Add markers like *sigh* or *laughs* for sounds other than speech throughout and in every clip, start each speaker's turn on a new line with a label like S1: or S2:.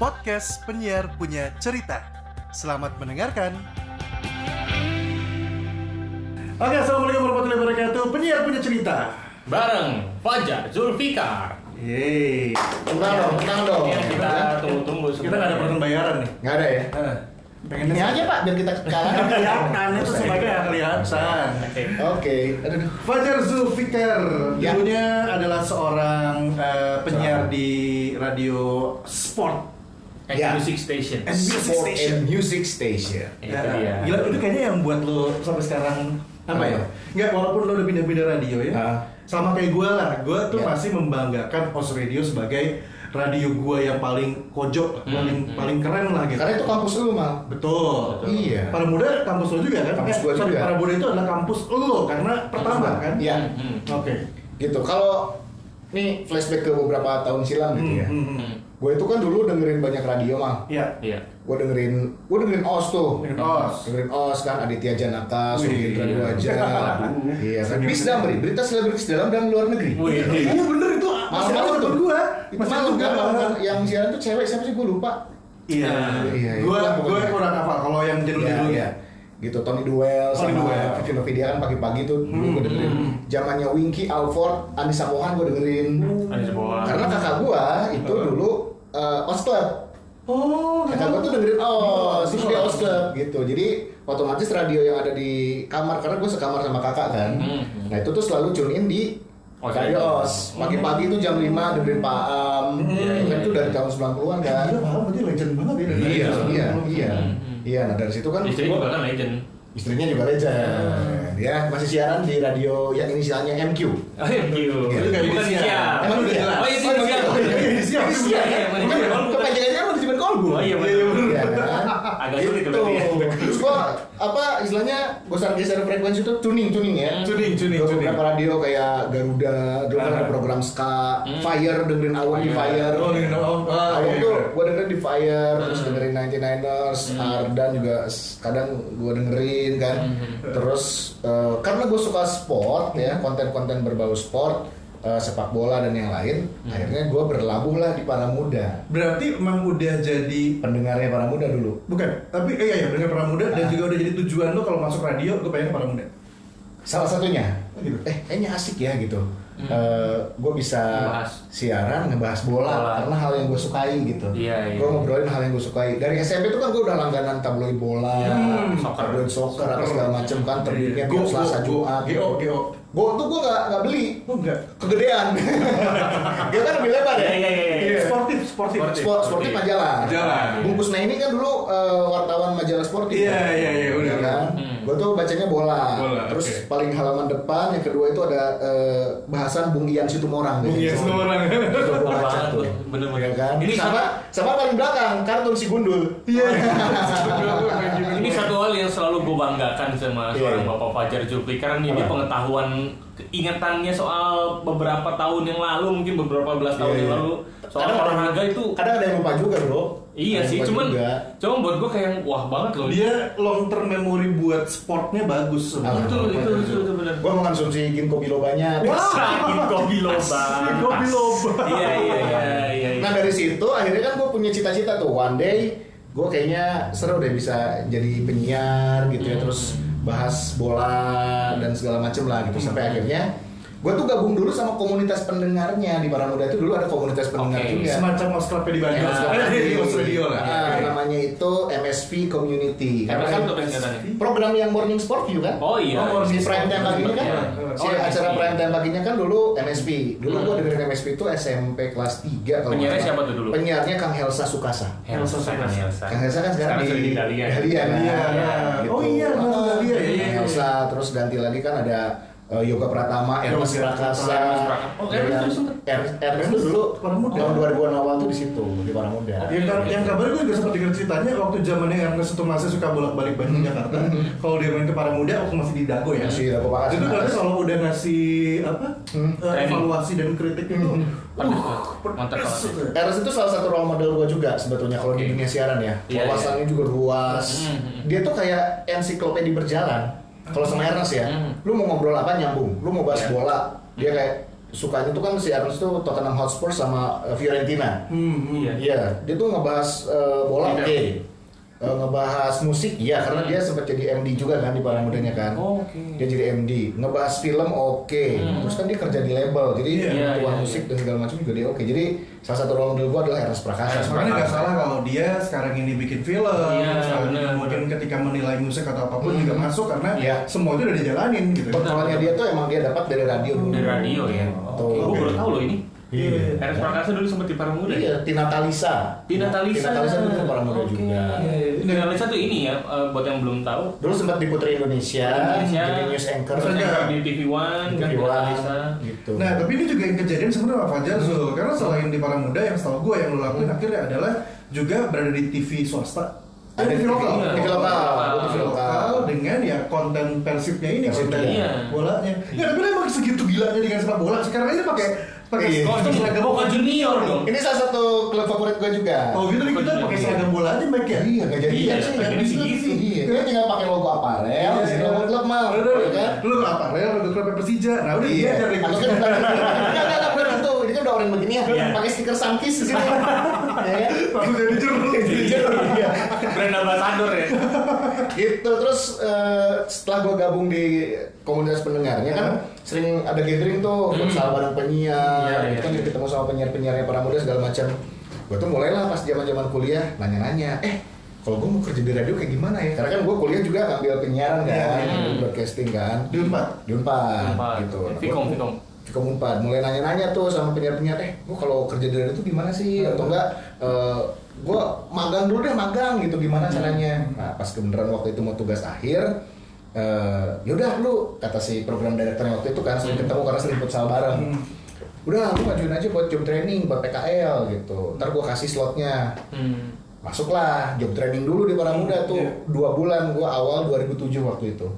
S1: podcast penyiar punya cerita. Selamat mendengarkan. Oke, assalamualaikum warahmatullahi wabarakatuh. Penyiar punya cerita.
S2: bareng Fajar Zulfikar.
S1: Yeay.
S3: Kurang dong, kurang dong.
S1: Iya,
S2: Ini yang kita tunggu-tunggu
S1: Kita nggak ada
S2: sebenarnya.
S1: program bayaran nih.
S3: Nggak ada ya?
S1: Eh, Pengennya
S3: Ini aja pak, biar kita
S1: *laughs* Nggak
S3: kalah.
S1: kelihatan Kan, itu sebagai nggak kelihatan.
S2: Oke.
S3: Oke, aduh.
S1: Fajar Zulfikar
S3: Ya.
S1: dulunya adalah seorang eh, penyiar di radio sport
S2: And
S3: Ya.
S2: Music Station.
S1: And Music
S3: Sport
S1: Station.
S3: and Music Station.
S2: Itu
S1: Ya,
S2: dia.
S1: Gila itu kayaknya yang buat lo sampai sekarang apa ya?
S3: Apa?
S1: Enggak, walaupun lo udah pindah-pindah radio ya.
S3: Ah.
S1: Sama kayak gue lah, gue tuh
S3: Ya.
S1: masih membanggakan Os Radio sebagai radio gue yang paling kojok,
S2: Hmm,
S1: paling
S2: hmm.
S1: paling keren lah gitu.
S3: Karena itu kampus lu mal.
S2: Betul.
S1: Betul.
S3: Iya.
S1: Para muda kampus lo juga kan?
S3: Kampus gua
S1: sorry,
S3: juga.
S1: Para muda itu adalah kampus lo karena pertama kan?
S3: Iya.
S2: Hmm.
S1: Oke.
S3: Gitu. Kalau nih flashback ke beberapa tahun silam gitu ya.
S1: Hmm, hmm, hmm.
S2: Hmm.
S3: Gue itu kan dulu dengerin banyak radio mal.
S1: Iya.
S2: Iya.
S3: Gue dengerin, gue dengerin OS tuh.
S1: Dengan Os.
S3: Dengerin OS kan Aditya Janata,
S1: Wih.
S3: Sugindra
S1: *laughs*
S3: Duaja, iya kan. Bisda beri berita selebritis dalam dan luar negeri.
S2: Wih.
S1: Iya bener itu masih
S3: Malam-malam
S1: ada
S3: tuh.
S1: gue.
S3: Itu malam kan, malam kan. yang siaran tuh cewek siapa sih gue lupa.
S1: Iya.
S3: Iya, iya.
S1: Gue gue
S3: Pokoknya.
S1: kurang apa kalau yang
S3: Iya,
S1: judul-judulnya.
S3: iya. gitu Tony Duel
S1: ya. Tony
S3: sama
S1: Duel.
S3: Vino Vidia kan pagi-pagi tuh dulu
S1: Hmm,
S3: gue dengerin
S1: hmm.
S3: zamannya Winky Alford Anissa Pohan gue dengerin
S1: Hmm.
S2: Ada sebuah.
S3: karena kakak gua itu dulu eh, OS Club
S1: Oh,
S3: kakak gua tuh dengerin OS terus dia OS Club Oh, gitu jadi otomatis radio yang ada di kamar karena gue sekamar sama kakak kan
S2: Hmm. Oh,
S3: nah itu tuh selalu tune in di
S2: Os itu.
S3: Radio OS pagi-pagi tuh jam 5 dengerin Pak Am
S2: Iya, iya,
S3: Kan itu
S2: iya.
S3: dari tahun 90-an kan
S1: Iya, paham berarti legend banget ya. dari
S3: iya
S1: Legend.
S3: iya iya
S2: Hmm.
S3: iya nah dari situ kan
S2: Istri Hmm.
S3: gua-
S2: juga kan legend.
S3: Istrinya juga legend. Ya, masih siaran di radio yang inisialnya MQ.
S2: Thank you. Oh,
S3: Iya, itu
S1: kayak
S2: Bukan
S1: Indonesia.
S2: siap.
S3: Emang
S2: Oh,
S3: iya?
S2: iya,
S3: Oh,
S2: itu siap.
S3: iya, iya, iya,
S1: iya, siap.
S2: Iya, iya,
S3: Kan
S2: iya.
S3: kepanjangannya manajemen kolbu.
S2: Oh, iya, benar.
S3: Iya kan?
S2: Agak sulit
S3: Gitu.
S2: berarti ya.
S3: Terus gua apa istilahnya geser-geser frekuensi itu tuning tuning ya.
S2: Hmm.
S1: Tuning, tuning,
S3: Ke
S1: tuning.
S3: beberapa radio kayak Garuda, dulu kan ada
S1: Ah.
S3: program Ska,
S2: Hmm.
S3: Fire dengerin Awan di
S2: Fire.
S3: Fire.
S1: Oh, dengerin Awan. Ah,
S3: Awan
S1: iya,
S3: tuh
S1: iya.
S3: gue dengerin di Fire, terus
S2: Hmm.
S3: dengerin 99ers,
S2: Hmm.
S3: Ardan juga s- kadang gue dengerin kan.
S2: Hmm.
S3: Terus eh, karena gue suka sport ya, konten-konten berbau sport, eh, sepak bola dan yang lain,
S2: Hmm.
S3: akhirnya gue berlabuh lah di para muda.
S1: Berarti emang udah jadi
S3: Pendengarnya para muda dulu.
S1: bukan, tapi eh, iya ya dengan para muda dan
S3: Ah.
S1: juga udah jadi tujuan lo kalau masuk radio gue pengen ke para muda.
S3: Salah satunya,
S1: Gitu.
S3: eh kayaknya asik ya gitu.
S2: Hmm.
S3: gue bisa
S2: Ngebahas.
S3: siaran ngebahas bola
S2: Bola.
S3: karena hal yang gue sukai gitu.
S2: Iya, iya.
S3: Gue ngobrolin hal yang gue sukai. Dari SMP tuh kan gue udah langganan tabloid bola,
S2: Hmm. Soccer. Iya.
S3: tabloid soccer, apa segala macem kan terbitnya
S1: Go,
S3: tiap Selasa
S1: go, go.
S3: Jumat.
S1: Go, go.
S3: Go tuh gue nggak nggak beli,
S1: Oh enggak.
S2: *laughs*
S3: kegedean. Dia kan lebih lebar ya.
S2: Iya, iya, iya, iya.
S1: Sportif, sportif.
S2: Sportif.
S3: Sport, sportif majalah.
S1: Majalah.
S3: Bungkus nah ini kan dulu eh, wartawan majalah sportif.
S1: Iya,
S3: kan?
S1: iya, iya, udah.
S3: kan?
S2: Hmm.
S3: Gue tuh bacanya bola.
S1: Bola,
S3: Terus
S1: oke.
S3: paling halaman depan yang kedua itu ada eh, bahasan Bung Ian Situmorang.
S1: Bung Iya,
S2: Iya,
S1: Yes orang.
S3: Itu gue baca
S2: Banget,
S3: tuh.
S2: bener-bener.
S3: Iya kan?
S2: Ini
S3: Ini sama sama paling belakang kartun si Gundul.
S1: Iya.
S2: Ini satu hal yang selalu gue banggakan sama
S3: Iya,
S2: seorang
S3: iya.
S2: Bapak Fajar Zulfikar nih dia
S3: Apa?
S2: pengetahuan ingatannya soal beberapa tahun yang lalu mungkin beberapa belas tahun
S3: Iya,
S2: yang
S3: iya.
S2: lalu soal
S3: Kadang ada-
S2: olahraga itu
S3: Kadang ada yang lupa juga, Bro.
S2: iya
S3: Ada yang
S2: sih
S3: lupa
S2: cuman
S3: juga. Iya.
S2: cuman buat gue kayak wah banget loh
S1: Dia long term memory buat sportnya bagus sebenarnya. gitu.
S2: itu itu itu, itu benar
S3: gue mengkonsumsi ginkgo biloba nya
S2: sakit kopi loba
S1: Kopi loba.
S2: iya iya iya iya iya.
S3: Nah dari situ akhirnya kan gue punya cita-cita tuh one day gue kayaknya seru deh bisa jadi penyiar gitu ya terus bahas bola dan segala macem lah gitu sampai akhirnya gue tuh gabung dulu sama komunitas pendengarnya di para muda itu dulu ada komunitas pendengar
S2: Oke,
S3: juga.
S1: Semacam Oscar di Bandung. Iya,
S2: Iya,
S1: *laughs* Eh, di Os Radio lah.
S3: Nah, namanya itu MSV Community
S2: Karena
S3: karena
S2: kan
S3: kan
S2: tuh pendengarannya.
S3: program yang Morning Sport View kan
S2: oh iya
S1: Oh,
S3: si prime time paginya kan
S1: Oh,
S3: si
S2: MSP.
S3: acara prime time paginya kan dulu MSP dulu
S2: iya. Hmm.
S3: gua dengerin MSP itu SMP kelas 3 kalau nggak
S2: Penyiarnya
S3: salah.
S2: siapa tuh dulu?
S3: penyiarnya Kang Helsa Sukasa
S2: Helsa Sanas Helsa
S3: Kang Helsa kan sekarang,
S2: Sekarang sudah di Iya, Dahlia.
S3: Dahlia kan?
S1: Dahlia.
S3: Gitu.
S1: Oh iya, Kang Dahlia, iya, iya, iya.
S3: Helsa terus ganti lagi kan ada eh, Yoga Pratama, Ernest
S1: Yoga
S3: Prakasa,
S1: Pratama,
S2: Ernest Prakasa. Oh, Ernest
S3: dengan-
S2: terus sempet.
S3: Er- Ernest tuh dulu
S1: Para Muda.
S3: tahun 2000-an awal tuh di situ di para muda.
S1: Yang, kar- yang kabar gue juga sempat dengar ceritanya waktu zamannya Ernest Tumasya suka bolak-balik Bandung Jakarta. Kalau dia main ke para muda waktu masih di Dago ya.
S3: Masih Dago Pakar.
S1: Itu katanya kalau udah ngasih apa
S3: Hmm.
S1: eh, evaluasi dan kritik itu
S2: Pedes
S1: uh,
S2: tuh. Mantap
S1: pedes
S2: banget.
S1: tuh.
S3: Eros itu salah satu role model gue juga sebetulnya kalau di
S2: Oke.
S3: dunia siaran ya.
S2: Iya,
S3: Wawasannya juga luas.
S2: Hmm.
S3: Dia tuh kayak ensiklopedia berjalan. Kalau sama Ernest ya,
S2: Hmm.
S3: lu mau ngobrol apa nyambung. Lu mau bahas
S2: Iya.
S3: bola, dia kayak sukanya tuh kan si Ernest tuh Tottenham Hotspur sama eh, Fiorentina.
S1: Hmm,
S2: Iya.
S3: Iya, dia tuh ngebahas eh, bola
S2: Iya.
S3: oke. Eh, ngebahas musik iya karena
S2: Hmm.
S3: dia sempat jadi MD juga kan di para mudanya kan.
S2: Oh, oke.
S3: Dia jadi MD. Ngebahas film oke.
S2: Hmm.
S3: Terus kan dia kerja di label. Jadi
S1: Iya,
S2: iya, iya.
S3: kebutuhan musik dan segala macam juga dia oke. Jadi salah satu role model gua adalah Ernest Prakasa.
S1: Makanya Ya, nggak salah kalau dia sekarang ini bikin film,
S2: Iya,
S1: sekarang
S2: bener.
S1: kemudian ketika menilai musik atau apapun
S3: Hmm.
S1: juga masuk karena
S3: Iya.
S1: semua itu udah dijalanin gitu.
S3: Pertolongannya dia tuh emang dia dapat dari radio dulu.
S2: Dari radio ya.
S3: Tuh.
S2: Oke, gue baru tahu loh ini.
S3: Iya.
S2: Eres Prakasa dulu sempat di Paramuda. ya?
S3: Iya, Tina Talisa.
S2: Tina Talisa.
S3: Tina Talisa itu para muda
S2: Oke. Iya,
S3: juga.
S2: Tina Talisa tuh ini ya, eh, buat yang belum tahu.
S3: Dulu sempat di Putri Indonesia,
S2: Indonesia.
S3: Iya, jadi news anchor.
S1: Terus aja.
S2: Di TV One, kan Tina
S3: Dewan,
S2: Talisa.
S3: gitu.
S1: Nah, tapi ini juga yang kejadian sebenarnya sama Fajar Zul. Karena selain di para muda yang setahu gue yang lo lakuin akhirnya adalah juga berada di TV swasta.
S3: Ada Oh,
S1: Eh,
S3: di TV lokal, Oh,
S2: TV lokal.
S1: TV lokal dengan ya konten persibnya ini
S3: Persib,
S1: konten
S2: iya.
S1: bolanya. Ya tapi emang segitu gilanya dengan sepak bola. Sekarang ini pakai pakai
S3: Iya.
S2: Kostum seragam Boca Junior dong.
S3: Ini salah satu klub favorit gue juga.
S1: Oh gitu, tapi kita pakai seragam bola aja, Mike ya?
S3: Iya, nggak jadi
S2: Iya,
S3: sih.
S2: akhirnya sih gitu.
S3: Iya, kita tinggal pakai logo aparel, di sini logo klub mah,
S1: Iya, Udah,
S3: ya
S1: udah,
S3: kan?
S1: Lu apa? Real lu klub Persija. Nah, udah
S3: Iya,
S1: iya dari
S3: Atau kan bukan- Nggak, nggak, nggak, bukan itu. Ini kan udah orang begini ya,
S2: Iya.
S3: pakai stiker sangkis di sini. Ya kan?
S1: Langsung jadi jurnalis.
S3: Iya.
S2: Brand ambassador ya.
S3: Gitu terus eh, setelah gue gabung di komunitas pendengarnya kan sering ada gathering tuh futsal bareng
S2: Hmm. Iya,
S3: penyiar,
S2: iya,
S3: gitu kan
S2: iya.
S3: ketemu sama penyiar-penyiarnya para muda segala macam. Gue tuh mulailah pas zaman-zaman kuliah nanya-nanya, eh kalau gue mau kerja di radio kayak gimana ya? Karena kan gue kuliah juga ngambil penyiaran kan,
S1: Iya, iya.
S3: ngambil broadcasting kan.
S1: Di Unpad?
S3: Di Unpad,
S2: Unpad.
S3: gitu. Nah, gua-
S2: Vkom, Vkom.
S3: Vkom Unpad. Mulai nanya-nanya tuh sama penyiar-penyiar, eh gue kalau kerja di radio tuh gimana sih? Atau enggak eh, gue magang dulu deh magang gitu gimana caranya? Nah pas kebenaran waktu itu mau tugas akhir, eh, yaudah lu kata si program direkturnya waktu itu kan sering ketemu karena sering futsal bareng. Udah lu majuin aja buat job training buat PKL gitu. Ntar gue kasih slotnya
S2: Hmm.
S3: masuklah job training dulu di para muda tuh
S1: Iya.
S3: dua bulan gua awal 2007 waktu itu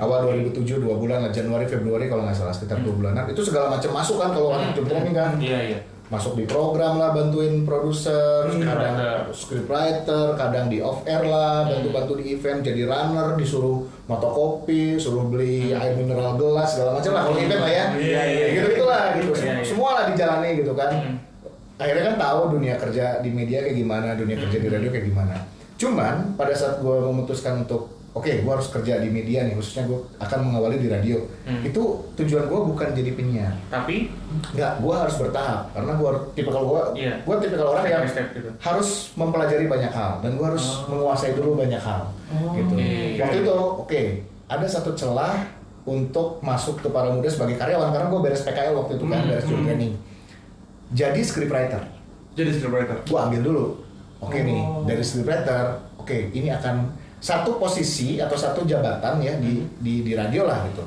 S3: awal 2007 dua bulan lah Januari Februari kalau nggak salah sekitar dua bulanan itu segala macam masuk kan kalau orang job training kan
S2: Iya, iya.
S3: masuk di program lah bantuin produser
S2: Hmm,
S3: kadang
S2: writer.
S3: scriptwriter kadang di off air lah
S2: Hmm.
S3: bantu bantu di event jadi runner disuruh motokopi suruh beli
S2: Hmm.
S3: air mineral gelas segala macam lah kalau event lah ya
S1: Iya, iya,
S3: gitu gitulah gitu
S2: Iya, iya.
S3: semua lah dijalani gitu kan
S2: Hmm.
S3: akhirnya kan tahu dunia kerja di media kayak gimana dunia kerja
S2: Hmm.
S3: di radio kayak gimana cuman pada saat gue memutuskan untuk oke gue harus kerja di media nih khususnya gue akan mengawali di radio
S2: Hmm.
S3: itu tujuan gue bukan jadi penyiar
S2: Tapi
S3: Enggak, gue harus bertahap karena gue tipe kalau gue
S2: Iya.
S3: gue tipe kalau orang
S2: Step
S3: yang
S2: by step gitu. Oh.
S3: harus mempelajari banyak hal dan gue harus menguasai dulu banyak hal gitu.
S2: Oke.
S3: Waktu itu oke ada satu celah untuk masuk ke para muda sebagai karyawan karena gue beres PKL waktu itu
S2: Hmm.
S3: kan beres job training. Jadi scriptwriter
S1: Jadi scriptwriter.
S3: gue ambil dulu. Oke nih dari scriptwriter oke ini akan satu posisi atau satu jabatan ya di di di radio lah gitu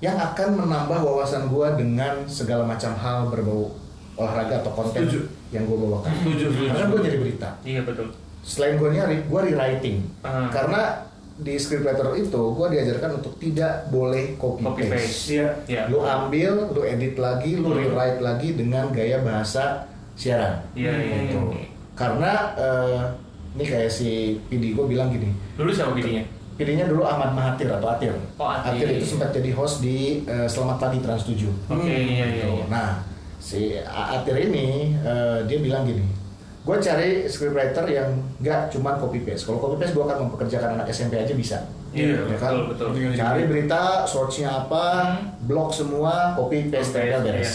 S3: yang akan menambah wawasan gue dengan segala macam hal berbau olahraga atau konten
S1: Setuju.
S3: yang gue bawakan.
S2: Setuju, setuju.
S3: Karena gue nyari berita.
S2: iya betul.
S3: Selain gue nyari, gue rewriting.
S2: Ah.
S3: Karena di scriptwriter itu gue diajarkan untuk tidak boleh copy,
S2: Copy
S3: paste.
S2: paste.
S1: Iya.
S2: Iya. Hmm.
S3: Lu ambil, lu edit lagi, lu rewrite lagi dengan gaya bahasa siaran.
S2: Iya, iya, iya.
S3: Gitu. Karena eh, ini kayak si PD gue bilang gini,
S2: Dulu siapa videonya?
S3: PD-nya dulu Ahmad Mahathir atau Atir.
S2: Oh, Athir.
S3: itu sempat jadi host di eh, Selamat Pagi Trans
S2: Oke,
S3: 7.
S2: iya, iya, iya.
S3: Nah, si A- Atir ini eh, dia bilang gini, gue cari scriptwriter yang nggak cuma copy paste. Kalau copy paste gue akan mempekerjakan anak SMP aja bisa.
S2: Iya,
S3: Ya kan?
S2: betul, betul. Hmm.
S3: Cari berita, source-nya apa, blog semua, copy paste,
S2: Copy paste, iya.
S3: tempel beres.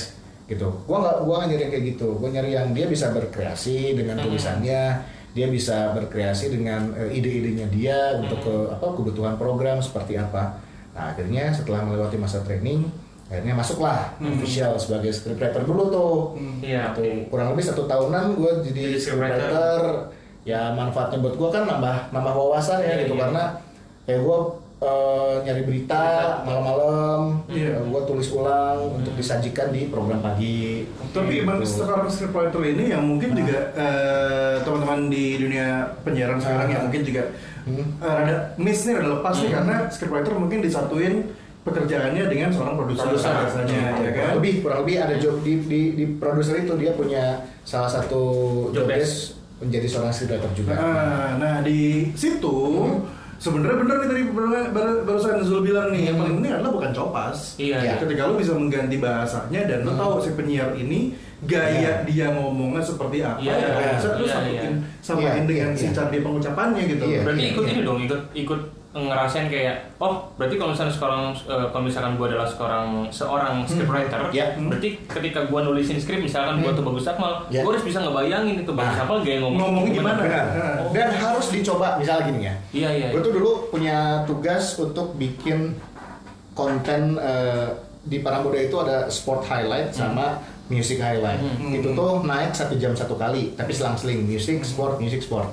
S3: Gitu. Gua nggak, gua nggak nyari yang kayak gitu. Gua nyari yang dia bisa berkreasi dengan tulisannya, dia bisa berkreasi dengan eh, ide-idenya dia untuk ke apa kebutuhan program seperti apa. Nah, akhirnya setelah melewati masa training, akhirnya masuklah official sebagai scriptwriter dulu tuh.
S2: Iya,
S3: Satu-
S2: oke.
S3: kurang lebih satu tahunan gue jadi
S2: Jadi scriptwriter.
S3: scriptwriter. Ya manfaatnya buat gue kan nambah nambah wawasan ya
S2: Iya, iya.
S3: gitu karena kayak gue nyari berita
S2: Berita.
S3: malam-malam,
S1: Iya.
S3: gue tulis ulang untuk disajikan di program pagi.
S1: Tapi emang
S3: Gitu.
S1: sekarang scriptwriter ini yang mungkin juga eh, teman-teman di dunia penyiaran sekarang yang mungkin juga
S3: Hmm.
S1: eh, rada miss nih rada lepas nih karena scriptwriter mungkin disatuin pekerjaannya dengan seorang produser
S2: Produser.
S1: biasanya ya kan.
S3: kurang Iya, lebih kurang lebih ada job di di, di produser itu dia punya salah satu
S2: Job
S3: job
S1: Ah,
S3: desk menjadi seorang scriptwriter juga.
S1: Nah, nah di situ sebenarnya bener nih tadi baru- baru- barusan Zul bilang nih yang paling penting adalah bukan copas
S2: Iya,
S1: Ya,
S2: iya.
S1: ketika lo bisa mengganti bahasanya dan lo tahu si penyiar ini gaya dia ngomongnya seperti apa
S2: Iya,
S1: ya kalau
S3: iya,
S1: bisa lo
S2: iya,
S1: samain
S3: Iya,
S1: samain
S3: iya,
S1: dengan si
S3: iya.
S1: cara dia pengucapannya gitu
S3: Iya.
S2: berarti ikut ini dong ikut ikut ngerasain kayak oh berarti kalau misalnya sekarang eh, kalau misalkan gue adalah seorang seorang scriptwriter
S3: Ya.
S1: Hmm.
S2: berarti ketika gue nulisin skrip misalkan gue tuh bagus Akmal
S3: Ya.
S2: gue harus bisa ngebayangin itu bagus
S3: Nah.
S2: Akmal gaya ngomong
S1: ngomongnya gimana
S3: Benar. Dan harus dicoba misalnya gini ya.
S2: iya iya
S3: Gue tuh dulu punya tugas untuk bikin konten eh, di Paramboda itu ada sport highlight sama music highlight.
S1: Hmm.
S3: Itu tuh naik satu jam satu kali, tapi selang-seling music sport music sport.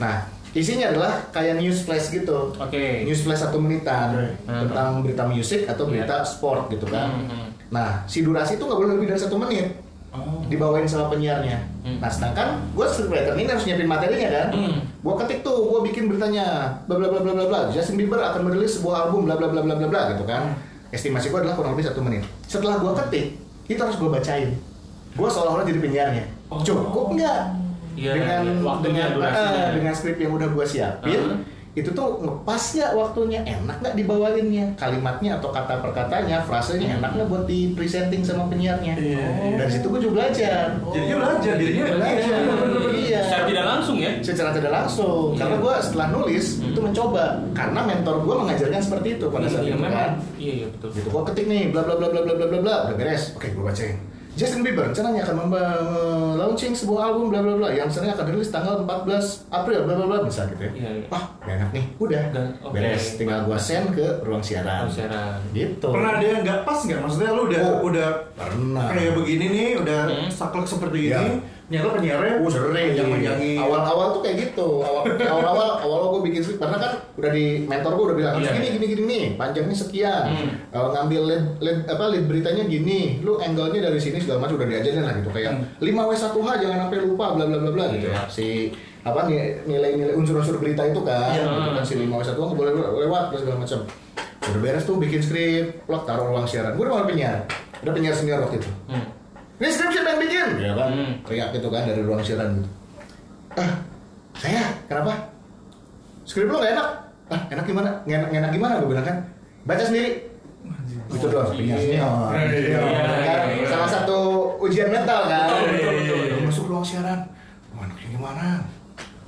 S3: Nah isinya adalah kayak news flash gitu.
S1: Iya,
S2: Oke.
S3: News flash satu menitan
S1: Oke.
S2: Hmm. Iya.
S3: tentang berita musik atau berita sport gitu kan.
S2: Hmm, hmm.
S3: Nah si durasi itu nggak boleh lebih dari satu menit. Dibawain sama penyiarnya.
S2: Hmm.
S3: Nah sedangkan gue scriptwriter ini harus nyiapin materinya kan.
S2: Hmm.
S3: Gue ketik tuh, gue bikin beritanya, bla bla bla bla bla bla. Justin Bieber akan merilis sebuah album, bla bla bla bla bla bla gitu kan. Estimasi gue adalah kurang lebih satu menit. Setelah gue ketik, itu harus gue bacain. Gue seolah-olah jadi penyiarnya.
S2: Oh.
S3: Cukup nggak?
S2: Iya,
S3: dengan
S2: iya. Waktunya,
S3: dengan
S2: durasinya.
S3: eh, dengan skrip yang udah gue siapin,
S2: Uh-huh.
S3: itu tuh ngepas nggak waktunya enak nggak dibawainnya kalimatnya atau kata per katanya frasenya enak nggak buat di presenting sama penyiarnya Oh.
S1: Iya, Oh. iya.
S3: dari situ gue juga belajar
S1: jadinya belajar jadinya
S3: Belajar.
S1: iya, bener-bener.
S3: Iya.
S2: secara tidak langsung ya
S3: secara tidak langsung
S2: Iya. Hmm.
S3: karena gue setelah nulis itu mencoba karena mentor gue mengajarkan seperti itu pada saat
S2: iya,
S3: itu
S2: memang.
S3: kan
S2: iya iya betul
S3: gitu gue ketik nih bla bla bla bla bla bla bla bla udah beres oke gue bacain Justin Bieber rencananya akan memba- me- launching sebuah album bla bla bla yang sebenarnya akan rilis tanggal 14 April bla bla bla bisa gitu ya.
S2: Iya, iya.
S3: Wah, udah enak nih. Udah.
S2: Udah, oke.
S3: Beres. Tinggal gua send ke ruang siaran.
S2: Ruang siaran.
S3: Gitu.
S1: pernah ada yang nggak pas nggak maksudnya lo udah
S3: Oh.
S1: udah
S3: Pernah.
S1: kayak begini nih udah
S2: Hmm.
S1: saklek seperti
S3: Iya.
S1: ini ternyata penyiarnya
S3: Oh, sering.
S1: yang menyanyi
S3: Awal-awal tuh kayak gitu. Awal- Awal-awal awal gue bikin script karena kan udah di mentor gue udah bilang harus
S2: Iya,
S3: gini
S2: iya.
S3: gini gini nih, panjangnya sekian.
S2: Hmm.
S3: Eh, ngambil lead, lead apa lead beritanya gini, lu angle-nya dari sini segala macam udah diajarin lah gitu kayak 5W1H jangan sampai lupa bla bla bla bla gitu
S2: Hmm. Iya.
S3: ya. Si apa nih, nilai-nilai unsur-unsur berita itu kan,
S2: Iya.
S3: gitu kan si 5W1H nggak boleh lewat terus segala macam. Udah beres tuh bikin script, plot taruh ruang siaran. Gue udah mau penyiar. Ada penyiar senior waktu itu.
S2: Hmm.
S3: Ini script siapa yang bikin?
S1: Iya,
S3: Ya kan,
S2: Hmm.
S3: teriak gitu kan dari ruang siaran gitu. Ah, saya, kenapa? Script lo gak enak? Ah, enak gimana? Gak enak, gak enak gimana? Gue bilang kan, baca sendiri. Gitu doang,
S2: iya.
S3: penyiarnya.
S1: Iya,
S3: Kan,
S2: iya, iya.
S3: Salah satu ujian mental kan.
S2: Betul,
S1: iya,
S2: betul, betul,
S3: Udah
S2: betul.
S3: Masuk ruang siaran. Wah, anaknya gimana?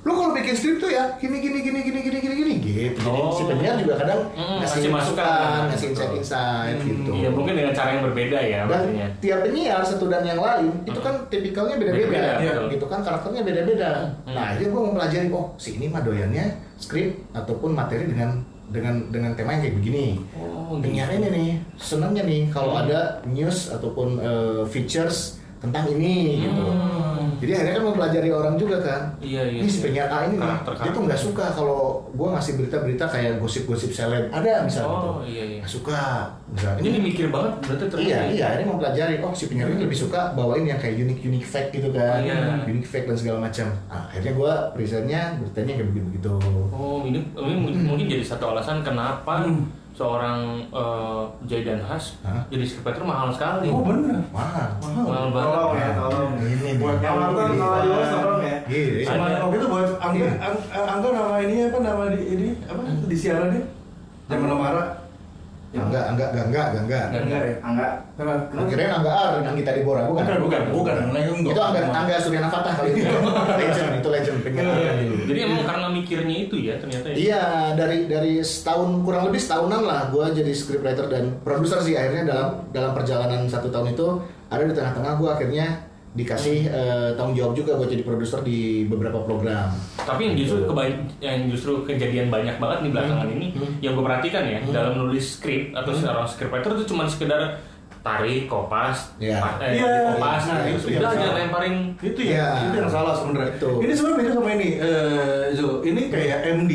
S3: Lo kalau bikin script tuh ya, gini, gini, gini, gini, gini, gini, gini, gitu. Jadi
S2: Oh.
S3: si penyiar juga kadang
S2: Mm,
S3: ngasih
S2: ngasih masukan.
S3: masukan, ngasih insight-insight gitu.
S2: iya mungkin dengan cara yang berbeda ya
S3: Dan
S2: maksudnya
S3: tiap penyiar satu dan yang lain itu kan tipikalnya beda-beda,
S2: Hmm. Beda-beda,
S3: ya,
S2: betul. Hmm.
S3: gitu kan karakternya beda-beda. Nah akhirnya gue mempelajari oh si ini mah doyannya skrip ataupun materi dengan dengan dengan tema yang kayak begini.
S2: Oh,
S3: penyiar
S2: gitu. Hmm.
S3: ini nih senangnya nih kalau ada news ataupun eh, features tentang ini gitu. Jadi akhirnya kan mempelajari orang juga kan.
S2: Hmm. Iya, iya,
S3: Ini si
S2: iya.
S3: penyiar A ini nih,
S2: Karakter-
S3: dia tuh nggak suka kalau gue ngasih berita-berita kayak gosip-gosip seleb. Ada misalnya
S2: Oh,
S3: gitu.
S2: iya, iya.
S3: Nggak suka. Misalnya,
S2: ini mikir banget berarti ternyata
S3: Iya,
S2: ya.
S3: iya, ini mau pelajari. Oh, si penyiar ini lebih suka bawain yang kayak unique unique fact gitu kan.
S2: Iya.
S3: Unique fact dan segala macam. Nah, akhirnya gua presentnya beritanya kayak gitu. begitu-begitu.
S2: Oh, ini, ini mungkin- mungkin jadi satu alasan kenapa seorang eh, Jaidan Has
S3: Hah?
S2: jadi scriptwriter mahal sekali.
S1: oh bener
S3: Wah.
S2: Mahal banget.
S1: tolong ya tolong
S3: Ini nih. Iya,
S1: buat
S4: Yang nonton
S1: nyambung.
S4: sama Dewas tolong ya.
S3: Gila.
S1: sama
S2: Ada.
S1: waktu itu buat angga Oh, gitu, Ang- angga nama ini apa nama di ini apa di siarannya zaman Nomara Iya.
S3: Enggak, enggak, enggak, enggak, enggak, enggak.
S1: angga ya
S4: Angga.
S1: Kenapa?
S3: Gua kirain Angga Ar yang kita di Bora, bukan?
S1: Bukan, bukan, bukan. Nah, itu enggak.
S3: Itu Angga, Angga Suryana Fatah kali
S1: *laughs*
S3: itu. legend, itu legend penyiar.
S1: Iya,
S2: Jadi emang karena mikirnya itu ya ternyata ya.
S3: Iya, dari dari setahun kurang lebih setahunan lah gue jadi scriptwriter dan produser sih akhirnya dalam dalam perjalanan satu tahun itu ada di tengah-tengah gue akhirnya dikasih eh, tanggung jawab juga buat jadi produser di beberapa program.
S2: Tapi yang justru keba- yang justru kejadian banyak banget nih belakangan ini yang gue perhatikan ya dalam nulis skrip atau seorang scriptwriter itu cuma sekedar tarik kopas,
S3: Iya.
S2: pat- eh,
S1: Iya,
S2: kopas,
S1: nah,
S2: gitu. udah
S1: itu yang
S2: aja
S1: salah.
S2: lemparin.
S1: itu ya,
S3: Iya.
S1: itu yang salah sebenarnya.
S3: Betul.
S1: Ini sebenarnya beda sama ini, eh Zul. Ini kayak MD.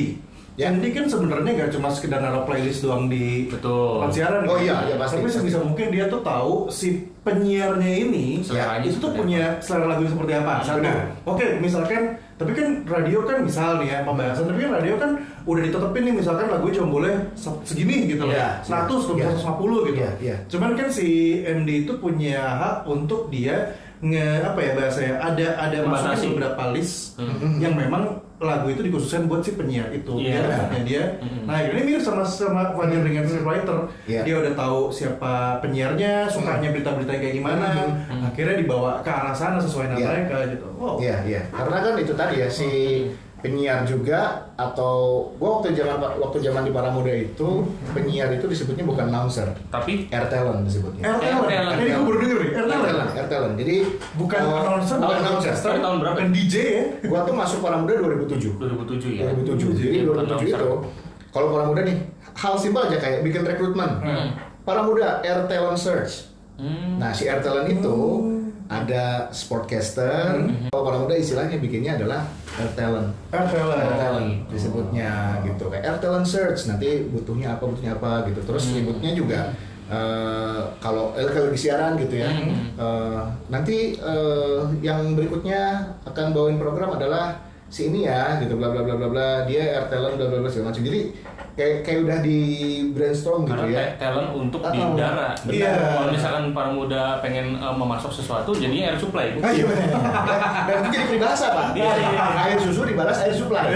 S3: Ya.
S1: MD kan sebenarnya nggak cuma sekedar naruh playlist doang di
S2: Betul.
S1: tempat siaran.
S3: Oh
S1: kan?
S3: iya, iya, pasti.
S1: Tapi sebisa mungkin dia tuh tahu si penyiarnya ini,
S2: Seleranya
S1: itu tuh
S2: seperti
S1: punya selera lagu seperti apa. Satu.
S3: Benar.
S1: Oke, misalkan, tapi kan radio kan misal nih ya pembahasan, tapi kan radio kan udah ditetepin nih misalkan lagu cuma boleh se- segini gitu loh,
S3: Iya,
S1: 100 atau
S3: iya.
S1: 150 gitu.
S3: Iya, iya.
S1: Cuman kan si MD itu punya hak untuk dia nge apa ya bahasanya ada ada masuknya
S2: Batasi.
S1: beberapa list
S2: Hmm.
S3: Hmm.
S1: yang memang lagu itu dikhususkan buat si penyiar itu
S2: Iya.
S1: biar vote-nya dia
S2: Mm-mm.
S1: nah ini mirip sama sama Wonder dengan Scriptwriter
S3: Iya. Hmm.
S1: dia udah tahu siapa penyiarnya sukanya berita-berita kayak gimana
S2: Hmm.
S1: akhirnya dibawa ke arah sana sesuai nama
S3: Iya.
S1: mereka gitu wow
S3: Iya, iya. Karena kan itu tadi ya si penyiar juga atau gua waktu zaman waktu zaman di para muda itu penyiar itu disebutnya bukan announcer,
S2: Tapi
S3: air talent disebutnya.
S1: RTL,
S2: RTL.
S1: ini gue baru denger nih,
S3: Air
S1: RTL.
S3: talent, air talent. Jadi
S1: Bukan
S3: eh,
S1: announcer, bukan
S3: announcer.
S1: broadcaster,
S2: Tapi tahun berapa?
S1: bukan DJ ya.
S3: Gua tuh masuk para muda 2007.
S2: 2007 ya.
S3: 2007. Jadi
S2: Iya,
S3: 2007 itu kalau para muda nih hal simpel aja kayak bikin rekrutmen.
S2: Hmm.
S3: Para muda air talent search.
S2: Hmm.
S3: Nah, si air talent itu ada sportcaster,
S2: Hmm.
S3: kalau para muda istilahnya bikinnya adalah air talent.
S1: RTL.
S3: air talent disebutnya gitu kayak air talent search nanti butuhnya apa butuhnya apa gitu terus
S2: Hmm.
S3: ributnya juga eh, kalau eh, kalau di siaran gitu ya
S2: Hmm.
S3: eh, nanti eh, yang berikutnya akan bawain program adalah si ini ya gitu bla bla bla bla bla dia air talent bla bla bla segala macam jadi kayak kayak udah di brainstorm gitu
S2: Karena
S3: ya
S2: ta- talent untuk di
S3: Oh,
S2: udara.
S1: iya.
S2: Kalau misalkan para muda pengen eh, memasok sesuatu, jadinya air supply.
S3: Ah, iya benar. Dan itu jadi peribahasa, Pak.
S2: Iya, iya, iya.
S3: Air susu dibalas air supply.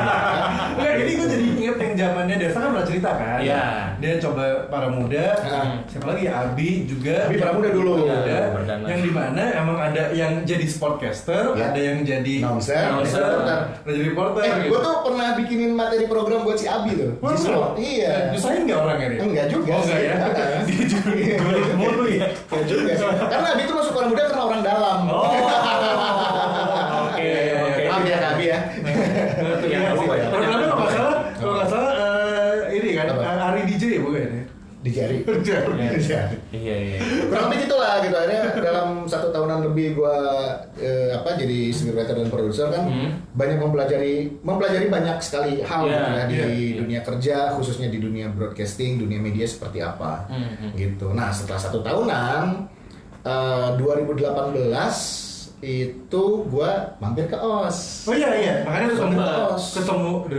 S2: *laughs*
S1: Enggak, jadi gue jadi inget yang zamannya Desa kan pernah cerita kan.
S2: Iya.
S1: Dia coba para muda,
S3: Hmm.
S1: siapa lagi ya Abi juga.
S3: Abi para muda dulu.
S1: Para muda,
S2: Iya, perdana.
S1: yang di mana emang ada yang jadi sportcaster,
S3: Iya.
S1: ada yang jadi
S3: Announcer,
S1: announcer,
S2: reporter.
S1: ada jadi reporter. gitu.
S3: Eh, gue tuh pernah bikinin materi program buat si Abi tuh.
S1: Iya, Wah,
S3: Justru,
S1: seru.
S3: iya.
S1: Eh, Nyusahin nggak orangnya dia? *laughs*
S3: Enggak juga
S1: Oh, enggak
S3: sih.
S1: ya.
S3: *laughs*
S1: Dia juga gulit mulu ya. *laughs*
S3: Enggak juga sih. Karena Abi tuh masuk orang muda karena orang dalam.
S1: Oh.
S2: Oke, oke.
S3: Maaf ya, Abi ya.
S2: Iya, nggak apa-apa ya.
S1: Kalau kalau nggak salah, kalau nggak salah eh, ini kan
S3: Oh. Apa?
S1: Ari DJ ya bukan ya?
S3: Dijari.
S1: Jari.
S3: Dijari.
S2: Iya, iya.
S3: Kurang lebih gitulah gitu akhirnya dalam satu tahunan lebih gue apa jadi scriptwriter dan produser kan
S2: Hmm.
S3: banyak mempelajari mempelajari banyak sekali hal
S2: Iya,
S3: gitu ya, di
S1: iya,
S2: iya.
S3: dunia kerja khususnya di dunia broadcasting dunia media seperti apa
S2: Hmm, hmm.
S3: gitu. Nah setelah satu tahunan eh, 2018 itu gue mampir ke OS.
S1: Oh iya iya, makanya terus
S2: Ketemu.
S1: ketemu ketemu dari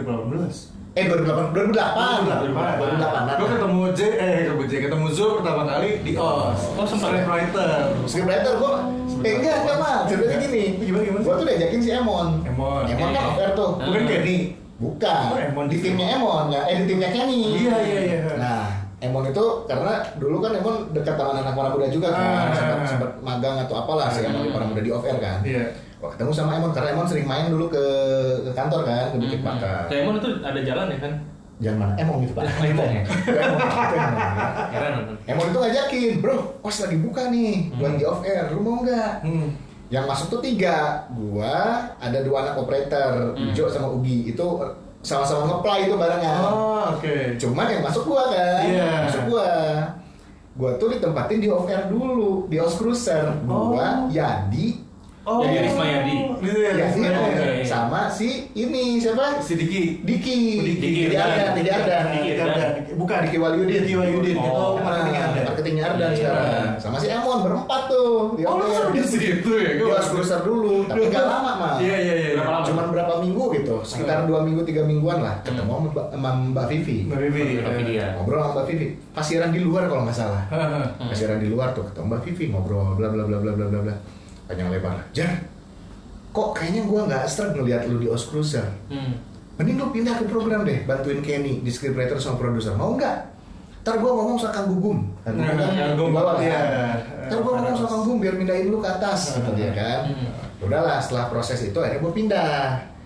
S1: 18.
S3: Eh 2008 2008 2008
S1: Gue ketemu J, eh ketemu J, ketemu Zul pertama kali di OS.
S2: Oh, sempat ya?
S1: Scriptwriter.
S3: scriptwriter gue eh enggak enggak mah ceritanya gini
S1: Gimana, gimana?
S3: gue tuh diajakin si Emon
S1: Emon.
S3: Emon kan
S2: Iya.
S3: fair tuh
S1: Bukan Kenny.
S3: bukan
S1: Oh, Emon
S3: di
S1: di
S3: timnya Emon ya eh di timnya Kenny
S1: Iya iya iya.
S3: nah Emon itu karena dulu kan Emon dekat tangan anak para muda juga kan
S1: Ah.
S3: sempat sempat magang atau apalah si Emon di para muda di off air kan
S1: Iya.
S3: Wah, ketemu sama Emon karena Emon sering main dulu ke, ke kantor kan ke
S1: Hmm.
S3: Bukit Pakar
S2: Lemon itu ada jalan ya kan?
S3: jangan mana Emon gitu pak
S2: Oh, Emon ya?
S3: Emon, Emon, ya.
S2: Heran. nonton.
S3: Emon itu ngajakin, bro, kos lagi buka nih, gua lagi off air, lu mau nggak?
S1: Hmm.
S3: Yang masuk tuh tiga, gua ada dua anak operator,
S2: Hmm.
S3: Ujo sama Ugi, itu sama-sama ngeplay itu barengan.
S1: Oh oke.
S3: Cuman yang masuk gua kan,
S1: Iya.
S3: masuk gua. Gua tuh ditempatin di off air dulu, di house cruiser. Gua,
S1: Oh.
S3: Yadi,
S2: Jadi Risma Yadi.
S1: Gitu ya.
S3: Yadi
S1: Risma
S3: Emon.
S1: Yadi.
S2: iya.
S3: sama si ini siapa?
S1: Si Diki.
S3: Diki,
S1: Oh, Diki,
S3: Diki Ardan, Diki Ardan.
S2: Diki
S1: Diki
S2: Ardan.
S1: Ardan. Bukan
S3: Diki Wahyudin.
S1: Diki Wahyudin.
S2: Oh,
S1: Oh, marketingnya
S3: Marketingnya
S1: ada.
S3: Ardan, marketingnya Ardan
S2: Iya.
S3: sekarang. Sama si Emon berempat tuh. di
S1: Oh,
S3: off
S1: lu
S3: air.
S1: suruh di situ ya?
S3: Gue harus cruiser dulu, tapi nggak lama mah.
S1: Iya iya iya.
S2: Berapa lama?
S3: Cuman berapa minggu gitu, sekitar dua minggu tiga mingguan lah. Ketemu sama Mbak- sama Mbak Vivi,
S1: Mbak iya. Vivi.
S2: Tapi dia.
S3: ngobrol sama Mbak Vivi. Pasiran di luar kalau nggak salah,
S1: Hahaha.
S3: pasiran di luar tuh ketemu Mbak Vivi ngobrol bla bla bla bla bla bla bla. Panjang lebar. Jar, kok kayaknya gua nggak strike ngeliat lu di Os Cruiser.
S2: Hmm.
S3: Mending lu pindah ke program deh, bantuin Kenny di scriptwriter sama produser. Mau nggak? Ntar gua ngomong sama Kang Gugum. Kang Gugum
S1: Nah,
S3: kan
S1: Kang
S3: di
S1: Gugum,
S3: bawah
S1: iya.
S3: kan? Ntar gua ngomong sama Kang Gugum biar pindahin lu ke atas gitu dia kan. Udahlah, setelah proses itu akhirnya gua pindah.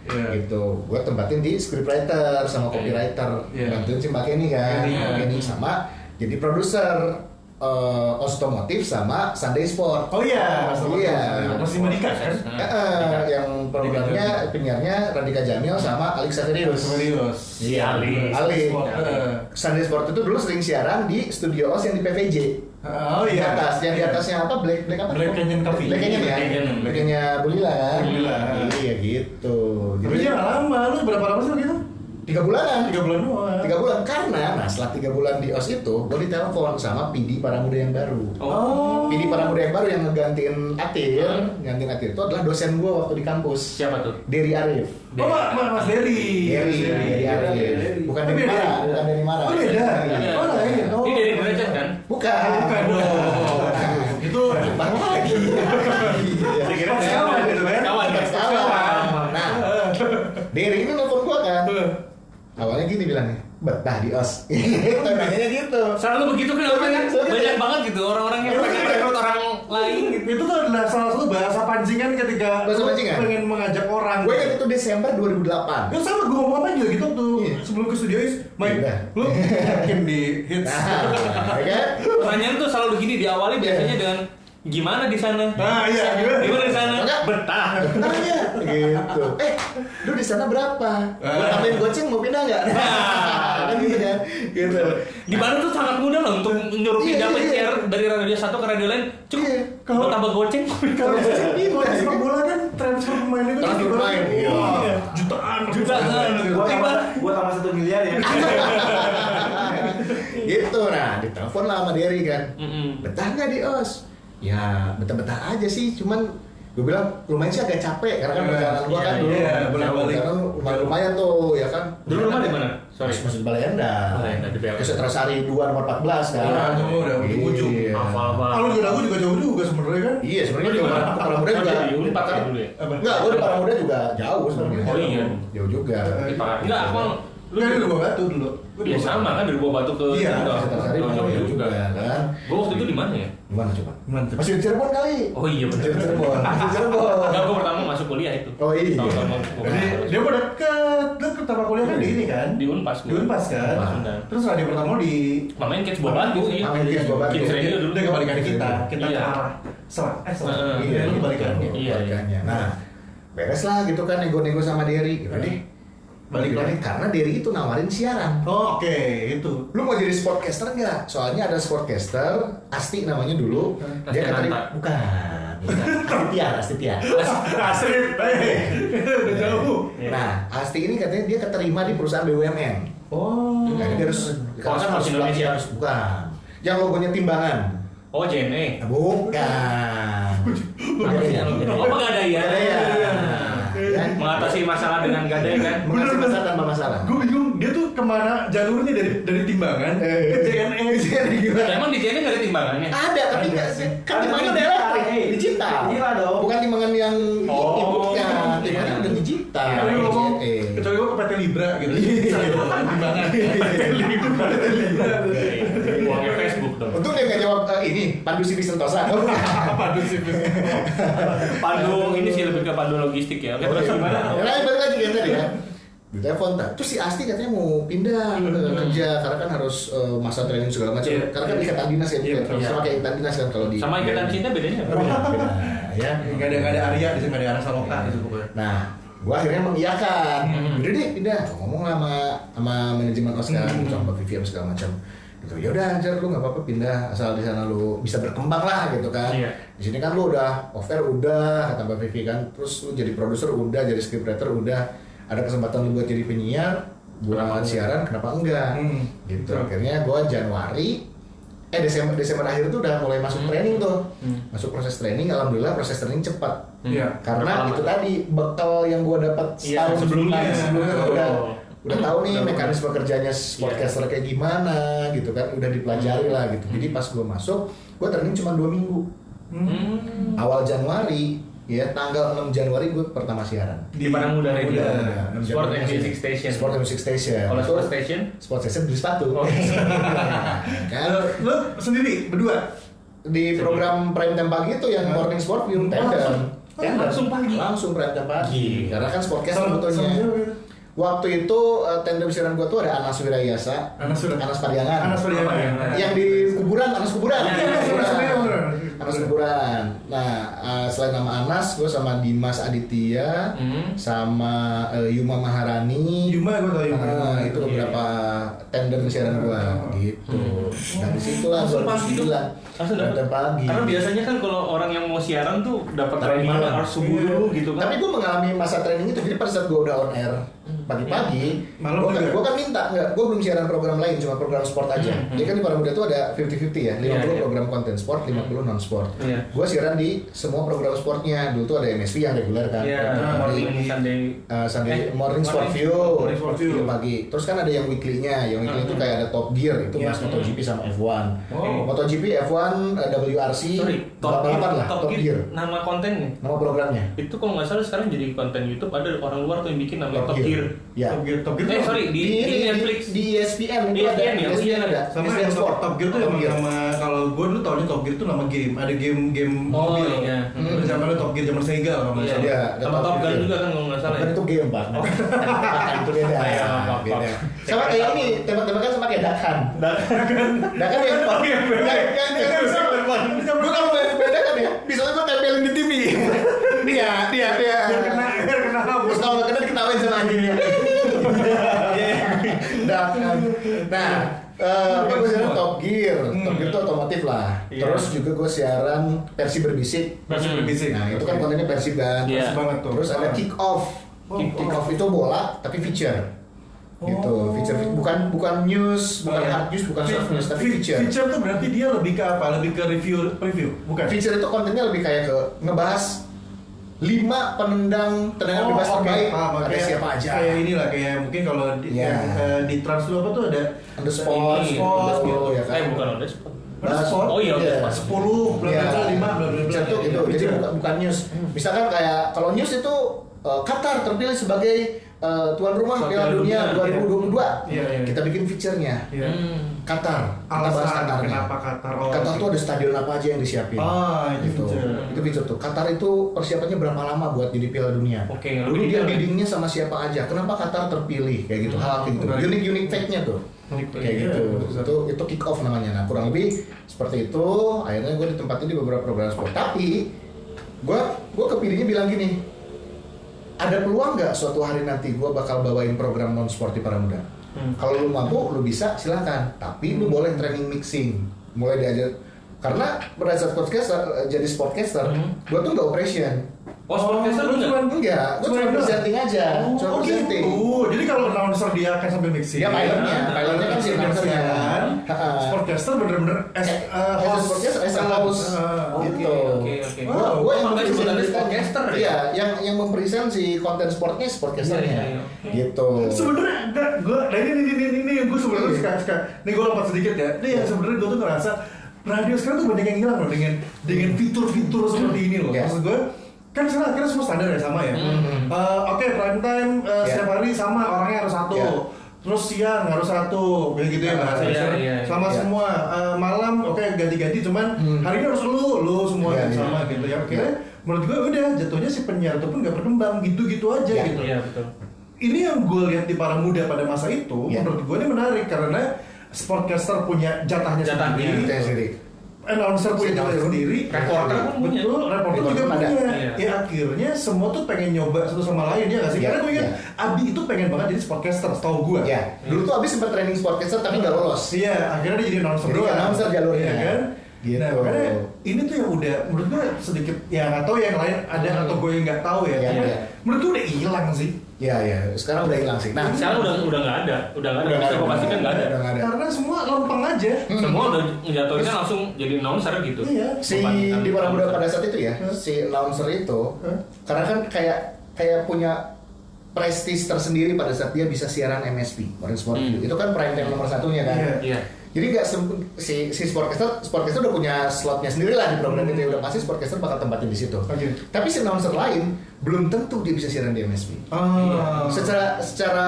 S1: Iya.
S3: gitu, gua tempatin di scriptwriter sama copywriter,
S1: Iya.
S3: bantuin si Mbak Kenny kan, Mbak
S1: Kenny, iya.
S3: Kenny sama jadi produser eh, otomotif sama Sunday Sport.
S1: Oh iya.
S3: Iya.
S1: Masih Madika kan?
S2: Hmm.
S3: Eh, eh, yang programnya penyiarnya Radika Jamil sama Alex Saverius.
S1: Serius.
S2: Si Iya,
S1: Iya,
S2: Ali. Iya.
S3: Ali.
S1: Sport, eh.
S3: Sunday Sport itu dulu sering siaran di studio OS yang di PVJ.
S1: Oh
S3: Di
S1: iya.
S3: atas, yang di atasnya apa? Black Black apa?
S1: Black Canyon Coffee.
S3: Black Canyon ya.
S2: Black Canyon.
S3: Black Canyon Bulila kan.
S1: Bulila.
S3: Iya gitu.
S1: Tapi dia nggak lama, lu berapa lama sih waktu itu?
S3: tiga bulanan.
S1: Tiga bulan doang.
S3: Tiga bulan karena nah setelah tiga bulan di OS itu gue ditelepon sama PD para muda yang baru.
S2: Oh.
S1: Oh.
S3: PD para muda yang baru yang ngegantiin Atir,
S2: Hmm.
S3: gantiin Atir itu adalah dosen gue waktu di kampus.
S2: Siapa tuh?
S3: Derry Arif.
S1: Oh, Mas, Mas, Mas Dery.
S3: Derry, Derry Arif. iya, Bukan dari Mara, bukan dari Mara.
S1: Oh, beda. Oh, lain. Oh.
S2: Ini dari Derajat kan?
S3: Bukan.
S1: Bukan dong.
S3: Bukan.
S1: Itu
S3: itu bang lagi. Iya.
S1: Saya kira
S2: Pas
S1: kawan,
S2: kawan,
S1: gitu kan.
S2: kawan,
S3: Pas kawan. Nah, Derek ini nelfon gua kan. Awalnya gini bilangnya, betah di os. Tanyanya gitu.
S2: Selalu begitu kan orang kan
S3: Selalu
S2: banyak
S3: gitu.
S2: banget gitu orang-orang yang pengen rekrut orang lain gitu.
S1: itu tuh adalah salah satu bahasa pancingan ketika
S3: Bahasa
S1: lu
S3: pancingan?
S1: pengen mengajak orang
S3: Gue ingat itu Desember 2008.
S1: Ya sama gue ngomong apa juga gitu tuh
S3: Iya.
S1: sebelum ke studio is Mike
S3: Iya.
S1: lu yakin di hits
S3: Nah, ya kan?
S2: Pertanyaan tuh selalu gini diawali biasanya dengan gimana di sana?
S1: Nah, iya, gimana?
S2: Gimana di sana?
S3: Enggak.
S2: Betah.
S3: Tanya gitu. Ah. Eh, lu di sana berapa? Gue tambahin goceng mau pindah nggak? *laughs* Nah, kan gitu kan. Gitu.
S2: Di mana tuh sangat mudah loh untuk nyuruh
S3: Iya,
S2: pindah
S3: iya,
S2: penyiar
S3: iya.
S2: dari radio satu ke radio lain. Cukup
S3: Iya.
S2: kalau
S1: Kalau-
S2: tambah goceng.
S4: *laughs*
S1: kalau
S3: Iya.
S1: ini kalau di sepak bola kan transfer pemain itu
S3: Transfer
S1: gimana?
S3: pemain, iya.
S1: Wah, jutaan
S2: Jutaan.
S4: Gua tambah, gua tambah satu miliar ya.
S3: gitu nah ditelepon lah sama Derry kan
S2: Mm-mm.
S3: betah nggak di os ya betah-betah aja sih cuman gue bilang lumayan sih agak capek karena kan
S1: Iya,
S3: perjalanan gua kan
S2: iya,
S3: dulu
S1: iya, bolak-balik.
S3: perjalanan lumayan, lumayan tuh ya kan
S2: *laughs* Dulu rumah di mana? Sorry.
S3: Mas Masjid Balenda
S2: Balenda, di Balenda.
S3: Terus Terasari 2 nomor 14 kan
S1: Iya, itu udah di ujung.
S3: Iya.
S2: Hafal banget.
S1: Kalau juga aku juga jauh juga sebenarnya kan.
S3: Iya sebenarnya
S2: Lu di
S3: juga
S2: mana?
S3: ke Paramuda
S2: Oh,
S3: juga
S2: di Unpad
S3: dekat.
S2: ya dulu ya?
S1: Apa?
S3: Enggak, gue di Paramuda juga jauh sebenarnya
S2: Oh, iya.
S3: Jauh juga
S1: Eh,
S2: Enggak, aku
S1: Lu kan udah batu dulu. Gua di
S2: Ya
S1: Bogor.
S2: sama kan dari Buah Batu ke
S1: Iya,
S2: Kendal.
S3: Terus Terasari
S2: Jauh-jauh
S3: lumayan jauh juga
S2: juga.
S3: kan
S2: Gue waktu itu di mana ya?
S3: Gimana coba?
S1: Gimana tuh?
S3: Masih di Cirebon kali
S2: Oh iya benar. *laughs*
S3: Masih di Cirebon Masih di Cirebon
S2: Enggak, gue pertama masuk kuliah itu.
S3: Oh, iya.
S2: Tahun-tahun masuk kuliah.
S1: Jadi dia pada deket, lu pertama kuliah kan di
S3: Iya.
S1: ini kan?
S2: Di Unpas
S1: Di Unpas kan?
S2: Unpas, benar.
S1: Terus radio pertama di
S2: Mamain Kids Buah Batu. iya.
S3: Mamain Kids Buah Batu.
S2: Kids Radio dulu.
S1: Udah kebalikan kita, kita
S2: Iya.
S1: ke arah sama eh sama
S2: Heeh.
S1: iya
S3: Iya,
S1: lu kebalikannya.
S2: Iya, iya.
S3: Kebalikannya. Nah, beres lah gitu kan nego-nego sama Derry.
S2: Iya.
S3: Gitu deh.
S1: Balik
S3: Balik lagi karena Derry itu nawarin siaran.
S1: Oh, Oke, *laughs* itu.
S3: Lu mau jadi sportcaster nggak? Soalnya ada sportcaster, Asti namanya dulu. Dia
S2: Asti
S3: kata
S2: Nanta.
S3: bukan.
S2: *laughs*
S3: bukan. Asti Tiar, Asti Tiar.
S1: Asrif, Eh, udah jauh.
S3: Nah, Asti ini katanya dia keterima di perusahaan BUMN.
S1: Oh,
S3: Jadi dia harus,
S2: Hmm. Kalau kan harus Indonesia.
S3: harus bukan. Yang logonya timbangan.
S2: Oh JNE.
S3: Nah, Bukan.
S2: Apa sih? Oh pegadaian.
S3: Iya, iya.
S2: Mengatasi masalah dengan gadai kan.
S3: Mengatasi masalah tanpa masalah.
S1: gue bingung dia tuh kemana jalurnya dari dari timbangan ke JNE.
S2: Nah, Emang di JNE nggak ada timbangannya?
S3: Ada, tapi nggak sih. Kan
S4: Ada
S3: timbangan udah
S4: digital,
S3: elektrik,
S4: eh.
S3: digital.
S4: Gila dong.
S3: Bukan timbangan yang
S2: Iya. Oh.
S3: ibunya, timbangan udah digital.
S1: Kecuali gue ngomong,
S3: Iya, iya.
S1: kecuali gue ke PT Libra gitu. Bisa gitu, timbangan. PT Libra.
S2: Iya. Uangnya Facebook dong.
S3: Untung dia nggak jawab eh, ini, Pandu Siti Sentosa. Oh, bukan.
S1: Apa tuh sih?
S2: Pandu ini sih lebih ke pandu logistik ya. Oke
S3: Oh,
S2: terus
S3: iya.
S2: gimana?
S3: Ya, nah, balik lagi kan tadi ya. Di telepon tak. Terus si Asti katanya mau pindah eh, kerja karena kan harus eh, masa training segala macam.
S1: Hmm, Iya.
S3: Karena kan ikatan dinas ya,
S1: Iya, betul.
S3: sama kayak ikatan dinas kan kalau di
S2: Sama ikatan cinta bedanya apa?
S3: Beda, ya.
S1: Gak ada gak ada Arya di sini, gak ada Arya Saloka di situ pokoknya.
S3: Nah, gua akhirnya mengiyakan.
S1: Hmm.
S3: Udah deh, pindah. Ngomong lah sama sama manajemen Oscar,
S1: Hmm.
S3: sama Vivian segala macam. Gitu. Ya udah, anjir lu nggak apa-apa pindah asal di sana lu bisa berkembang lah gitu kan.
S2: Iya.
S3: Di sini kan lu udah offer udah kata Mbak Vivi kan. Terus lu jadi produser udah, jadi scriptwriter udah. Ada kesempatan lu buat jadi penyiar, buat siaran kenapa enggak?
S1: Hmm.
S3: Gitu.
S1: Betul.
S3: Akhirnya gua Januari eh Desember Desember akhir tuh udah mulai
S1: Hmm.
S3: masuk training tuh. Masuk proses training, alhamdulillah proses training cepat
S1: Iya.
S2: Berapa
S3: karena itu
S2: lama?
S3: tadi bekal yang gua dapat
S2: Iya,
S3: setahun
S2: sebelumnya.
S3: sebelumnya
S2: Oh.
S3: udah udah tahu nih
S2: Udah- Iya.
S3: mekanisme kerjanya podcaster kayak gimana gitu kan udah dipelajari lah gitu jadi pas gua masuk gua training cuma dua minggu
S2: Hmm.
S3: awal Januari ya tanggal 6 Januari gue pertama siaran
S2: Di Padang Muda Radio.
S1: Udah.
S3: Nah,
S2: Sport and
S3: 6 Januari
S1: Iya.
S3: siaran.
S2: Music Station.
S3: Sport and Music Station
S2: Kalau
S3: Itu
S2: Sport Station?
S3: Sport Station beli sepatu
S2: Oh.
S3: *laughs* kan
S1: Lu sendiri berdua
S3: di program prime time pagi itu yang morning sport di tender
S1: Langsung.
S3: Tender.
S2: Oh, Langsung pagi?
S3: langsung prime time pagi
S2: Gila.
S3: karena kan sportcast
S1: Sama-
S3: sebetulnya
S1: sama siapa itu?
S3: waktu itu eh, tender siaran gua tuh ada Anas Wirayasa
S1: Anas Wirayasa.
S3: Anas Pariangan
S1: Anas ya? Pariangan.
S3: Nah, yang di kuburan Anas kuburan
S1: Iya,
S3: Anas
S1: iya, iya, iya, iya.
S3: Anas kuburan nah eh, selain nama Anas gua sama Dimas Aditya
S2: Hmm.
S3: sama eh, Yuma Maharani
S1: Yuma gue tau Yuma. Iya. Ah.
S3: Ah, itu beberapa tender siaran gua gitu. Nah, di situ lah
S2: Hmm. Langsung
S3: gua
S2: pagi tuh.
S3: bilang.
S2: Langsung dapat.
S3: Tender pagi.
S2: Karena biasanya kan kalau orang yang mau siaran tuh dapat
S3: Tapi
S2: training
S3: malam.
S2: harus subuh
S1: Iya.
S2: dulu gitu kan.
S3: Tapi gua mengalami masa training itu jadi pada saat gua udah on air
S2: Hmm.
S3: pagi-pagi
S1: Iya. Malam
S3: gua,
S1: juga.
S3: gua kan minta nggak gua belum siaran program lain cuma program sport aja
S2: Hmm,
S3: jadi kan di Paramuda itu ada 50-50 ya 50
S2: Iya, iya.
S3: program konten sport 50 non sport
S2: Iya.
S3: gua siaran di semua program sportnya dulu tuh ada MSV yang reguler kan
S2: Iya,
S3: Program hari.
S2: morning Sunday.
S3: Uh, Sunday
S2: Eh,
S3: morning,
S2: morning-
S3: sport
S2: Ah.
S3: view,
S1: morning sport view.
S3: Iya, pagi. Terus kan ada yang weekly-nya, yang weekly itu kayak ada Top Gear itu
S1: Iya.
S3: bahas MotoGP sama F1.
S2: Oh.
S3: MotoGP, F1, eh, WRC,
S2: Sorry, Top Gear,
S3: balapan lah,
S2: Top Gear, nama kontennya.
S3: Nama programnya?
S2: Itu kalau nggak salah sekarang jadi konten YouTube ada orang luar tuh yang bikin namanya Top Gear.
S3: Ya.
S1: Top Gear, Top Gear.
S2: Eh
S1: tuh-
S2: sorry, di, di, Netflix.
S3: di E ESPN itu ada, E
S2: ESPN ya?
S3: ESPN ada,
S1: sama
S3: ESPN
S1: yang
S3: Sport.
S1: Top Gear tuh
S3: Top
S1: emang
S3: Gear.
S1: nama kalau gue dulu taunya Top Gear tuh nama game, ada game game
S2: Oh,
S1: mobil.
S2: iya.
S1: Hmm. Terus zaman itu Top Gear zaman Sega kalau nggak
S2: Iya.
S1: salah.
S3: Iya, ada
S2: sama
S3: Top
S2: Top Gun
S3: Gear.
S2: juga kan kalau nggak salah.
S3: Bukan
S2: ya.
S3: itu game, Pak. itu beda.
S2: Iya, Pak,
S3: beda.
S2: Pak.
S3: Sama kayak ini, tembak-tembakan sama kayak Dakan.
S2: kan?
S3: Dakan yang Dakan yang Lu kalau main beda kan ya, misalnya gua tempelin di
S2: *laughs*
S3: TV. Dia, dia, dia.
S1: Biar kena, biar kena
S3: iya, Terus
S1: bos.
S3: kalau nggak kena diketawain sama anjingnya.
S2: *laughs*
S3: Dakan. Nah, eh gue siaran Top Gear, Top Gear itu otomotif lah.
S2: Hmm. Iya.
S3: Terus juga gue siaran versi berbisik.
S1: Masih
S2: Hmm.
S1: berbisik.
S3: Nah, itu kan kontennya versi kan.
S2: Iya.
S1: banget tuh.
S3: Terus ada kick off.
S1: Oh,
S3: kick, kick off itu bola tapi feature. Gitu,
S1: Oh.
S3: feature bukan bukan news,
S2: Oh,
S3: bukan
S2: iya.
S3: hard news, bukan soft news, tapi feature.
S1: Feature tuh berarti dia lebih ke apa? Lebih ke review review, bukan?
S3: Feature itu kontennya lebih kayak ke ngebahas lima penendang tendangan bebas
S1: Oh, oke,
S3: terbaik
S1: paham,
S3: ada
S1: kayak-
S3: siapa aja.
S1: Kayak inilah kayak mungkin kalau di,
S3: Iya.
S1: yang, eh, di trans dulu apa tuh ada
S3: Under sport,
S2: Ini,
S1: sport,
S3: under
S1: gitu.
S3: sport, ya kan.
S2: Eh bukan udah sport.
S1: Under sport.
S2: Oh iya,
S3: Iya.
S2: udah sport.
S1: 10 bla bla bla 5 bla Iya, bla bla. Hmm.
S3: Itu Iya. gitu. Jadi bukan, bukan news. Misalkan kayak kalau news itu eh, Qatar terpilih sebagai eh, tuan rumah
S2: Tuan
S3: Piala
S2: Dunia,
S3: Dunia 2022.
S1: Iya, iya.
S3: Kita bikin feature-nya.
S1: Iya.
S2: Hmm.
S3: Qatar. Kita bahas
S1: Alasan
S3: Qatarnya.
S1: kenapa Qatar? Oh,
S3: Qatar
S1: oke.
S3: tuh ada stadion apa aja yang disiapin.
S1: Ah, itu
S3: gitu.
S1: feature.
S3: Itu feature tuh. Qatar itu persiapannya berapa lama buat jadi Piala Dunia?
S2: Oke,
S3: Dulu
S2: lebih
S3: dia
S2: detail.
S3: biddingnya sama siapa aja? Kenapa Qatar terpilih? Kayak gitu hal kayak gitu.
S1: Hmm. menarik.
S3: Unik-unik fact-nya tuh.
S1: Unik,
S3: Kayak
S1: iya,
S3: gitu.
S1: betul.
S3: Itu itu kick off namanya. Nah, kurang lebih seperti itu. Akhirnya gue ditempatin di beberapa program sport. Tapi gue gue kepilihnya bilang gini. Ada peluang nggak suatu hari nanti gue bakal bawain program non sport di Paramuda?
S2: Hmm.
S3: Kalau lu mampu, lu bisa, silahkan. Tapi lu boleh training mixing, mulai diajar. Karena berdasar podcaster, eh, jadi sportcaster,
S2: Hmm.
S3: gue tuh nggak operation.
S2: Oh, sportcaster
S1: Oh,
S2: lu nggak?
S1: cuman-
S3: Enggak, gue cuma
S1: Cuman-
S3: presenting aja,
S1: Oh,
S3: cuma
S1: oh
S3: presenting.
S1: gitu. Jadi kalau announcer dia akan sambil mixing.
S3: Dia pilotnya,
S2: Nah,
S3: pilotnya kan si announcernya.
S1: Sian.
S3: Ha-ha.
S1: Sportcaster bener-bener as
S3: Eh,
S1: eh,
S3: as a
S1: host.
S3: sportcaster, as a host.
S1: Eh,
S2: Oke,
S3: gitu.
S2: Oh, Oke, oke.
S1: Wow,
S3: Gua- gua yang
S2: makanya
S3: mempresent
S2: sebutannya
S3: kita-
S2: sportcaster ya?
S3: Iya, yang yang mempresent si konten sportnya sportcasternya.
S2: Iya, iya, iya.
S3: Gitu.
S1: sebenarnya enggak gue nah ini ini ini ini yang gue sebenarnya
S2: Iya.
S1: suka suka ini gue lompat sedikit ya ini yang sebenarnya gue tuh ngerasa radio sekarang tuh banyak yang hilang loh dengan dengan
S2: Iya.
S1: fitur-fitur seperti ini loh
S3: Ya.
S1: maksud gue kan sekarang akhirnya semua standar ya sama ya
S2: Hmm.
S1: Eh, oke prime time
S2: Iya.
S1: eh,
S3: Ya.
S1: setiap hari sama orangnya harus satu
S3: Ya.
S1: terus siang harus satu kayak gitu ya
S3: Ah,
S1: bahasa
S2: iya,
S1: sekarang.
S2: iya, iya.
S1: sama
S3: Ya.
S1: semua Eh, malam oke ganti-ganti cuman
S3: Hmm.
S1: hari ini harus lu lu
S3: Ya,
S1: semua
S2: Iya,
S1: yang
S3: ya.
S1: sama gitu ya akhirnya
S3: Ya.
S1: menurut gue udah jatuhnya si penyiar itu pun nggak berkembang gitu-gitu aja
S3: Ya.
S1: gitu
S2: Iya, betul.
S1: ini yang gue lihat di para muda pada masa itu
S3: Iya.
S1: menurut gue ini menarik karena sportcaster punya jatahnya
S2: Jatahnya.
S1: sendiri
S3: Kita yang sendiri.
S1: announcer punya jatahnya
S3: Announcer.
S1: sendiri
S2: Reporter pun punya.
S1: betul reporter
S3: Reporter
S1: juga
S3: pun
S1: punya
S3: ada.
S2: Iya.
S1: ya akhirnya semua tuh pengen nyoba satu sama lain ya nggak sih
S3: Iya,
S1: karena gue ingat
S3: iya.
S1: Abi itu pengen banget jadi sportcaster setahu gue
S3: Ya, dulu tuh abis sempat training sportcaster tapi nggak lolos.
S1: Iya, akhirnya dia jadi announcer
S3: Jadi
S1: doang.
S3: announcer jalurnya.
S1: Iya kan?
S3: Gitu.
S1: Nah, makanya ini tuh yang udah menurut gue sedikit ya nggak tahu yang lain ada
S2: Hmm.
S1: atau gue yang nggak tahu ya.
S3: Iya,
S1: Cuman
S3: iya.
S1: menurut gue udah hilang sih.
S3: Iya, iya. Sekarang udah hilang sih. Nah,
S2: Sekarang udah udah nggak ada, udah nggak ada.
S3: nggak
S2: Bisa
S3: ada.
S2: gue pastikan kan nggak ada. Hmm.
S3: Udah nggak ada. Hmm.
S1: Karena semua lempeng aja.
S2: Semua udah jatuhnya langsung jadi announcer gitu.
S1: Iya.
S3: si
S2: Bukan-
S3: di para muda pada saat itu ya si announcer itu
S1: Hmm.
S3: karena kan kayak kayak punya prestis tersendiri pada saat dia bisa siaran MSP Orange Sport
S2: Hmm.
S3: itu kan prime time nomor satunya kan
S1: Iya.
S2: Iya.
S3: jadi nggak sem- si si sportcaster sportcaster udah punya slotnya sendiri lah di program itu ya udah pasti sportcaster bakal tempatin di situ
S2: Oh, iya.
S1: Oke.
S3: tapi si announcer lain belum tentu dia bisa siaran di MSP Iya.
S1: Ah.
S3: secara secara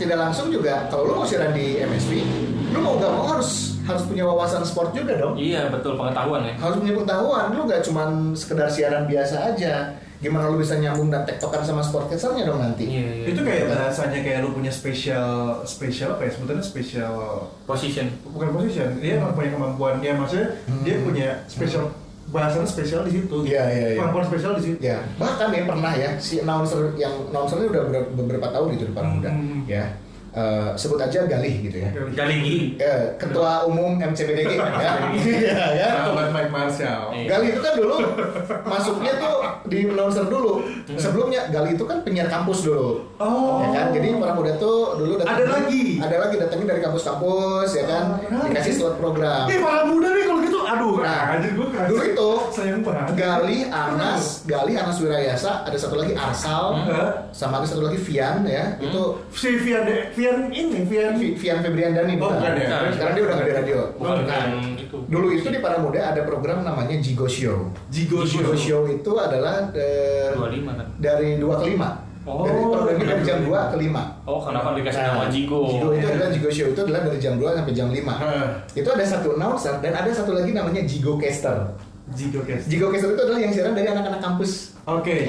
S3: tidak langsung juga kalau lu mau siaran di MSP lu mau nggak mau harus harus punya wawasan sport juga dong
S2: Iya, betul pengetahuan ya.
S3: harus punya pengetahuan lu nggak cuman sekedar siaran biasa aja gimana lu bisa nyambung dan tektokan sama sportcasternya dong nanti
S2: Iya, iya.
S1: itu kayak bahasanya kayak lu punya spesial spesial apa ya sebutannya spesial
S2: position.
S1: bukan position dia
S3: Hmm.
S1: emang punya kemampuan ya maksudnya dia punya spesial bahasanya spesial di situ
S3: Iya, iya, iya.
S1: kemampuan spesial di situ
S3: ya bahkan ya pernah ya si announcer yang announcernya udah ber- beberapa tahun gitu di Paramuda
S1: Hmm.
S3: ya Eh, eh, sebut aja Galih gitu ya.
S2: Galigi.
S3: Eh, Ketua Umum MCBDG ya. Iya ya.
S1: Sahabat Mike Marshall.
S2: Iya.
S3: Gali itu kan dulu masuknya tuh di announcer dulu. Sebelumnya Gali itu kan penyiar kampus dulu.
S1: Hmm. Oh.
S3: Ya kan? Jadi orang muda tuh dulu
S1: Ada lagi? Oh,
S3: Ada lagi datangnya dari kampus-kampus ya kan.
S1: menarik.
S3: Dikasih slot program.
S1: Eh, para muda nih kalau gitu, aduh,
S3: Nah,
S1: anjir gue kerasa-
S3: dulu itu
S1: sayang banget.
S3: Gali, Anas, Gali, Anas Wirayasa, ada satu lagi Arsal,
S1: Hmm.
S3: sama ada satu lagi Vian ya. Itu
S1: si Vian, Vian ini, Vian.
S3: Vi- Vian Febrian Dani
S1: Oh, bukan ya? gitu.
S3: Sekarang dia udah nggak di radio.
S2: Bukan
S3: Nah,
S2: yang itu.
S3: Dulu itu di Para Muda ada program namanya Jigo Show.
S1: Jigo
S3: Jigo Show itu adalah eh,
S2: 25 kan.
S3: dari 2 ke 5.
S2: Oh,
S3: dari programnya dari jam 2 ke 5.
S2: Oh, kenapa dikasih nama Jigo?
S3: Nah, Jigo ya. itu adalah Jigo Show itu adalah dari jam 2 sampai jam 5.
S1: Hah.
S3: Itu ada satu announcer dan ada satu lagi namanya Jigo Caster.
S1: Jigo guys.
S3: Jigo Caster itu adalah yang siaran dari anak-anak kampus.
S1: Oke,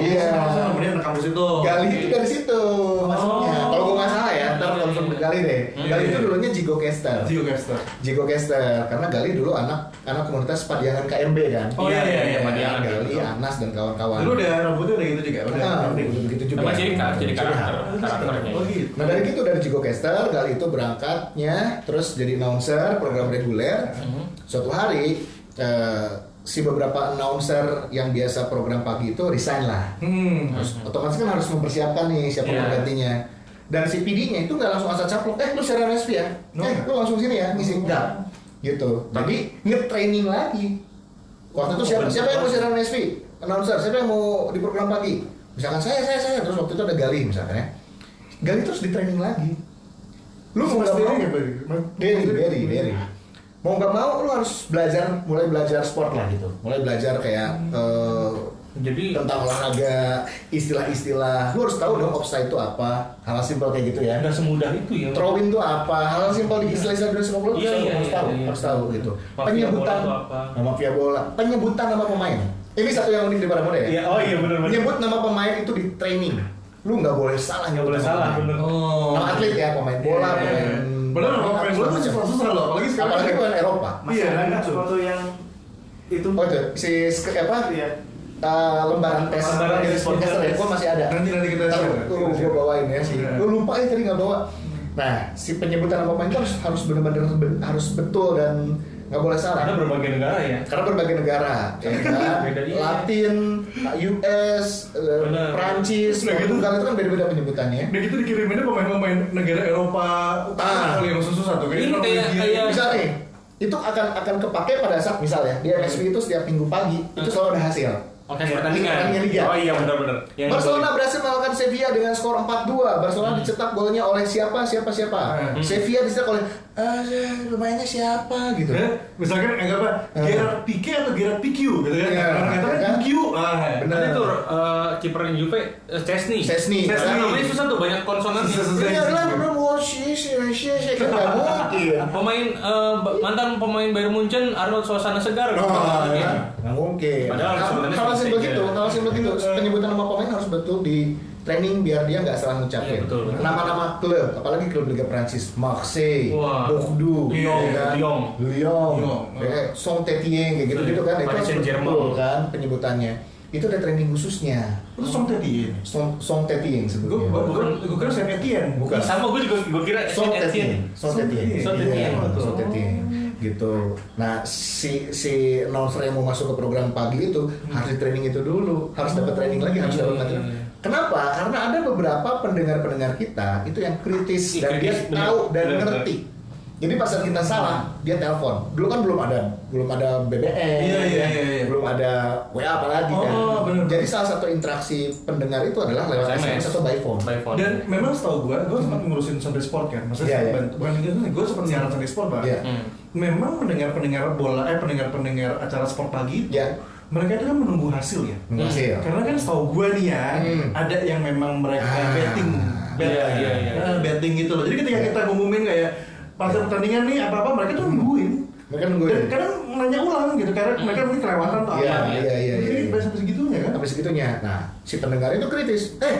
S3: Iya.
S1: jadi sama-sama kemudian anak kampus itu.
S2: Oh,
S3: Gali itu dari situ maksudnya. Kalau gue nggak salah ya, ntar langsung
S2: Hmm.
S3: ke Gali deh. Gali itu dulunya Jigo Caster.
S1: Jigo Caster.
S3: Jigo Caster karena Gali dulu anak anak komunitas Padiangan KMB kan.
S1: Oh, iya, iya, iya,
S2: Padiangan,
S3: Gali,
S2: betul.
S3: Anas dan kawan-kawan.
S1: Dulu udah rambutnya udah gitu juga, udah.
S3: Nah, begitu juga.
S2: Sama ciri khas, jadi karakter,
S1: Oh, gitu.
S2: karakternya.
S1: Iya.
S2: ya.
S1: Oh gitu.
S3: Nah dari itu dari Jigo Caster kali itu berangkatnya terus jadi announcer program reguler. Suatu hari eh, si beberapa announcer yang biasa program pagi itu resign lah.
S1: Hmm.
S3: Terus otomatis kan harus mempersiapkan nih siapa
S2: Iya.
S3: penggantinya. Dan si PD-nya itu nggak langsung asal caplok, eh lu siaran resmi ya,
S1: No.
S3: eh lu langsung sini ya, ngisi enggak gitu. Jadi nge-training lagi. Waktu
S1: Oh,
S3: itu siapa, siapa yang mau siaran resmi? Announcer, siapa yang mau di program pagi? Misalkan saya, saya, saya. Terus waktu itu ada Gali misalkan ya. Gali terus di-training lagi. Lu mau nggak
S1: Mas
S3: mau?
S1: Dery nggak, Bari? Mas-
S3: Dery, Dery, Dery. Mau nggak mau lu harus belajar, mulai belajar sport lah gitu. Mulai belajar kayak
S1: Hmm.
S3: eh,
S2: Jadi
S3: tentang olahraga, istilah-istilah. Lu harus tahu dong offside itu apa. Hal simpel kayak
S1: Iya.
S3: gitu ya.
S2: nggak semudah itu ya.
S3: Throw in itu apa? Hal simpel di istilah-istilah dunia sepak bola
S2: Iya,
S3: harus
S2: iya,
S3: harus
S2: iya,
S3: tahu,
S2: iya.
S3: harus tahu gitu.
S2: Mafia
S3: Penyebutan
S2: bola itu apa?
S3: nama via bola, penyebutan nama pemain. Ini satu yang unik di Baramuda ya.
S4: Iya, oh iya benar-benar.
S3: Menyebut nama pemain itu di training. Lu nggak boleh salah
S4: Nggak
S3: nyebut
S4: boleh
S3: nama
S4: salah,
S3: pemain.
S4: bener.
S1: Oh.
S3: Nama atlet ya, pemain bola,
S1: Iya, iya,
S3: pemain.
S1: iya. Padahal kalau pemain bola masih
S3: Apalagi
S1: susah loh, apalagi sekarang.
S3: pemain Eropa.
S1: Iya,
S4: Masih ada nggak
S1: gitu.
S4: foto yang itu?
S3: Oh itu si sk- apa?
S2: ya.
S4: Iya.
S3: Uh, lembaran tes
S4: Lembaran tes.
S3: dari podcaster ya, gua masih ada.
S1: Nanti- nanti kita
S3: Ntar
S1: share.
S3: gua- gua bawain ya sih.
S1: Iya.
S3: Gua lupa ya tadi nggak bawa. Nah, si penyebutan nama pemain itu harus harus benar-benar be- harus betul dan nggak boleh salah.
S2: Karena berbagai negara ya.
S3: Karena berbagai negara, ya kan?
S2: Beda dia.
S3: Latin, US, eh,
S2: Benar.
S3: Prancis,
S1: Udah gitu.
S3: Portugal itu kan beda-beda penyebutannya.
S1: Udah gitu dikiriminnya pemain-pemain negara Eropa utara
S3: Ah.
S1: kali yang susah-susah tuh.
S2: Ini
S1: Norwegia.
S2: kayak- kayak-
S3: Misal nih, eh, itu akan akan kepake pada saat misalnya di MSP itu setiap minggu pagi itu selalu ada hasil.
S2: Nah. Oke, pertandingan.
S3: Pertandingan liga.
S2: Oh iya benar-benar. Yang ya.
S3: Barcelona berhasil mengalahkan Sevilla dengan skor 4-2. Barcelona dicetak golnya oleh siapa? Siapa? Siapa?
S1: Hmm.
S3: Sevilla dicetak oleh eh pemainnya siapa gitu.
S1: Ya, misalkan anggaplah
S3: Ah.
S1: Gerard Pique atau Gerard Pique gitu kan.
S3: Iya.
S1: Orang kata
S3: Iya
S1: kan
S3: kan?
S1: Pique. Ah,
S3: Bener.
S2: Tadi tuh eh, kipernya Juve eh, Chesney.
S3: Chesney.
S2: Karena
S1: Chesney.
S2: namanya susah tuh banyak konsonan.
S1: Susah-susah.
S3: Ini adalah benar wah sih sih sih sih kan nggak mungkin.
S2: Pemain eh, ba- mantan pemain Bayern Munchen Arnold suasana segar.
S1: Oh,
S3: Nah, ya
S1: iya.
S3: kan? nggak mungkin.
S2: Oh, iya. Padahal
S3: Hal-
S2: sebenarnya
S3: Hal simpel
S2: mistake-nya.
S3: gitu, hal simpel gitu. Penyebutan nama pemain harus betul di training biar dia nggak salah
S2: Iya,
S3: ngucapin.
S2: betul, betul.
S3: Nama-nama klub, apalagi klub Liga Prancis, Marseille,
S2: Wah.
S3: Bordeaux,
S2: Lyon,
S3: ya kan?
S2: Lyon. ah.
S3: Lyon,
S1: Lyon,
S3: ya kan? Saint-Étienne kayak gitu-gitu kan. Itu
S2: Paris
S3: harus
S2: Saint-Germain.
S3: betul kan penyebutannya. Itu ada training khususnya.
S1: Itu Song Teddy.
S3: Song Saint-Étienne
S1: Gue
S3: sebetulnya.
S1: bukan gue kira Saint Etienne.
S3: Bukan.
S2: Ih, Sama gue juga gue kira
S3: Sotetien, Sotetien,
S2: Sotetien.
S1: Betul.
S3: Iya, gitu. Nah, si si announcer yang mau masuk ke program pagi itu harus di training itu dulu, harus dapat training lagi, harus
S2: Iya,
S3: dapat
S2: iya,
S3: latihan.
S2: iya.
S3: Kenapa? Karena ada beberapa pendengar-pendengar kita itu yang kritis
S1: Iya,
S2: Ih,
S3: dan dia
S2: kritis, bener.
S3: tahu dan
S2: Bener, bener.
S3: ngerti. Jadi pas saat kita salah, dia telepon. Dulu kan belum ada, belum ada BBM,
S1: Iya, iya, iya, iya.
S3: ya. belum ada WA apalagi kan.
S1: Oh, bener.
S3: Jadi salah satu interaksi pendengar itu adalah lewat SMS, atau by phone.
S2: By phone.
S1: Dan memang setahu gue, gue sempat ngurusin Sunday Sport kan. Maksudnya
S3: Iya, iya.
S1: sempat- bukan gue sempat siaran Sunday Sport bang.
S3: Iya.
S2: Hmm.
S1: Memang pendengar-pendengar bola, eh pendengar-pendengar acara sport pagi itu,
S3: Iya.
S1: mereka itu kan menunggu hasil ya.
S3: Hasil.
S1: Karena kan setahu gue nih ya,
S3: Hmm.
S1: ada yang memang mereka
S3: Ah. Iya.
S1: betting, bet,
S2: Iya, iya, iya.
S1: eh, betting gitu loh. Jadi ketika kita ngumumin kayak pas pertandingan nih apa apa, mereka tuh nungguin.
S3: Mereka Iya. nungguin.
S1: Dan kadang nanya ulang gitu, karena mereka mungkin kelewatan atau
S3: Iya,
S1: apa.
S3: iya, iya,
S1: Jadi
S3: iya.
S1: sampai segitunya kan.
S3: sampai segitunya. Nah, si pendengar itu kritis. Eh,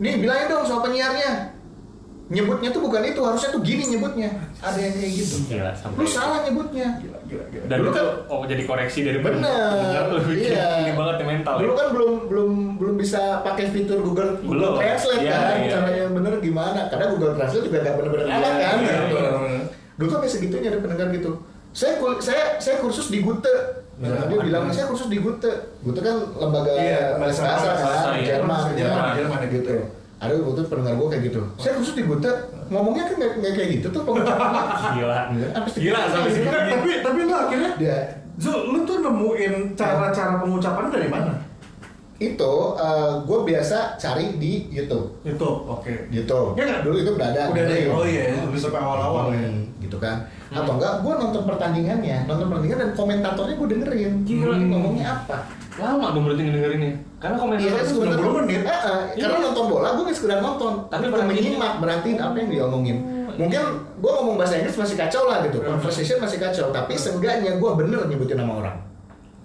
S3: nih bilangin dong sama penyiarnya. nyebutnya tuh bukan itu harusnya tuh gini nyebutnya ada yang kayak gitu
S2: Gila, sampai-
S3: lu salah nyebutnya
S1: Gila, gila, gila.
S2: Dan
S3: Dulu
S2: dulu
S3: kan-
S2: oh jadi koreksi dari
S3: Bener,
S2: Lu bikin
S3: iya.
S2: ini banget ya mental. ya.
S3: dulu kan belum belum belum bisa pakai fitur Google
S2: Belum.
S3: Google Translate
S2: Iya,
S3: kan
S2: iya.
S3: caranya bener gimana karena Google Translate juga gak bener-bener
S2: Iya,
S3: aman
S2: iya,
S3: kan gitu.
S1: iya.
S3: dulu tuh sampai segitunya ada pendengar gitu saya kul- saya saya kursus di Gute Nah, dia
S1: Iya.
S3: bilang saya kursus di Gute. Gute kan lembaga
S1: Iya,
S3: bahasa kasar
S1: bahasa bahasa,
S3: kan,
S2: iya.
S3: Jerman,
S1: Jerman,
S3: Jerman.
S1: Jerman, gitu.
S3: Ada waktu itu pendengar gue kayak gitu. Saya kursus di Gute, ngomongnya kan nggak nggak kayak gitu tuh pengucapannya.
S2: Gila.
S3: Apa sih?
S2: Gila sampai segitu.
S1: tapi tapi lu akhirnya
S3: Dia
S1: Zul, lu tuh nemuin cara-cara pengucapan dari mana?
S3: itu gue biasa cari di YouTube.
S1: Itu, oke.
S3: gitu
S1: Iya nggak?
S3: dulu itu udah ada
S1: Udah ada ya?
S3: Gitu.
S1: Oh iya, itu bisa sampai awal-awal ya.
S3: Hmm, gitu kan atau enggak gue nonton pertandingannya nonton pertandingan dan komentatornya gue dengerin
S2: Gila.
S3: Ini ngomongnya apa
S2: Lama dong berarti ngedengerinnya. Karena
S3: Iya,
S2: komentarnya
S3: sebentar.
S1: 90 menit. Iya.
S3: Eh, eh, karena nonton bola gue nggak sekedar nonton tapi
S2: Tapi
S3: gue
S2: perhatiin.
S3: menyimak berarti apa yang diomongin
S1: Oh, iya.
S3: mungkin gue ngomong bahasa Inggris masih kacau lah gitu conversation masih kacau tapi
S1: Iya.
S3: seenggaknya gue bener nyebutin nama orang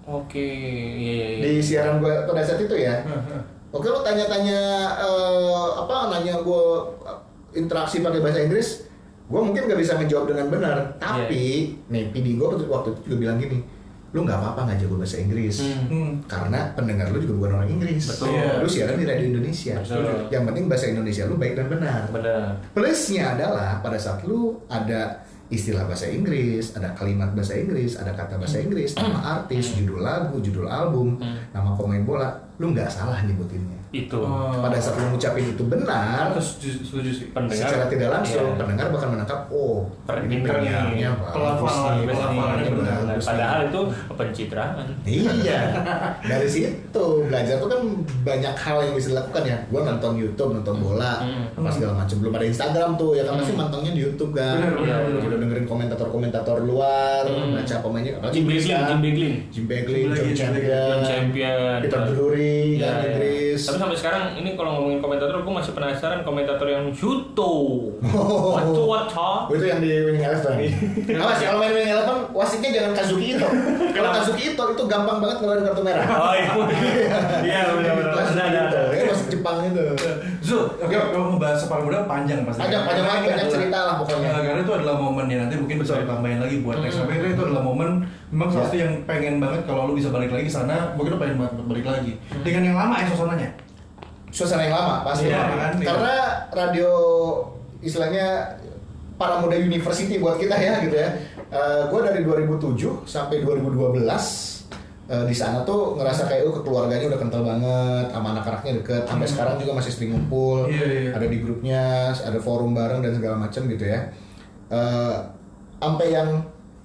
S2: Oke, iya iya iya.
S3: di siaran gue pada saat itu
S2: *laughs*
S3: ya Oke lo tanya-tanya eh, apa nanya gue interaksi pakai bahasa Inggris, gue mungkin nggak bisa menjawab dengan benar. Tapi
S2: Iya.
S3: nih PD gue waktu itu juga bilang gini, lu nggak apa-apa nggak jago bahasa Inggris.
S2: Hmm.
S1: Hmm.
S3: Karena pendengar lu juga bukan orang Inggris.
S2: Betul.
S1: Iya.
S3: Lu siaran di radio Indonesia.
S2: Betul.
S3: Yang penting bahasa Indonesia lu baik dan benar.
S2: Bener.
S3: Plusnya adalah pada saat lu ada istilah bahasa Inggris, ada kalimat bahasa Inggris, ada kata bahasa Inggris, nama artis, judul lagu, judul album,
S2: Hmm.
S3: nama pemain bola, lu nggak salah nyebutinnya.
S2: Itu. Nah,
S3: Pada saat lu ngucapin itu benar,
S1: Terus setuju- setuju sih.
S2: Pendengar
S3: secara tidak langsung
S2: Iya.
S3: pendengar bakal menangkap oh
S2: Per- ini
S3: ini penyiarnya bagus
S1: Pelafalan,
S3: nih,
S1: pelafalan,
S3: penyiarnya
S1: benar.
S3: bagus nih.
S2: Padahal itu pencitraan.
S3: Iya, dari situ belajar tuh kan banyak hal yang bisa dilakukan ya. Gua nonton YouTube, nonton bola,
S2: Hmm.
S3: apa segala macam. Belum ada Instagram tuh ya kan pasti
S2: Hmm.
S3: mantengnya di YouTube kan.
S1: Benar, benar,
S3: Iya,
S1: benar.
S3: Udah dengerin komentator-komentator luar,
S2: Hmm.
S3: baca pemainnya. apalagi
S2: Jim Beglin,
S3: kan.
S2: Jim Beglin.
S3: Jim Beglin,
S1: Jim
S3: John
S1: Beglin, Jim
S3: Champion,
S2: Jim Champion.
S3: Peter Drury,
S2: Iya,
S3: kan
S2: iya.
S3: Inggris.
S2: Tapi sampai sekarang ini kalau ngomongin komentator, gue masih penasaran komentator yang Shuto.
S3: Oh.
S2: Wato Wato.
S3: Oh, itu yang di Winning Eleven.
S2: Iya.
S3: *laughs* Awas ya, kalau main Winning Eleven, wasitnya jangan Kazuki Ito. Kalau Kazuki Ito itu gampang banget ngeluarin kartu merah.
S2: Oh iya, iya benar-benar.
S3: Kazuki
S2: Ada, ada.
S3: Ito, ya, wasit Jepang itu.
S1: Zul, oke, kalau ngebahas sepak bola panjang pasti.
S3: Iya. Panjang, panjang
S1: Karena
S3: banget,
S1: ini
S3: banyak
S1: adalah-
S3: cerita lah pokoknya. Hmm.
S1: Eh, karena itu adalah momen ya nanti mungkin bisa ditambahin lagi buat next. Tapi itu adalah momen memang
S3: Iya.
S1: salah satu yang pengen banget kalau lu bisa balik lagi ke sana, mungkin lu pengen banget balik lagi.
S3: Hmm.
S1: Dengan yang lama ya suasananya.
S3: suasana yang lama pasti
S1: Iya, kan? Iya.
S3: karena radio istilahnya para muda university buat kita ya gitu ya gue dari 2007 sampai 2012 eh, di sana tuh ngerasa kayak oh keluarganya udah kental banget sama anak-anaknya deket sampai sekarang juga masih sering ngumpul
S1: Hmm. Iya, iya.
S3: ada di grupnya ada forum bareng dan segala macam gitu ya Eh, sampai yang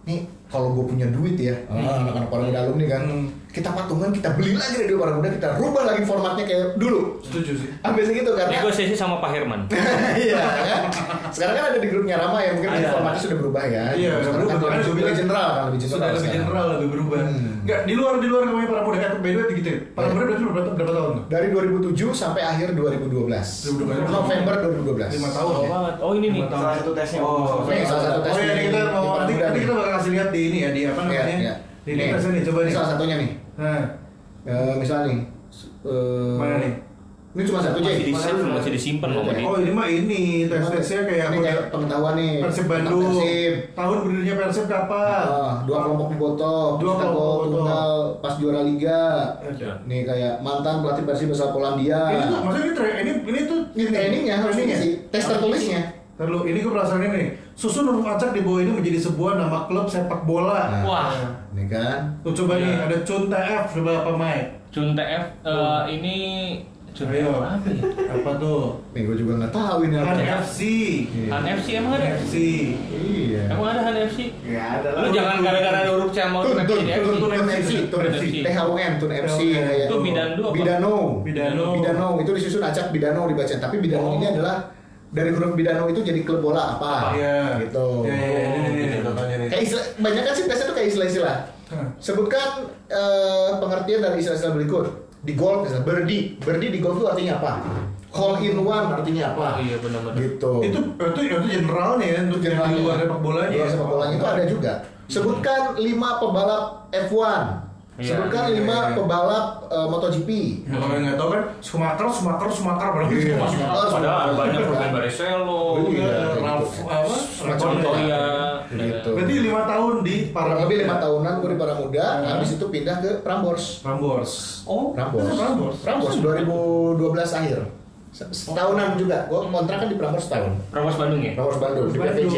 S3: nih kalau gue punya duit ya ah, anak-anak para muda alumni kan
S1: Hmm.
S3: kita patungan kita beli lagi radio para muda kita rubah lagi formatnya kayak dulu
S1: Setuju sih.
S3: Sampai segitu karena
S2: Negosiasi sama Pak Herman.
S3: *laughs* iya kan.
S1: *laughs*
S3: Sekarang kan ada di grupnya Rama ya, mungkin
S2: Ada.
S3: informasi sudah berubah ya.
S1: Iya,
S3: Sekarang kan
S1: berubah. Makanya
S3: lebih,
S1: gue
S3: lebih
S1: bilang,
S3: general kan, lebih general.
S1: Sudah lebih
S3: sekarang.
S1: general, lebih berubah.
S3: Hmm.
S1: Enggak, di luar di luar namanya para muda kan by the way gitu. ya. Para
S3: Iya.
S1: muda berarti berapa berapa tahun tuh?
S3: Dari 2007 sampai akhir 2012.
S1: 2012.
S3: November 2012.
S1: Lima tahun.
S2: Oh
S1: ya?
S2: banget. Oh ini nih.
S1: Lima tahun.
S4: Salah satu tesnya.
S1: Oh,
S4: Oh,
S1: oke.
S3: salah satu
S1: Oh
S3: tesnya.
S1: iya, ini kita mau
S3: Di
S1: nanti
S3: Pantura
S1: nanti
S3: nih.
S1: kita bakal kasih lihat di ini ya di apa
S3: Iya,
S1: namanya?
S3: iya.
S1: Di ini tesnya nih coba
S3: Ini
S1: nih.
S3: salah satunya nih.
S1: Nah,
S3: Eh, misalnya nih. eh,
S1: mana nih?
S3: Ini cuma satu aja.
S2: Masih disimpan, masih disimpan loh ini.
S1: Oh ini mah ini tes tesnya kayak
S3: ini kayak pengetahuan nih.
S1: Persib
S3: tentang
S1: Bandung.
S3: Persib.
S1: Tahun berdirinya Persib kapan?
S3: Ah, dua kelompok dibotol,
S1: Dua
S3: kita
S1: kelompok Eh,
S3: gol
S1: dibotol.
S3: tunggal pas juara liga.
S1: Ada.
S3: Nih kayak mantan pelatih Persib asal Polandia.
S1: Ini tuh maksudnya ini tra- ini ini tuh
S3: Ini trainingnya harus
S1: trainingnya.
S3: diisi, tes tertulisnya.
S1: Terlalu ini gue penasaran ini. Susun huruf acak di bawah ini menjadi sebuah nama klub sepak bola.
S3: Nah,
S2: Wah.
S3: Nih kan.
S1: Tuh coba
S2: Iya.
S1: nih ada Cunta F coba apa Mike?
S2: Cun TF eh, ini Cun
S1: Ayo.
S2: TF apa ya?
S1: Apa tuh? Kan
S3: Nih gue juga nggak tahu ini apa.
S1: Han FC.
S3: Iya.
S2: Han FC emang ada?
S1: FC.
S3: Iya.
S2: Emang ada Han FC?
S4: Nggak ada lah.
S2: Lu jangan gara-gara huruf C sama
S3: Tun,
S2: huruf
S3: tun,
S2: F jadi FC.
S3: tun, tun FC, tun
S2: Tun
S3: FC,
S2: FC.
S3: THUN, tun FC,
S1: Tun,
S3: kayak gitu.
S2: Itu Bidano apa?
S3: Bidano,
S1: Bidano.
S3: Bidano itu disusun acak Bidano dibaca, tapi Bidano
S1: Oh.
S3: ini adalah dari huruf Bidano itu jadi klub bola apa?
S1: Iya.
S3: Gitu.
S1: Iya iya iya, ini ini contohnya nih.
S3: Kayak istilah, banyak kan sih biasanya tuh kayak istilah-istilah.
S1: Hah.
S3: Sebutkan eh, pengertian dari istilah-istilah berikut. Di golf misalnya birdie, birdie di golf itu artinya apa? Hole in one artinya
S2: Oh,
S3: apa?
S2: iya, benar-benar.
S3: Gitu.
S1: Itu ya? itu itu generalnya ya untuk yang
S3: Iya.
S1: di luar sepak bolanya. Iya.
S3: Di luar sepak bolanya itu ada juga. Sebutkan 5 pembalap F1.
S2: Iya,
S3: sebutkan
S1: iya,
S3: lima
S1: iya, iya.
S3: pebalap eh, MotoGP
S1: Ya, kalau yang nggak tahu kan Sumatera, Sumatera, Sumatera berarti
S3: Iya.
S1: semua Sumatera.
S2: Ah, Padahal banyak Rubin Barrichello,
S3: Iya,
S1: Iya,
S3: kayak
S1: Ralph,
S3: gitu.
S1: apa?
S3: Macam
S1: Ralph-
S2: Montoya,
S3: Gitu.
S1: Berarti lima tahun di
S3: kurang
S1: Parang
S3: lebih lima tahunan gue di Paramuda
S1: Iya.
S3: habis itu pindah ke Prambors
S1: Prambors.
S2: Oh,
S3: Prambors
S1: Itu Prambors.
S3: Prambors 2012 akhir Se- setahunan juga gue kontrak kan di Prambors setahun
S2: Prambors Bandung ya?
S3: Prambors Bandung di
S1: Bandung.
S3: PVC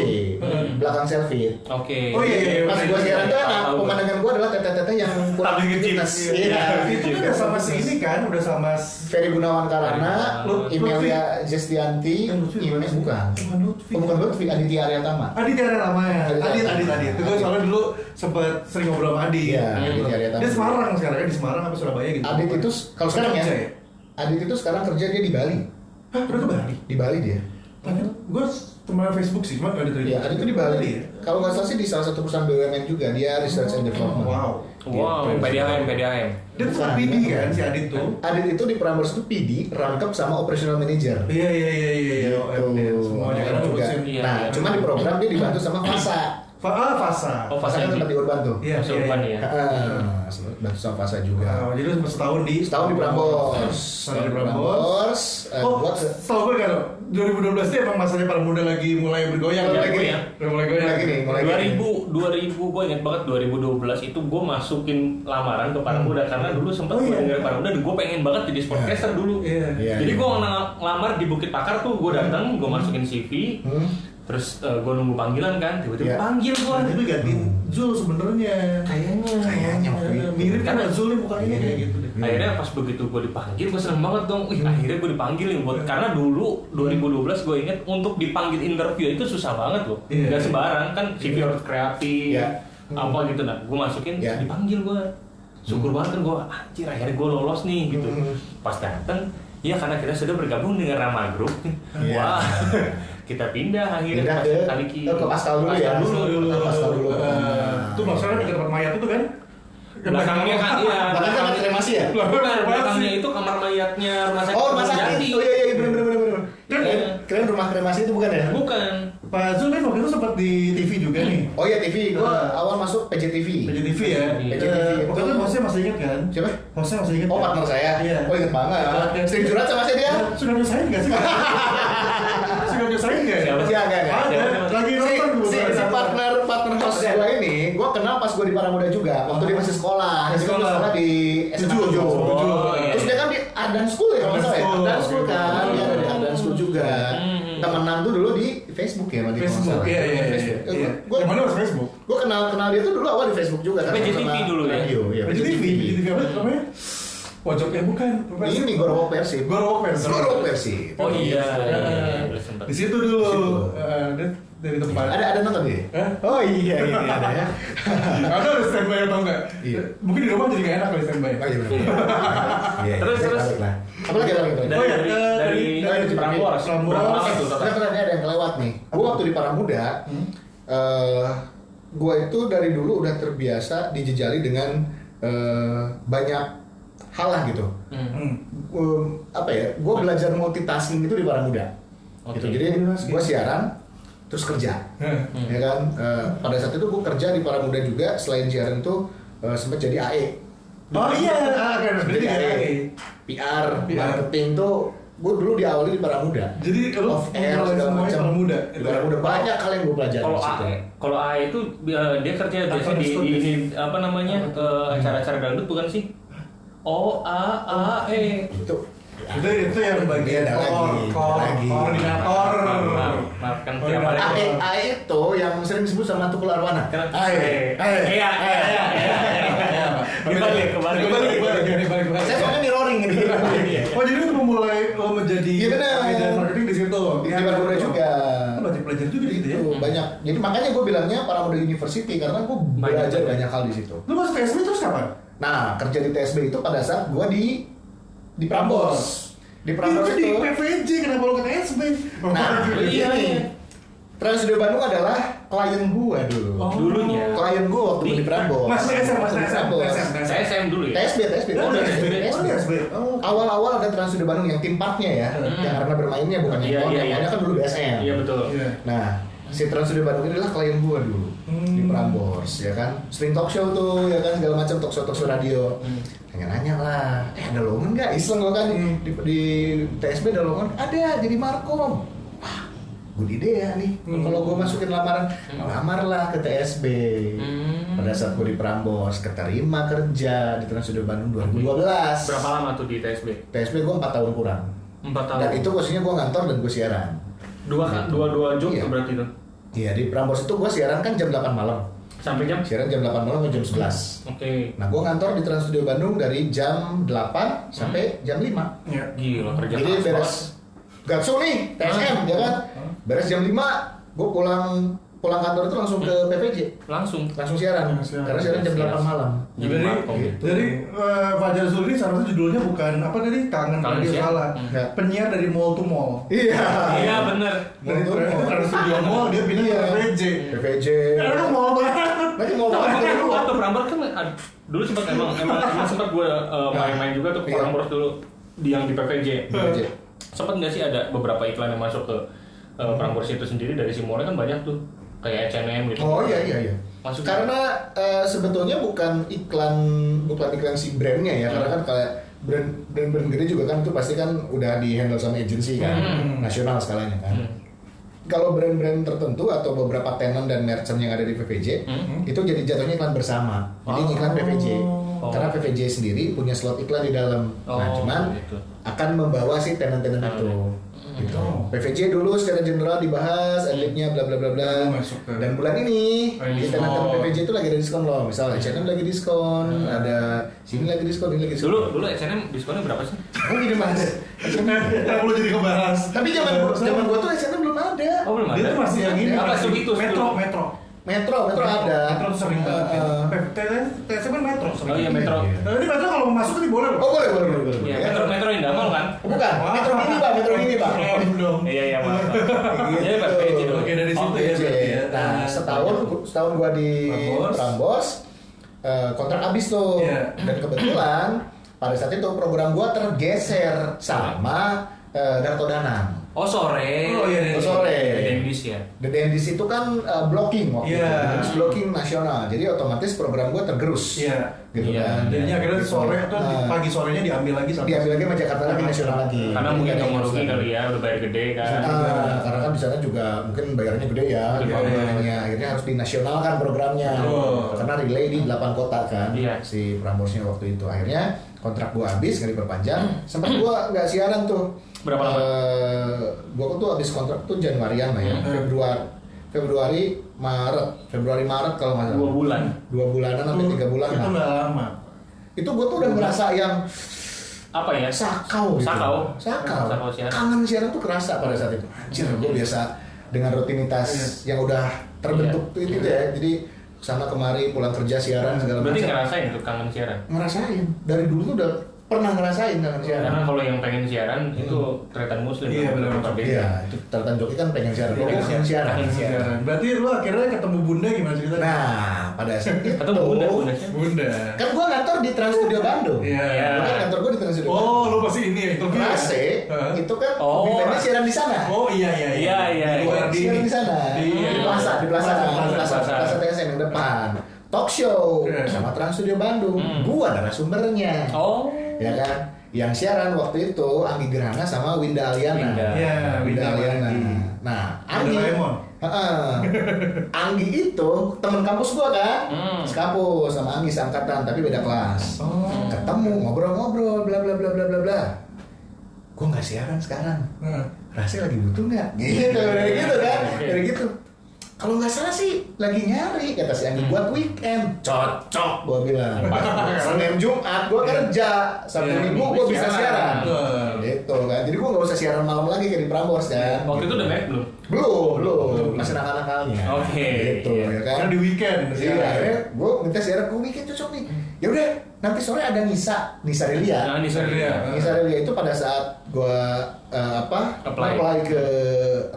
S3: belakang selfie
S2: Oke.
S1: Oh iya iya.
S3: Pas
S1: benar.
S3: gue siaran tuh anak,
S2: Tahu.
S3: pemandangan gue adalah teteh-teteh yang kurang
S2: Tapi kecil.
S3: aktivitas.
S2: Iya.
S3: Iya.
S1: Itu udah sama si ini kan, udah sama si-
S3: Ferry Gunawan Karana,
S2: Lu-
S3: Imelia Zestianti,
S1: Yang lucu
S3: Ime
S1: gimana sih?
S3: bukan.
S1: Eh, Bukan Lutfi.
S3: Oh, bukan Lutfi, Aditya Arya Tama.
S1: Adit ada namanya.
S3: Adit,
S1: Adit,
S3: Adit.
S1: Adit, Adit. ya? Itu gue soalnya dulu sempet sering ngobrol sama Adit.
S3: Iya,
S1: Hmm.
S3: Adit Arya Tama.
S1: Dia Semarang sekarang kan di Semarang apa Surabaya gitu.
S3: Adit itu kalau sekarang ya,
S1: Kerja ya?
S3: Adit itu sekarang kerja dia di Bali.
S1: Hah, udah ke Bali.
S3: Di Bali dia.
S1: Tapi gue teman Facebook sih, cuma nggak ada dari.
S3: Iya, Adit itu di
S1: Ada
S3: Bali.
S1: ya?
S3: Kalau nggak salah sih di salah satu perusahaan BUMN juga, dia research and development.
S1: Oh, Wow.
S2: Wow,
S3: Gitu.
S2: PDAM, PDAM.
S1: Dia tuh
S3: Bukan.
S1: PD kan si Adit tuh.
S3: Adit itu di Prambors itu PD, rangkap sama operational manager.
S1: Iya iya iya iya iya. OMD, Semuanya
S3: Semuanya
S1: kan
S3: juga.
S1: ngurusin.
S2: Iya,
S3: Nah,
S2: iya.
S3: cuma di program dia dibantu sama Fasa.
S1: Fa- ah, Fasa.
S2: Oh, Fasa
S3: Fasa kan tempat di Urban tuh.
S1: Iya,
S2: Fasa
S1: iya,
S2: Urban
S1: iya.
S2: ya.
S3: Ah, bantu sama Fasa juga.
S1: Wow, jadi lu sempet setahun di
S3: Setahun di Prambors.
S1: Setahun di Prambors.
S3: Eh,
S1: Oh,
S3: gua ke-
S1: tau gue kan, 2012 itu emang masanya para muda lagi mulai bergoyang
S3: Mulai
S1: ya?
S2: gini ya?
S1: Udah mulai goyang.
S3: Mulai gini, mulai gini.
S2: 2000, 2000 gue ingat banget 2012 itu gue masukin lamaran ke Paramuda karena dulu sempat
S1: Oh,
S2: gue
S1: iya.
S2: dengerin Paramuda dan gue pengen banget jadi sportcaster dulu.
S1: Iya.
S3: Iya,
S2: Jadi
S3: iya.
S2: gue ngelamar di Bukit Pakar tuh gue datang, gue masukin CV,
S3: Hmm.
S2: terus gue nunggu panggilan kan, tiba-tiba
S3: Iya.
S2: panggil
S1: Wah,
S2: gue.
S1: itu gantiin Zul sebenarnya.
S2: Kayaknya.
S3: Kayaknya waktu itu.
S1: Mirip kan sama Zul nih mukanya kayak gitu deh.
S3: Hmm.
S2: Akhirnya pas begitu gue dipanggil, gue seneng banget dong. Wih, akhirnya gue dipanggil nih. Buat, karena dulu 2012 gue inget untuk dipanggil interview itu susah banget loh.
S1: Iya.
S2: Gak sembarang kan, CV harus kreatif,
S3: Iya.
S2: apa gitu. Nah, gue masukin,
S3: Iya.
S2: dipanggil gue. Syukur banget kan gue, anjir akhirnya gue lolos nih gitu.
S3: Hmm.
S2: Pas dateng, ya karena kita sudah bergabung dengan Rama Group.
S3: Iya.
S2: Wah, *laughs* kita pindah akhirnya
S3: Pindah
S2: pas
S3: ke,
S2: Kaliki.
S3: eh, ke Pascal dulu ya.
S1: Dulu dulu.
S3: Ke Pascal dulu.
S1: Eh, Itu maksudnya dekat tempat mayat itu kan?
S2: Belakangnya kan, iya.
S3: Bahkan kan ada kremasi ya?
S1: Lah,
S2: Bukan,
S1: apa
S2: belakangnya
S1: sih?
S2: itu kamar mayatnya rumah sakit
S3: Oh, rumah sakit.
S2: Kramajati.
S3: Oh iya iya benar benar benar benar. Keren,
S2: Iya.
S3: keren rumah kremasi itu bukan
S1: Iya.
S3: ya?
S2: Bukan.
S1: Pak Zul kan waktu itu sempat di TV juga nih.
S3: Oh iya TV, gua
S1: Ah.
S3: awal masuk PJTV.
S1: Meja TV ya.
S2: Meja
S3: TV.
S1: Eh, Waktu itu hostnya masih ingat kan?
S3: Siapa?
S1: Hostnya masih ingat.
S3: Oh
S1: kan?
S3: partner saya.
S1: Iya.
S3: Oh inget banget. Sering curhat sama saya dia.
S1: Ya, Sudah nyusahin
S3: *laughs*
S1: nggak sih? Sudah nyusahin nggak? ya?
S2: Siapa sih?
S3: Iya enggak enggak.
S1: Ada. Lagi
S3: Si,
S1: nonton Iya. gua
S3: si,
S1: baru
S3: si
S1: nonton.
S3: partner partner host gue ini, gue kenal pas gue di Paramuda juga. Waktu dia masih sekolah,
S1: Oh. Masih
S3: Dia kan
S1: sekolah.
S3: sekolah di SMA
S1: Tujuh,
S3: 7.
S1: tujuh.
S2: iya.
S3: Terus dia kan di Ardan School ya kalau nggak salah ya.
S1: Ardan
S3: Ardan
S1: School. Iya.
S3: School kan, dia ada di Ardan School juga.
S2: Hmm.
S3: Temenan tuh dulu di Facebook ya, Mati, kalau nggak
S1: Facebook.
S3: salah.
S1: Iya iya iya,
S3: Facebook. Eh,
S1: iya.
S3: Gua
S1: Yang mana masih Facebook?
S3: gue kenal kenal dia tuh dulu awal di Facebook juga.
S2: Tapi
S3: karena
S2: JTV
S3: sama
S2: dulu ya?
S3: Radio, iya.
S1: Meja TV. Meja TV apa namanya? Pojok ya bukan.
S3: Ini Gorowok Persib.
S1: Gorowok Persib.
S3: Gorowok Persib.
S2: Oh iya, iya, iya, iya,
S1: Eh,
S2: sempat.
S1: Di situ
S3: Di situ.
S1: dulu. Eh, dia Dari tempat.
S3: Ada ada nonton dia?
S1: Hah?
S3: Oh iya
S1: *laughs*
S3: iya ada ya.
S1: Ada harus standby atau enggak?
S3: Iya.
S1: Mungkin di rumah jadi nggak enak kalau standby.
S3: Oh, iya, benar. Iya, iya.
S2: Terus,
S3: Balik,
S2: terus.
S3: balik lah. Apa lagi apa lagi? apa lagi?
S2: Dari,
S1: Oh iya,
S2: dari,
S1: eh,
S2: dari,
S1: dari-
S2: dari,
S1: dari
S2: Prambors.
S1: Prambors.
S2: Berapa lama tuh
S3: Enggak
S2: total?
S3: pernah ada yang kelewat nih. Gue waktu di Paramuda,
S2: Hmm?
S3: eh, gue itu dari dulu udah terbiasa dijejali dengan eh, banyak hal lah gitu.
S1: Hmm.
S3: Eh, apa ya? Gue belajar multitasking itu di Paramuda.
S2: Oke. Hmm.
S3: Gitu. Jadi gue siaran, terus kerja.
S1: Heh.
S3: Ya kan? Eh, pada saat itu gue kerja di Paramuda juga. Selain siaran itu eh, sempat jadi AE.
S1: Oh
S3: *laughs*
S1: iya, ah,
S3: Jadi
S1: kan berarti
S3: ada
S1: ada.
S3: PR,
S1: PR.
S3: marketing tuh gue dulu diawali di Paramuda.
S1: Jadi lu
S3: Off air
S1: mulai
S3: segala
S1: semuanya gitu
S3: macam.
S1: Paramuda.
S3: Di Paramuda banyak kali yang gue pelajari
S2: Kalau
S3: di
S2: A, E.
S3: situ.
S2: kalau A itu eh, dia kerja biasa di, di, di apa namanya eh, acara-acara dangdut bukan sih? O A A E.
S3: Itu
S1: Itu itu yang bagian
S3: Ada
S1: kor,
S3: lagi,
S1: kor,
S3: ada lagi.
S1: koordinator.
S2: Maaf, maaf, maaf, kan tiap hari.
S1: Koordinator.
S3: AE, AE itu E yang sering disebut sama Tukul Arwana.
S2: Karena
S3: AE, AE.
S2: Iya, iya, iya, iya.
S1: Iya,
S2: Dibalik, kebalik.
S1: Kebalik, kebalik, kebalik, kebalik.
S3: Saya soalnya mirroring
S1: *laughs*
S3: ini.
S1: Oh jadi lu memulai lo menjadi
S3: Iya, benar.
S1: manajer marketing di situ.
S3: Di
S1: Iya,
S3: Paramuda
S1: betul.
S3: juga.
S1: Lu belajar belajar juga gitu ya.
S3: Itu banyak. Jadi makanya gue bilangnya Paramuda University karena gue
S2: Banyak,
S3: belajar
S2: banyak.
S3: banyak hal di situ.
S1: Lu masuk PSB terus kapan?
S3: Nah, kerja di TSB itu pada saat gue di di Prambors. Di Prambors
S1: Iya, di
S3: itu
S1: PVJ kenapa lu ke PSB?
S3: Nah,
S2: Iya,
S3: iya,
S2: iya.
S3: iya. Trans Studio Bandung adalah klien gua dulu.
S1: Oh.
S2: Dulunya.
S3: Klien gua waktu
S2: Di-
S3: di Prambors.
S1: Mas SM, Mas
S3: Di
S1: SM,
S3: Prambors.
S1: SM.
S2: Saya SM dulu ya.
S3: TSB, TSB.
S1: Oh, TSB. Oh, TSB. Oh.
S3: Awal-awal ada Trans Studio
S1: Hmm.
S3: Bandung yang tim parknya ya, yang karena bermainnya bukan yang
S2: Iya,
S3: yeah,
S2: iya, iya.
S3: kan dulu BSM.
S2: Iya betul.
S1: Iya.
S3: Nah, si Trans Studio Bandung inilah klien gua dulu di
S2: Hmm.
S3: Prambors ya kan sering talk show tuh ya kan segala macam talk show talk show radio
S2: Hmm.
S3: nanya-nanya lah eh ada lowongan nggak iseng gua kan di, di TSB ada lowongan ada jadi markom wah good idea nih kalau gua masukin lamaran lamar lah ke TSB
S2: Hmm.
S3: pada saat gua di Prambors keterima kerja di Trans Studio Bandung 2012
S2: Berapa lama tuh di TSB?
S3: TSB gua 4 tahun kurang
S2: 4 tahun.
S3: dan itu posisinya gua ngantor dan gua siaran
S2: dua dua dua job
S3: Iya.
S2: tuh berarti itu.
S3: Iya di Prambors itu gua siaran kan jam 8 malam
S2: Sampai jam? Oke.
S3: siaran jam 8 malam ke jam 11 nah gua ngantor di Trans Studio Bandung dari jam 8 sampai jam 5
S1: Ya.
S2: Gila kerja
S3: Jadi
S2: keras
S3: beres Gatsu nih, TSM ya kan. Beres jam 5, gue pulang pulang kantor itu langsung ke PPJ,
S2: banget. Langsung.
S3: langsung siaran.
S1: Langsung siaran.
S3: Karena siaran jam 8 malam.
S2: Jadi
S1: Jadi,
S2: markom ya.
S1: jadi eh, Fajar Zul ini seharusnya judulnya bukan apa tadi tangan
S2: Tangan
S1: radio
S2: siapa?
S1: salah,
S3: Hmm.
S1: penyiar dari mall to mall.
S3: Iya.
S2: Iya bener.
S3: Mall
S1: Dari
S3: to
S1: tra-
S3: mall.
S1: trans
S3: *laughs*
S1: studio mall dia pindah
S3: Iya.
S1: ke PJ.
S3: PPJ.
S1: Ya lu mall banget.
S3: Nanti mau
S2: Tapi
S3: apa?
S2: waktu waktu Prambors kan ad- dulu sempat emang emang, emang sempat gue main-main juga tuh ke
S3: Iya.
S2: Prambors dulu di yang di PPJ.
S3: PPJ.
S2: Sempat nggak sih ada beberapa iklan yang masuk ke
S3: Hmm.
S2: eh, Prambors itu sendiri dari Simone kan banyak tuh kayak H&M gitu.
S3: Oh iya iya iya.
S2: Masuk.
S3: Karena eh, sebetulnya bukan iklan bukan iklan si brandnya ya, karena kan kayak brand brand brand gede juga kan itu pasti kan udah di handle sama agensi kan,
S2: Hmm.
S3: nasional skalanya kan.
S2: Hmm.
S3: Kalau brand-brand tertentu atau beberapa tenant dan merchant yang ada di PVJ
S2: Hmm.
S3: itu jadi jatuhnya iklan bersama. Jadi
S2: Oh.
S3: iklan PVJ.
S2: Oh.
S3: Karena PVJ sendiri punya slot iklan di dalam. nah,
S2: Oh,
S3: cuman
S2: gitu. Hmm.
S3: akan membawa si tenant-tenant itu. Gitu. PVJ dulu secara general dibahas, adlibnya bla bla bla bla.
S1: Oh, masuk ke-
S3: Dan bulan ini
S1: Oh,
S3: di
S1: iya.
S3: tenant-tenant
S2: Oh.
S3: PVJ itu lagi ada diskon loh. Misalnya channel lagi diskon, ada sini lagi diskon, ini lagi diskon.
S2: Dulu dulu H&M diskonnya berapa sih?
S3: Oh, di mana?
S1: Nggak perlu jadi kebahas.
S3: Tapi zaman zaman gua tuh SNM belum ada.
S2: Oh belum ada.
S1: Dia tuh masih yang ini.
S2: Apa
S1: masih
S2: Subitus
S1: Metro,
S2: dulu?
S1: metro.
S3: Metro, metro ada.
S1: Metro tuh sering banget.
S3: Eh, eh.
S1: TSM kan metro sering.
S2: Oh iya Metro.
S3: Iya.
S1: Eh, Ini metro kalau mau masuk nih boleh
S3: Oh
S1: loh.
S3: boleh boleh boleh boleh.
S2: Iya,
S3: ya.
S2: Metro Metro Indamal kan?
S3: Oh, bukan, metro mini pak, metro mini pak.
S1: Belum.
S2: Iya iya maaf.
S3: Gitu.
S2: Iya Pak PJ dulu.
S1: Oke, dari situ ya,
S3: Oke,
S1: berarti ya.
S3: iya,
S1: iya.
S3: Nah setahun setahun gua di
S1: Prambors.
S3: Prambors eh, kontrak habis tuh
S1: Iya.
S3: dan kebetulan pada saat itu program gua tergeser sama eh, Darto Danang.
S2: Oh sore.
S1: Oh, iya, iya.
S3: Oh, sore.
S2: Dendis ya.
S3: The Dandies itu kan uh, blocking waktu
S1: Iya.
S3: itu, Dendis blocking nasional. Jadi otomatis program gue tergerus.
S1: Iya.
S3: Gitu
S2: Iya.
S3: kan.
S1: Jadinya akhirnya
S3: Gitu.
S1: sore atau di-
S3: Nah,
S1: pagi sorenya diambil lagi sama.
S3: diambil lagi sama Jakarta lagi nasional lagi.
S2: Karena
S3: Jadi
S2: mungkin
S3: ada
S2: nggak mau
S3: yang
S2: rugi
S3: harus-
S2: kali ya, udah bayar gede kan.
S3: Ah, karena kan di sana juga mungkin bayarnya gede ya,
S2: Gede
S3: di
S2: banget.
S3: bangunannya. Akhirnya harus dinasionalkan programnya.
S1: Betul.
S3: Karena relay di 8 kota kan,
S2: Iya.
S3: si Pramborsnya waktu itu. Akhirnya kontrak gua habis, nggak diperpanjang. Sempat gua nggak siaran tuh.
S2: Hmm. Berapa lama?
S3: Eh, gua tuh habis kontrak tuh Januarian lah ya,
S2: Hmm.
S3: Februari, Februari, Maret, Februari Maret kalau nggak salah.
S2: Dua bulan.
S3: Dua bulanan sampai tiga bulan
S1: Itu
S3: lah.
S1: nggak lama.
S3: Itu gua tuh udah merasa yang
S2: Apa ya?
S3: sakau gitu.
S2: Sakau.
S3: sakau
S2: Sakau siaran.
S3: kangen siaran tuh kerasa pada saat itu anjir gue biasa dengan rutinitas yang udah
S2: Iya.
S3: terbentuk tuh itu ya jadi sana kemari pulang kerja siaran segala
S2: Berarti
S3: macam
S2: ngerasain tuh kangen siaran.
S3: ngerasain dari dulu tuh udah pernah ngerasain kangen siaran
S2: Karena kalau yang pengen siaran itu tretan muslim
S1: Iya,
S2: kan,
S1: benar.
S2: bukan KBR.
S3: iya itu tartan joki kan pengen siaran
S1: Iya,
S3: gue
S1: pengen
S3: kangen siaran
S2: Kangen siaran.
S1: Berarti lu akhirnya ketemu bunda gimana ceritanya?
S3: nah pada saat itu
S2: Atau bunda bunda siapa?
S1: Bunda.
S3: kan gue ngantor di Trans Studio Bandung
S1: Iya.
S3: Gua kan kantor gue di Trans Studio
S1: Oh, lu
S3: Bandung
S1: pasti ini ya itu.
S3: Rase itu kan
S2: Oh,
S3: eventnya
S2: Rase.
S3: siaran di sana
S1: Oh iya iya
S2: Iya, iya,
S1: Di luar di
S3: Siaran di sana
S1: Iya.
S3: di plaza di plaza
S1: Plaza,
S3: di plaza
S2: plaza.
S3: plaza TSM yang depan talk show
S1: Iya.
S3: sama Trans Studio Bandung
S2: Hmm.
S3: gua narasumbernya
S2: Oh.
S3: ya kan yang siaran waktu itu Anggi Gerhana sama Winda Aliana
S2: Winda.
S1: Iya, Winda
S3: Aliana
S1: Anggi.
S3: nah Anggi
S1: Doraemon.
S3: Heeh. Anggi itu teman kampus gua kan
S2: Hmm.
S3: sekampus sama Anggi seangkatan tapi beda kelas
S1: Oh.
S3: ketemu ngobrol-ngobrol bla bla bla bla bla bla gua nggak siaran sekarang
S1: Nah.
S3: rasanya lagi butuh nggak? *laughs* Gitu, dari gitu kan, dari gitu. Kalau nggak salah sih lagi nyari kata si Anggi buat weekend. Cocok, gua bilang. Senin Jumat gua kerja, Sabtu
S1: Iya,
S3: Minggu gua bisa
S2: siaran.
S3: siaran. Gitu kan, jadi gua nggak usah siaran malam lagi kayak di Prambors kan.
S2: Iya. Waktu itu udah merek belum?
S3: Belum, belum, masih nakal-nakalnya.
S2: Oke.
S3: Gitu ya kan.
S1: Karena di weekend.
S3: Iya,
S1: sekarang.
S3: akhirnya gue minta siaran, gue weekend cocok nih. Ya udah, nanti sore ada Nisa, Nisa Delia.
S2: Nah, ini
S1: Iya.
S2: saya.
S3: Misalnya itu pada saat gua eh, apa
S2: Apply.
S3: ke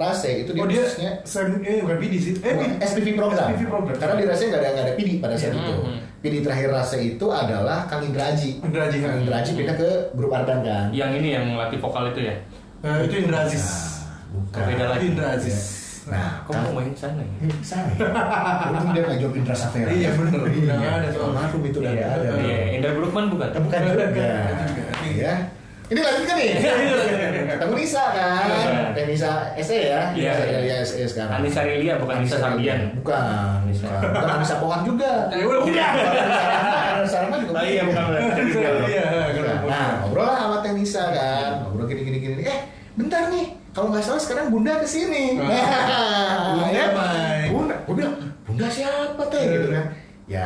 S3: Rase itu dia
S1: Oh dia
S3: khususnya
S1: Sam eh bukan Vidi sih. Eh
S3: bukan,
S1: Vidi.
S3: SPV program.
S1: SPV program. Hmm,
S3: Karena di Rase nggak ada nggak ada PD pada saat
S2: Iya.
S3: itu.
S2: Mhm.
S3: PD terakhir Rase itu adalah Kang Indra Aji.
S1: Indra Aji,
S3: Kang
S1: kan.
S3: Indra Aji pindah ke grup Ardan kan.
S2: Yang ini yang latih vokal itu ya.
S1: Eh, itu Indra Aziz.
S3: Nah, Bukan.
S2: Beda lagi.
S1: Indra Aziz.
S3: Nah,
S2: Kok mau main sana ya?
S3: Eh, Salah ya? Untung dia nggak job Indra Safera.
S1: Iya, bener.
S3: Iya,
S1: Nggak ada soalnya.
S3: almarhum itu udah nggak ada.
S2: Iya, Indra Bruckman bukan?
S3: Eh, Bukan juga. Ya. Ini lanjut kan nih?
S2: Iya.
S3: Ketemu Nisa kan? Eh, Nisa SE ya?
S2: Iya.
S3: Nisa Elia SE sekarang.
S2: Anissa Relia bukan Anissa Sabian.
S3: Bukan.
S2: Anissa. *laughs*
S3: Bukan Bukan Anissa Pohan juga.
S2: Ya udah, udah.
S3: Anissa Sarman juga. gitu.
S2: Oh *laughs* iya bukan berarti Relia loh.
S1: Iya, kenapa?
S3: Nah, ngobrol lah sama Teh Nisa kan. Ngobrol gini gini gini. Eh, bentar nih. Kalau nggak salah sekarang Bunda kesini.
S1: Ah.
S3: Ya,
S1: Bye.
S3: Bunda, gue bilang Bunda siapa Teh
S1: Eh.
S3: gitu kan? Ya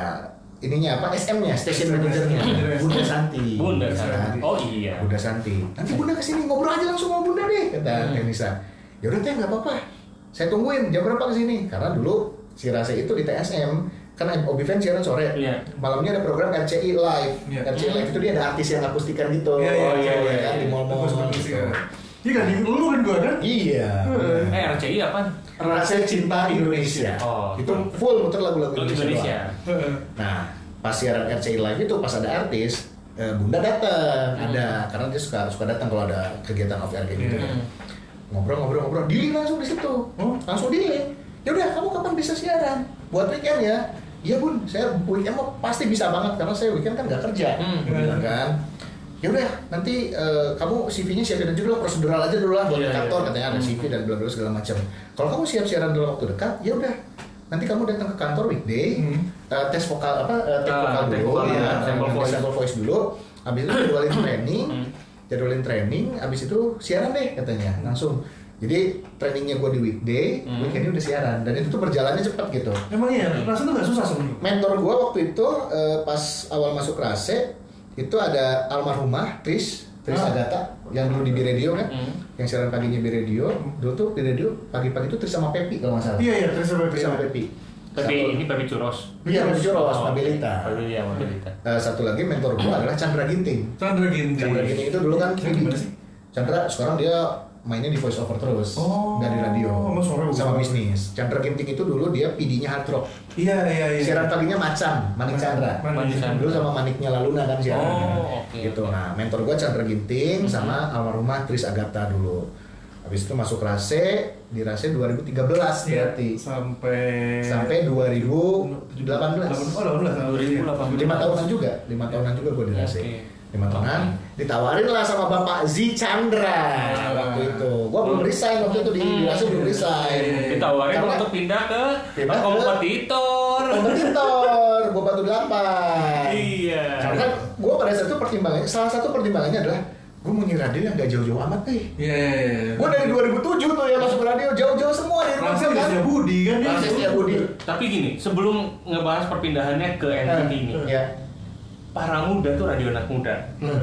S3: ininya apa SM-nya, station manajernya Bunda Santi.
S2: Bunda
S3: Gitu
S2: sana.
S3: kan.
S2: Oh iya.
S3: Bunda Santi. Nanti Bunda kesini ngobrol aja langsung sama Bunda deh, kata
S2: Hmm.
S3: Teh Nisa. Ya udah Teh nggak apa-apa. Saya tungguin jam berapa kesini? Karena dulu si Rase itu di TSM kan Obi Fan siaran sore,
S2: Iya.
S3: malamnya ada program RCI Live.
S1: Iya.
S3: RCI Live itu dia ada artis yang akustikan gitu,
S1: Iya, iya,
S2: iya, iya,
S3: kan, di
S2: iya.
S3: mall-mall. gitu.
S1: Iya kan, di- lu kan gua kan?
S3: Iya.
S2: Eh RCI apa?
S3: Rasa cinta Indonesia.
S2: Oh.
S3: itu full muter lagu-lagu
S2: Lagu
S3: Indonesia.
S2: Indonesia.
S3: doang. Nah, pas siaran RCI Live itu pas ada artis, eh, Bunda datang,
S2: Hmm.
S3: ada karena dia suka suka datang kalau ada kegiatan off air kayak gitu.
S1: Iya.
S3: kan.
S2: Hmm.
S3: Ngobrol-ngobrol-ngobrol, dealing langsung di situ.
S1: Oh.
S3: Langsung dealing. Ya udah, kamu kapan bisa siaran? Buat weekend ya. Iya bun, saya weekend mah pasti bisa banget karena saya weekend kan nggak kerja,
S2: Hmm.
S3: Dia bilang kan. Ya udah, nanti eh, kamu CV-nya siapin aja dulu, prosedural aja dulu lah buat
S2: Iya,
S3: di kantor
S2: iya.
S3: katanya ada
S2: Hmm.
S3: CV dan bla bla segala macam. Kalau kamu siap siaran dalam waktu dekat, ya udah. Nanti kamu datang ke kantor weekday,
S1: Hmm.
S3: eh, tes vokal apa eh, tes
S2: Ah,
S3: vokal
S2: tes
S3: dulu,
S2: vokal,
S3: ya,
S2: sample
S3: sample voice.
S2: voice.
S3: voice dulu. Habis itu
S2: *coughs*
S3: jadwalin training,
S2: Hmm.
S3: jadwalin training, habis itu siaran deh katanya langsung. Jadi trainingnya gue di weekday,
S2: Hmm.
S3: weekendnya udah siaran dan itu tuh berjalannya cepat gitu.
S1: Emang iya, rasa tuh gak susah sebenarnya.
S3: Mentor gue waktu itu eh, pas awal masuk Rase itu ada almarhumah Tris Tris
S1: Ah.
S3: Agata yang dulu di B Radio kan,
S2: Hmm.
S3: yang siaran paginya B Radio. Dulu tuh B Radio pagi-pagi tuh Tris sama Pepi kalau nggak salah.
S1: Iya, iya, terus apa?
S3: Tris sama Pepi.
S2: Tapi
S3: Satu-
S2: ini Babi Curos.
S3: Iya, Babi Curos, Mabilita.
S2: iya, Pabilita, Mabilita.
S3: Eh, satu lagi mentor gua adalah Chandra Ginting.
S1: Chandra Ginting.
S3: Chandra Ginting itu dulu kan
S1: Chandra gimana sih?
S3: Chandra sekarang dia mainnya di voice over terus
S1: Oh,
S3: dari radio
S1: sama suara
S3: sama
S1: bukan?
S3: bisnis. Chandra Ginting itu dulu dia PD-nya hard rock.
S1: Iya, iya, iya.
S3: Siaran paginya Macan, Manik Chandra.
S1: Manik Chandra.
S3: Dulu sama Maniknya Laluna kan siaran.
S2: Oh, oke. Hmm.
S3: Gitu. Nah, mentor gua Chandra Ginting sama almarhumah Tris Agatha dulu. Habis itu masuk Rase, di Rase 2013
S1: Iya,
S3: berarti.
S1: Sampai...
S3: Sampai 2018.
S1: Oh, 18.
S2: 2018.
S3: lima tahunan juga lima tahunan juga gue di Rase
S2: Iya. Oke.
S3: lima tahunan ditawarin lah sama bapak Z Chandra
S2: Ah.
S3: waktu itu gue belum resign waktu itu di di Rase belum resign
S2: Hmm. Ditawarin
S3: Karena
S2: untuk pindah ke
S3: Eh, Pindah ke-
S2: kompetitor.
S3: kompetitor gue batu delapan
S2: Iya.
S3: karena gue pada saat itu pertimbangannya salah satu pertimbangannya adalah gue mau nyi radio yang gak jauh-jauh amat nih
S1: Iya, iya, iya.
S3: gue dari 2007 tuh ya masuk radio jauh-jauh semua dari rumah
S1: Rasa
S3: gua,
S1: di
S3: kan
S1: Budi kan? dia?
S3: Rase Setiabudi
S2: Tapi gini, sebelum ngebahas perpindahannya ke NTT ini,
S3: ya
S2: para muda tuh radio anak muda.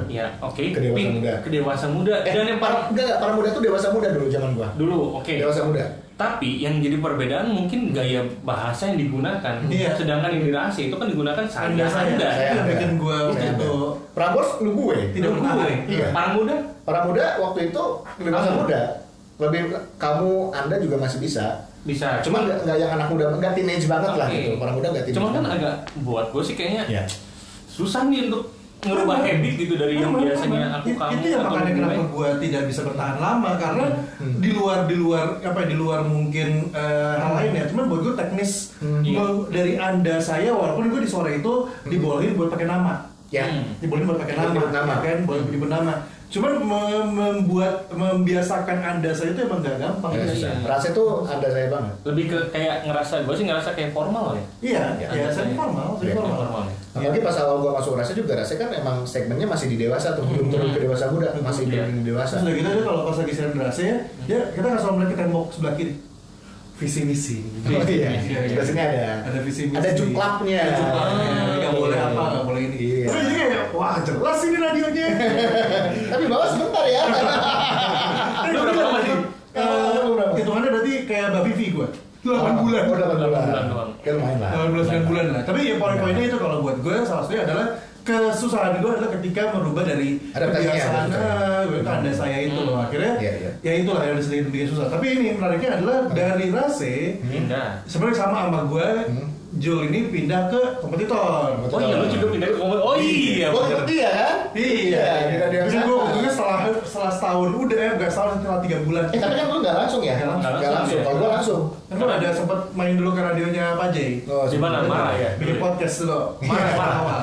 S2: Ya, oke.
S3: Kedewasa
S2: Pin-
S3: Eh. muda.
S2: Kedewasa muda.
S3: eh,
S2: Dan yang
S3: para,
S2: para
S3: enggak, enggak, para muda tuh dewasa muda dulu zaman gue
S2: dulu, oke.
S3: dewasa muda
S2: Tapi yang jadi perbedaan mungkin gaya bahasa yang digunakan.
S1: Iya.
S2: Sedangkan yang di Rahasia itu kan digunakan saya,
S1: Anda, saya.
S2: anda.
S1: Saya
S3: Anda.
S1: bikin gua waktu
S3: Saya
S1: itu.
S3: ada. Prambors lu gue.
S1: Tidak
S2: Dulu
S1: menarik.
S2: gue.
S3: Iya.
S2: Para muda
S3: Para muda waktu itu lebih masa
S2: Kamu.
S3: muda. Lebih kamu Anda juga masih bisa.
S2: bisa.
S3: Cuman nggak nggak yang anak muda, nggak teenage banget lah
S2: Ah, Oke.
S3: gitu. Para muda nggak teenage.
S2: Cuman kan
S3: banget.
S2: agak buat gue sih kayaknya
S3: Iya.
S2: susah nih untuk ngerubah
S1: Memang.
S2: habit gitu dari yang
S1: Memang,
S2: biasanya
S1: memang.
S2: aku
S1: It-
S2: kamu
S1: Iya, itu yang
S2: atau Iya.
S1: makanya
S2: gue.
S1: kenapa gua tidak bisa bertahan lama karena
S3: Hmm.
S1: di luar di luar apa ya, di luar mungkin eh, hal lain ya cuman buat gua teknis
S3: Hmm.
S1: Iya. dari anda saya walaupun gua di sore itu dibolehin buat pakai nama
S3: Ya.
S2: Hmm.
S1: dibolehin buat pakai nama,
S3: Dibolehin nama.
S1: ya kan boleh dibolehin nama cuman me- membuat membiasakan anda saya itu emang gak gampang
S3: Nggak
S2: Iya,
S3: susah.
S2: iya.
S3: Rasa itu Anda saya banget.
S2: Lebih ke kayak ngerasa gue sih ngerasa kayak formal ya.
S1: iya
S3: Ya,
S1: ya, saya formal saya
S3: Ya,
S1: formal
S2: Formal. ya.
S3: Apalagi pas awal gua masuk rasa juga rasa kan emang segmennya masih di dewasa tuh belum turun ke dewasa muda masih
S2: Iya.
S3: belum di dewasa.
S1: Terus udah gitu aja kalau pas lagi siaran berasa ya, ya kita nggak selalu melihat ke tembok sebelah kiri. Visi misi.
S3: Oh iya, di sini ada
S1: Ada visi misi.
S3: Ada juklapnya.
S1: Ada juklapnya. Nggak
S3: Iya.
S1: boleh apa, nggak boleh ini.
S3: Iya.
S1: Terus jadi kayak wah jelas ini radionya. iya.
S3: Tapi bawa sebentar ya.
S1: Lu
S2: Lu berapa lama sih?
S3: Lu berapa?
S1: Eh, Hitungannya berarti kayak Mbak Vivi gua. Ah. 8 bulan.
S3: Oh, 8 bulan.
S2: bulan doang.
S3: Ya lumayan lah.
S1: 18 bulan bulan lah. Tapi ya poin-poinnya
S3: Iya.
S1: itu kalau buat gue salah satunya adalah kesusahan gue adalah ketika merubah dari
S3: Adaptasinya, Hmm.
S1: kebiasaan eh, gue ke anda saya itu loh akhirnya
S3: Iya, iya.
S1: ya itulah yang sering bikin susah. Tapi ini menariknya adalah dari rase
S2: Pindah.
S1: sebenarnya sama sama gue
S3: Hmm.
S1: Jul ini pindah ke kompetitor. Oh,
S2: Oh iya, lu juga pindah ke komedi. Oh iya,
S3: Gua
S2: bener.
S3: tetep iya kan?
S1: iya.
S3: kita dia
S1: Jadi gue untungnya setelah setelah setahun udah ya nggak salah setelah tiga bulan.
S3: Eh tapi kan lu nggak langsung ya?
S1: Nggak
S2: langsung.
S3: Nggak langsung.
S2: Iya.
S3: Kalau gua langsung.
S1: kan gua ada sempat main dulu ke radionya Pak Jay.
S3: Oh,
S2: Di mana? Marah ya?
S1: Bikin podcast dulu.
S2: Marah, marah.
S1: *laughs* awal.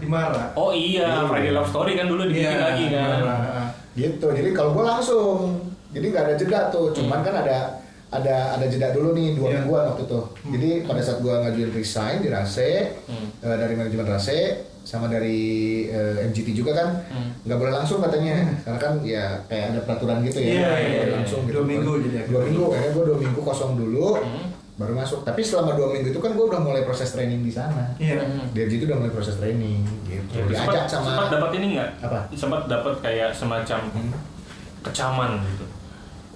S1: Di Marah.
S2: Oh iya, Friday Love Story kan *laughs* dulu dibikin
S1: Iya,
S2: lagi kan.
S1: Marah, ah.
S3: Gitu. Jadi kalau gua langsung, jadi nggak ada jeda tuh. Cuman kan ada ada ada jeda dulu nih dua
S1: Hmm. Iya.
S3: mingguan waktu itu. Jadi pada saat gua ngajuin resign di Rase
S1: Hmm.
S3: eh, dari manajemen Rase sama dari eh, MGT juga kan
S1: Hmm.
S3: nggak boleh langsung katanya karena kan ya kayak ada peraturan gitu ya
S1: Iya,
S3: nggak
S2: iya,
S3: boleh
S2: iya.
S3: langsung gitu
S1: Dua minggu jadi Hmm.
S3: dua minggu kayaknya gua dua minggu kosong dulu baru masuk tapi selama dua minggu itu kan gua udah mulai proses training di sana
S1: Iya.
S3: dia itu udah mulai proses training gitu
S2: Ya,
S3: diajak
S2: sempat,
S3: sama
S2: sempat dapat ini nggak?
S3: Apa?
S2: Sempat dapat kayak semacam
S1: Hmm.
S3: Hmm.
S2: kecaman gitu.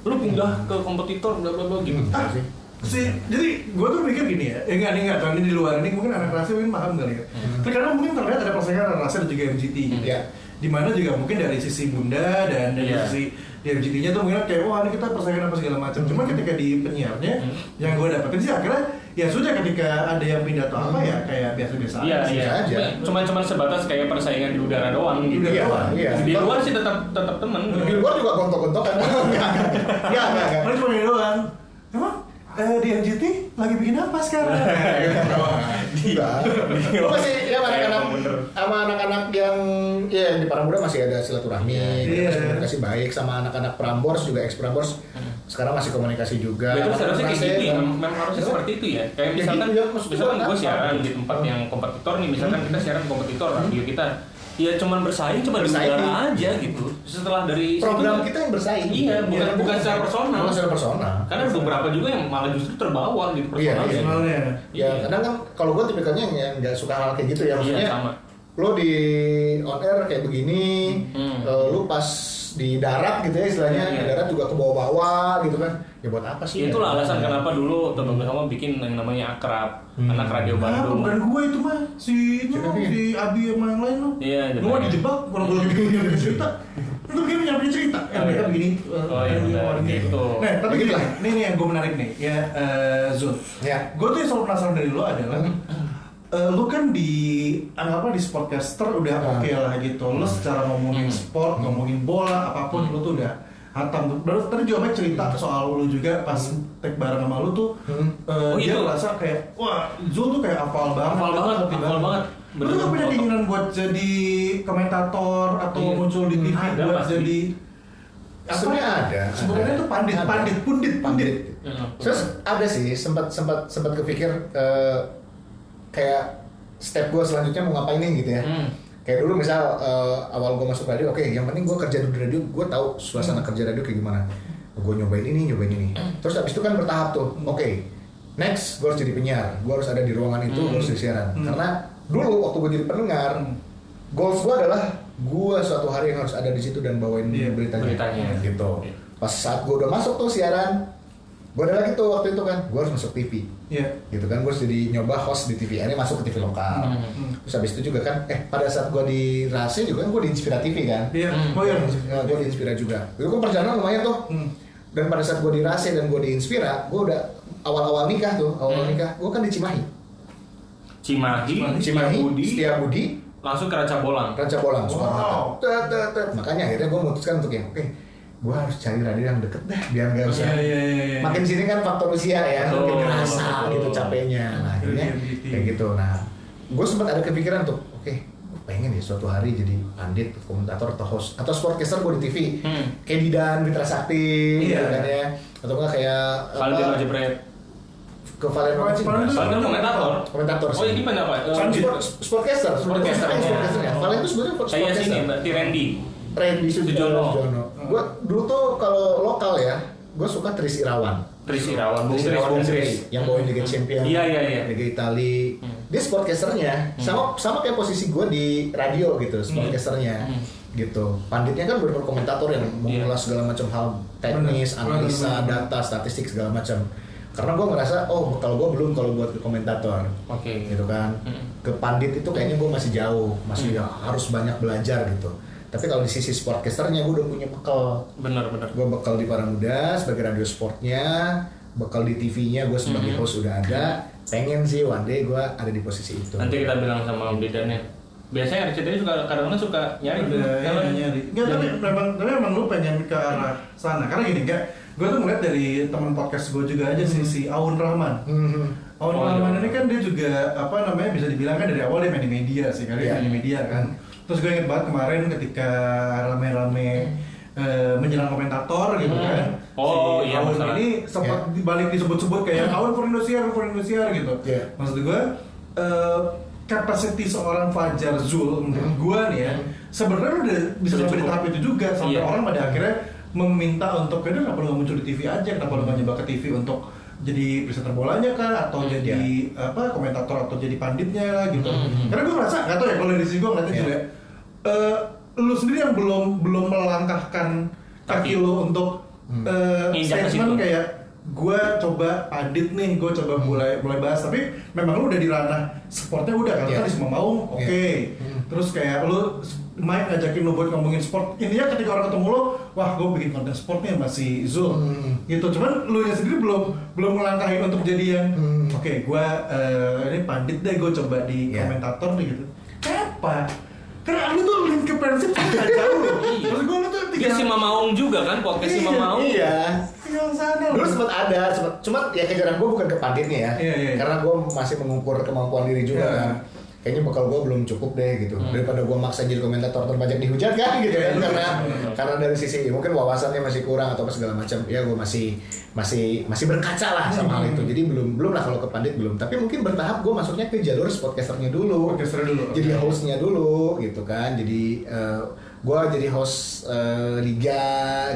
S2: Lu pindah ke kompetitor bla bla bla gitu.
S3: Enggak sih
S1: Si, jadi gue tuh mikir gini ya, ya nggak nih nggak tahu ini di luar ini mungkin anak rasa mungkin paham kali ya.
S2: Hmm.
S1: Tapi karena mungkin terlihat ada persaingan antara rasa dan juga MGT. gitu.
S3: Iya.
S1: Dimana juga mungkin dari sisi bunda dan dari
S2: Iya.
S1: sisi di MGT-nya tuh mungkin kayak wah ini kita persaingan apa segala macam. Cuma
S2: Hmm.
S1: ketika di penyiarnya yang gue dapetin sih akhirnya ya sudah ketika ada yang pindah atau apa ya kayak biasa-biasa
S2: Iya
S1: aja sih.
S2: iya.
S3: Nah, aja.
S2: Cuman cuman sebatas kayak persaingan di udara doang gitu.
S1: Di udara
S3: Iya,
S1: doang.
S3: iya.
S2: Di luar sih tetap tetap temen.
S3: Di luar juga
S2: *laughs*
S3: gontok-gontokan. Enggak, enggak, enggak,
S2: iya.
S3: enggak.
S1: Mereka cuma gini doang. Emang eh, di MGT lagi bikin apa
S2: *laughs*
S1: sekarang? gitu.
S3: Enggak. Lu masih ya sama
S2: Kayak
S3: anak-anak
S2: emang bener.
S3: sama anak-anak yang ya yang di Paramura masih ada silaturahmi,
S1: Iya.
S3: masih komunikasi baik sama anak-anak Prambors juga ex Prambors. Sekarang masih komunikasi juga.
S2: Betul seharusnya kayak
S3: Prase,
S2: gitu ya,
S3: kan.
S2: mem- memang harusnya
S3: Iya.
S2: seperti itu ya. Kayak
S3: Ya
S2: misalkan,
S3: gitu ya, maksud
S2: misalkan
S3: gua
S2: gue
S3: apa? Hmm.
S2: siaran di tempat yang kompetitor nih, misalkan kita siaran kompetitor radio kita, ya cuman bersaing, cuma di
S3: Bersaing.
S2: udara aja gitu. Setelah dari situ-
S3: Program kita yang bersaing.
S2: Iya, bukan
S3: Iya,
S2: bukan secara personal.
S3: Bukan secara personal.
S2: Karena ada beberapa juga yang malah justru terbawa gitu
S3: Iya,
S2: personal.
S3: iya.
S1: Soalnya.
S3: Ya,
S2: Iya.
S3: kadang kan kalau gua tipikalnya yang- yang nggak suka hal kayak gitu ya maksudnya.
S2: sama.
S3: lo di on air kayak begini,
S2: Hmm.
S3: eh, lo pas di darat gitu ya istilahnya,
S2: Iya.
S3: di darat juga ke bawah-bawah gitu kan, ya buat apa sih?
S2: Itulah
S3: Ya.
S2: alasan kenapa dulu Tobang Bersama bikin yang namanya Akrab,
S3: Hmm.
S2: anak radio
S1: Nah,
S2: Bandung.
S1: bukan gue itu mah si itu
S3: Siapa dia?
S1: si Abi sama yang lain loh.
S2: Iya,
S1: Gue
S2: jebakan.
S1: mau dijebak kalau gue lebih punya *laughs* punya cerita. Itu kayak punya punya cerita. Ya
S2: Oh,
S1: mereka
S2: iya.
S1: begini.
S2: Oh,
S1: eh,
S2: iya,
S1: begini,
S2: benar.
S1: orang ini.
S2: Gitu.
S1: Nah, tapi
S3: Begitu
S1: gini,
S3: lah.
S1: nih nih yang gue menarik nih ya eh, Zul.
S3: Ya.
S1: Gue tuh yang selalu penasaran dari lo
S3: *clears throat*
S1: adalah eh, lu kan di anggaplah di sportcaster udah
S3: Ah. Hmm.
S1: oke lah gitu. Lu secara ngomongin sport, ngomongin bola, apapun lu tuh udah hatam. Baru tadi juga Mike cerita soal lu juga pas tag bareng sama lu tuh
S3: Hmm.
S1: eh,
S2: Oh, itu.
S1: dia merasa kayak wah Zul tuh kayak hafal banget.
S2: Hafal banget, hafal banget.
S1: Lu tuh nggak punya
S2: Bener.
S1: keinginan buat jadi komentator atau
S2: Iya.
S1: muncul di TV
S2: Ada
S1: buat
S2: pasti.
S1: jadi apa?
S3: Sebenarnya ada.
S1: Sebenarnya
S3: ada.
S1: tuh pandit,
S3: Ada.
S1: pandit, pundit, pundit.
S2: Iya.
S3: Terus ada sih sempat sempat sempat kepikir eh, kayak step gue selanjutnya mau ngapain nih gitu ya.
S2: Hmm.
S3: Kayak dulu misal eh, awal gue masuk radio, oke yang penting gue kerja di radio, gue tahu suasana kerja radio kayak gimana. Gue nyobain ini, nyobain ini. Terus abis itu kan bertahap tuh, oke next gue harus jadi penyiar, gue harus ada di ruangan itu, gue harus di siaran.
S1: Hmm.
S3: Karena dulu waktu gue jadi pendengar,
S1: Hmm.
S3: goals gue adalah gue suatu hari harus ada di situ dan bawain
S1: Iya,
S3: beritanya.
S2: beritanya.
S3: Gitu.
S2: Iya.
S3: Pas saat gue udah masuk tuh siaran, gue ada lagi tuh waktu itu kan, gue harus masuk TV
S1: Iya.
S3: gitu kan gue jadi nyoba host di TV ini masuk ke TV lokal
S1: Hmm.
S3: terus habis itu juga kan eh pada saat gue di Rase juga kan gue di Inspira TV kan
S1: Iya.
S2: Hmm.
S1: Oh iya.
S3: gue di Inspira juga itu kan perjalanan lumayan tuh
S1: Hmm.
S3: dan pada saat gue di Rase dan gue di Inspira gue udah awal-awal nikah tuh awal-awal
S2: Hmm.
S3: nikah gue kan di Cimahi
S2: Cimahi,
S3: Cimahi
S2: Setiabudi,
S3: Setiabudi
S2: langsung ke Raca Bolang.
S3: Raja Bolang
S1: Wow.
S3: Soekarno Tet, tet, tet. makanya akhirnya gue memutuskan untuk yang oke gue harus cari radio yang deket deh biar gak usah
S1: Iya, iya, iya, iya.
S3: makin sini kan faktor usia ya
S2: Betul,
S3: makin kerasa
S2: betul.
S3: gitu capeknya nah akhirnya
S1: Iya, gitu.
S3: kayak gitu nah gue sempat ada kepikiran tuh oke gua pengen ya suatu hari jadi pandit komentator atau host atau sportcaster gue di TV
S2: Hmm.
S3: kayak Didan Mitra Sakti gitu
S1: Iya.
S3: kan ya atau enggak kayak
S2: Valentino
S3: apa,
S2: Jepret.
S3: ke Valen
S1: Valen
S3: Romancini.
S1: Valen
S2: Valentino komentator.
S3: komentator
S2: Oh,
S3: sih.
S2: ini gimana Pak? Eh,
S1: Pandit.
S3: Sport- sportcaster
S2: Sportcaster.
S3: Bukan sportcaster ya Valen itu sebenarnya
S2: Kayak
S3: sportcaster
S2: sini Mbak Tirendi.
S3: Randy
S2: Sujono.
S3: Sujono gue dulu tuh kalau lokal ya gue suka Tris Irawan
S2: Tris Irawan, Bung
S3: Bung
S2: Tris,
S3: Irawan
S2: Bung
S3: Bung
S2: Tris.
S3: Tris, yang bawain Liga Champion
S2: Iya, iya, iya. Hmm.
S3: Liga Itali dia sportcasternya sama sama kayak posisi gue di radio gitu sportcasternya
S2: Hmm. Iya.
S3: gitu panditnya kan benar komentator yang mengulas segala macam hal teknis
S1: Bener,
S3: analisa
S1: bener, bener.
S3: data statistik segala macam karena gue ngerasa oh kalau gue belum kalau buat komentator
S2: Oke.
S3: gitu kan
S2: Mm.
S3: ke pandit itu kayaknya gue masih jauh masih
S2: Hmm.
S3: harus banyak belajar gitu tapi kalau di sisi sportcasternya gue udah punya bekal
S2: Benar, benar.
S3: gue bekal
S2: Mhm.
S3: di Paramuda sebagai radio sportnya bekal di TV-nya gue sebagai host udah ada pengen sih one day gue ada di posisi itu
S2: Nanti kita bilang sama Om Didan ya. Biasanya RCTI suka kadang-kadang suka nyari Iya.
S1: Udah, ya,
S2: Kalau-
S1: nyari. Nggak, tapi memang, tapi memang lu pengen ke arah sana. Karena gini, enggak, gue tuh ngeliat dari teman podcast gue juga aja sih, si Aun Rahman.
S3: Mhm.
S1: Aun
S2: Hmm. Oh, iya.
S1: Rahman ini kan dia juga, apa namanya, bisa dibilang kan dari awal dia main di media sih, karena dia
S3: Iya.
S1: main di media kan. Terus gue inget banget kemarin ketika rame-rame eh, menyerang komentator gitu
S2: Hmm.
S1: kan.
S2: Oh,
S1: si
S2: iya,
S1: Aun
S2: masalah.
S1: ini sempat dibalik disebut-sebut kayak
S2: Hmm.
S1: "Oh, Aun for Indosiar, for Indosiar gitu.
S3: Iya.
S1: Maksud gue, eh kapasiti seorang Fajar Zul menurut gue nih ya, sebenarnya udah bisa
S2: Hmm. Sudah
S1: sampai di
S2: cukup.
S1: tahap itu juga sampai
S2: Iya.
S1: orang pada akhirnya meminta untuk kayaknya kenapa lu nggak muncul di TV aja, kenapa lu nggak nyoba ke TV untuk jadi presenter bolanya kah atau
S2: Hmm,
S1: jadi
S2: iya.
S1: apa komentator atau jadi panditnya gitu.
S2: hmm.
S1: Karena gue ngerasa nggak tahu ya kalau dari sisi gue ngeliatnya
S3: Iya.
S1: juga eh, lu sendiri yang belum belum melangkahkan kaki
S2: Kaki.
S1: lu untuk eh,
S2: Nginjak ke
S1: statement
S2: situ.
S1: kayak gue coba adit nih, gue coba mulai mulai bahas tapi memang lu udah di ranah sportnya udah kan
S3: Iya.
S1: tadi semua mau oke
S3: Hmm.
S1: terus kayak lu Mike ngajakin lu buat ngomongin sport intinya ketika orang ketemu lu wah gue bikin konten sportnya masih Zul
S3: Hmm.
S1: gitu cuman lu nya sendiri belum belum melangkahin untuk jadi yang
S3: Hmm.
S1: oke gue ini pandit deh gue coba di
S3: Iya.
S1: komentator nih gitu kenapa karena lu tuh link ke prinsip tuh nggak jauh
S2: Iya.
S1: terus gue lu tuh
S2: Dia
S1: tinggal
S2: si Mamaung juga kan, podcast si
S1: Iya,
S2: Mamaung.
S3: iya
S1: tinggal sana
S3: dulu
S1: lu.
S3: sempat ada sempat cuma ya kejaran gue bukan ke panditnya ya
S1: Iya, iya.
S3: karena gue masih mengukur kemampuan diri juga
S1: Iya. Hmm.
S3: kan kayaknya bekal gue belum cukup deh gitu daripada gue maksa jadi komentator terpajak dihujat kan gitu
S1: Iya,
S3: kan
S1: iya,
S3: karena
S1: iya,
S2: iya.
S3: karena dari sisi ya, mungkin wawasannya masih kurang atau apa segala macam ya gue masih masih masih berkaca lah sama
S1: Hmm.
S3: hal itu jadi belum belum lah kalau ke pandit belum tapi mungkin bertahap gue masuknya ke jalur podcasternya dulu
S1: Podcaster dulu, oke.
S3: jadi hostnya dulu gitu kan jadi eh, gua gue jadi host eh, liga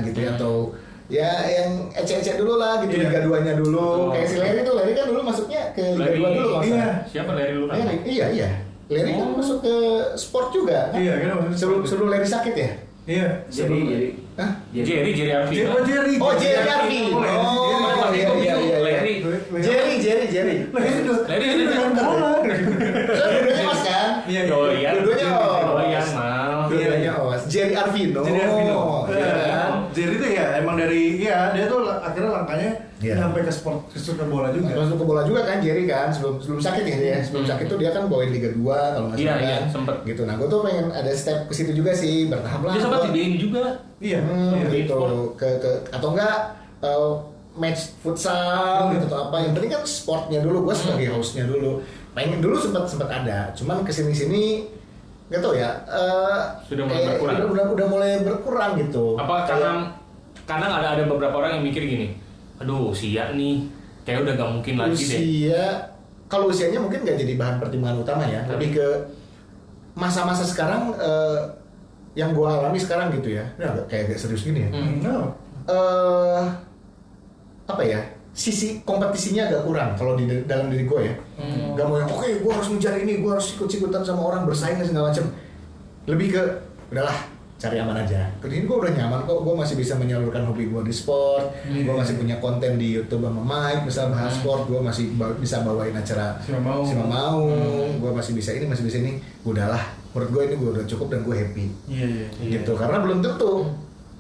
S3: gitu ya atau ya yang ecek-ecek dulu lah gitu
S1: Hmm. Iya.
S3: liga duanya dulu
S2: Betul.
S3: kayak si Larry tuh Larry kan dulu masuknya ke liga
S2: Larry.
S3: dua dulu kalau
S1: Iya.
S3: nggak
S2: Siapa Larry
S3: salah.
S2: Luran?
S3: Larry iya iya Larry kan
S2: Oh.
S3: masuk ke sport juga kan?
S1: Iya, kan masuk
S3: sebelum
S1: sport.
S3: sebelum Larry sakit ya
S1: iya
S5: Jadi, jadi,
S3: Hah?
S2: Jerry, Jerry Arvino.
S1: Jerry Iya. Jerry
S3: Oh, Jerry Arvin.
S1: Oh,
S3: Oh,
S1: Jerry.
S3: iya, iya, iya, iya.
S2: Larry.
S3: Jerry Jerry Jerry
S1: Lah, ini udah-
S2: Larry,
S1: ini
S2: Larry.
S1: udah bola.
S3: so dua-duanya mas kan
S1: Iya, iya.
S2: Doyan.
S3: Dua-duanya os.
S2: Doyan, mal.
S3: dua-duanya os Jerry Arvino
S1: Jerry Arvino.
S3: iya kan?
S1: Jerry itu ya emang dari ya dia tuh la- akhirnya langkahnya
S3: Iya.
S1: sampai ke sport ke suka bola juga.
S3: Masuk ke bola juga kan Jerry kan sebelum sebelum sakit ya dia. Sebelum sakit tuh dia kan bawain Liga 2 kalau nggak
S2: Hmm. Iya,
S3: salah.
S2: iya, sempet.
S3: Gitu. Nah, gue tuh pengen ada step ke situ juga sih, bertahap lah.
S2: Dia sempat
S3: gua.
S2: dibiayain juga.
S1: Iya.
S3: Hmm,
S1: iya.
S2: di
S3: gitu.
S2: sport.
S3: Ke, ke atau enggak eh, match futsal gitu atau apa. Yang penting kan sportnya dulu, gue sebagai
S2: Hmm.
S3: hostnya dulu. Pengen dulu sempat sempat ada, cuman kesini sini nggak tau ya. eh,
S2: Sudah mulai
S3: kayak
S2: berkurang.
S3: Udah, udah, udah mulai berkurang gitu.
S2: Apa karena kadang ada ada beberapa orang yang mikir gini, aduh usia nih kayak udah gak mungkin lagi
S3: usia,
S2: deh.
S3: kalau usianya mungkin nggak jadi bahan pertimbangan utama ya
S2: Tapi-
S3: lebih ke masa-masa sekarang eh, yang gua alami sekarang gitu ya ini agak- kayak agak serius gini ya
S2: Hmm.
S1: No.
S3: Eh, apa ya sisi kompetisinya agak kurang kalau di dalam diri gue ya nggak mau yang oke gue harus ngejar ini gue harus ikut-ikutan sama orang bersaing dan segala macam lebih ke udahlah cari aman aja ini gue udah nyaman kok gue masih bisa menyalurkan hobi gue di sport gue masih punya konten di YouTube sama Mike bisa bahas sport gue masih ba- bisa bawain acara
S1: Siapa mau.
S3: siapa mau gue masih bisa ini masih bisa ini udahlah menurut gue ini gue udah cukup dan gue happy
S1: Iya iya.
S2: Iya.
S3: gitu karena belum tentu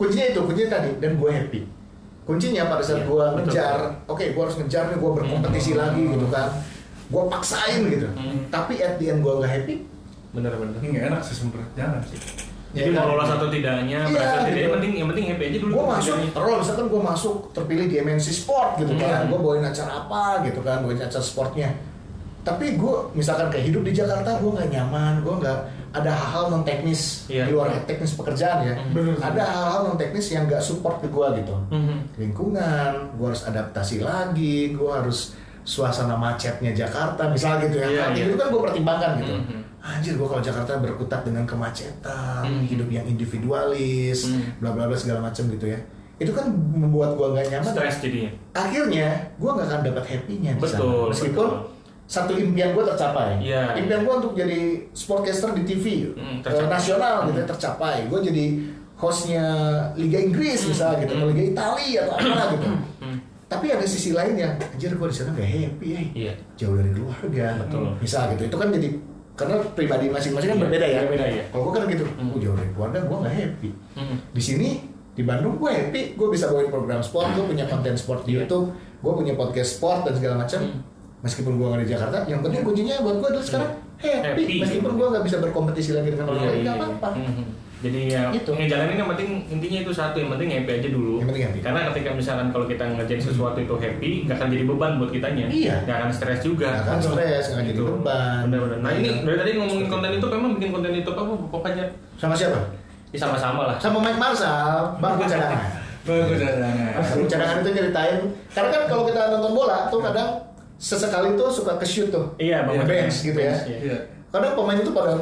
S3: kuncinya itu kuncinya tadi dan gue happy kuncinya pada saat
S2: Iya,
S3: gue
S2: betul.
S3: ngejar oke gue harus ngejar nih gue berkompetisi lagi gitu kan gue paksain gitu
S2: Hmm.
S3: tapi at the end gue nggak happy
S2: Bener-bener.
S1: Ini nggak enak sih sebenernya, jangan sih.
S3: ya
S2: Jadi
S3: kan?
S2: mau lolos atau tidaknya,
S3: Iya,
S2: berasa tidak,
S3: gitu.
S2: yang penting yang penting happy aja dulu.
S3: gue masuk
S2: Tidaknya.
S3: kalau misalkan gue masuk terpilih di MNC Sport gitu
S2: Hmm.
S3: kan gue bawain acara apa gitu kan bawain acara sportnya tapi gue misalkan kayak hidup di Jakarta gue nggak nyaman gue nggak ada hal-hal non teknis
S2: Iya.
S3: di luar teknis pekerjaan ya
S1: Bener.
S3: ada hal-hal non teknis yang nggak support ke gue gitu
S2: Mhm.
S3: lingkungan, gue harus adaptasi lagi, gue harus suasana macetnya Jakarta misal gitu ya.
S2: Iya,
S3: Hal
S2: iya.
S3: Itu kan gue pertimbangkan gitu.
S2: Mhm.
S3: Anjir gue kalau Jakarta berkutat dengan kemacetan,
S2: Mhm.
S3: hidup yang individualis,
S2: Mhm.
S3: bla bla bla segala macam gitu ya. Itu kan membuat gue nggak nyaman.
S2: Stres jadinya.
S3: Akhirnya gue nggak akan dapat happy-nya di sana.
S2: Betul,
S3: Meskipun
S2: betul.
S3: satu impian gue tercapai.
S2: Iya.
S3: Impian gue untuk jadi sportcaster di TV
S2: Mhm,
S3: eh,
S2: tercapai. Hmm.
S3: nasional gitu ya, tercapai. Gue jadi hostnya Liga
S2: Hmm,
S3: Inggris misalnya gitu, atau Liga Italia atau apa
S2: *clears throat*
S3: gitu. Tapi ada sisi lain yang anjir gue di sana gak happy ya.
S2: Iya.
S3: Jauh dari keluarga.
S2: Betul.
S3: Misal gitu. Itu kan jadi karena pribadi masing-masing kan
S2: Iya,
S3: berbeda ya.
S2: berbeda, iya.
S3: Kalau gue kan gitu, "Oh, jauh dari keluarga gue gak happy.
S2: Mhm.
S3: Di sini di Bandung gue happy, gue bisa bawain program sport, gue punya konten sport di
S2: Iya.
S3: YouTube, gue punya podcast sport dan segala macam.
S2: Hmm. Iya.
S3: meskipun gua nggak di Jakarta yang penting kuncinya buat gua adalah sekarang happy,
S2: Happy.
S3: meskipun gua nggak bisa berkompetisi lagi dengan orang lain nggak apa-apa
S2: Iya, Mhm. Jadi ya
S3: Gitu.
S2: ngejalanin yang penting intinya itu satu yang penting happy aja dulu.
S3: Yang penting happy. Mhm.
S2: Karena ketika misalkan kalau kita ngerjain sesuatu itu happy, nggak akan jadi beban buat kitanya.
S3: Iya.
S2: Nggak akan stres juga.
S3: Nggak akan stres, nggak jadi
S2: Gitu.
S3: beban. Iya.
S2: Benar-benar. Nah ini dari tadi ngomongin
S3: Seperti
S2: konten itu, memang bikin konten itu apa pokoknya
S3: sama siapa
S2: ya sama-sama lah.
S3: sama Mike Marsal baru
S2: *laughs*
S3: cadangan
S1: Bagus caranya.
S3: Baru cadangan itu nyeritain karena kan kalau kita nonton bola tuh kadang sesekali tuh suka ke shoot tuh
S2: Iya,
S3: Iya,
S2: Bang.
S3: bench gitu ya.
S2: Iya.
S1: Iya.
S3: kadang pemain itu pada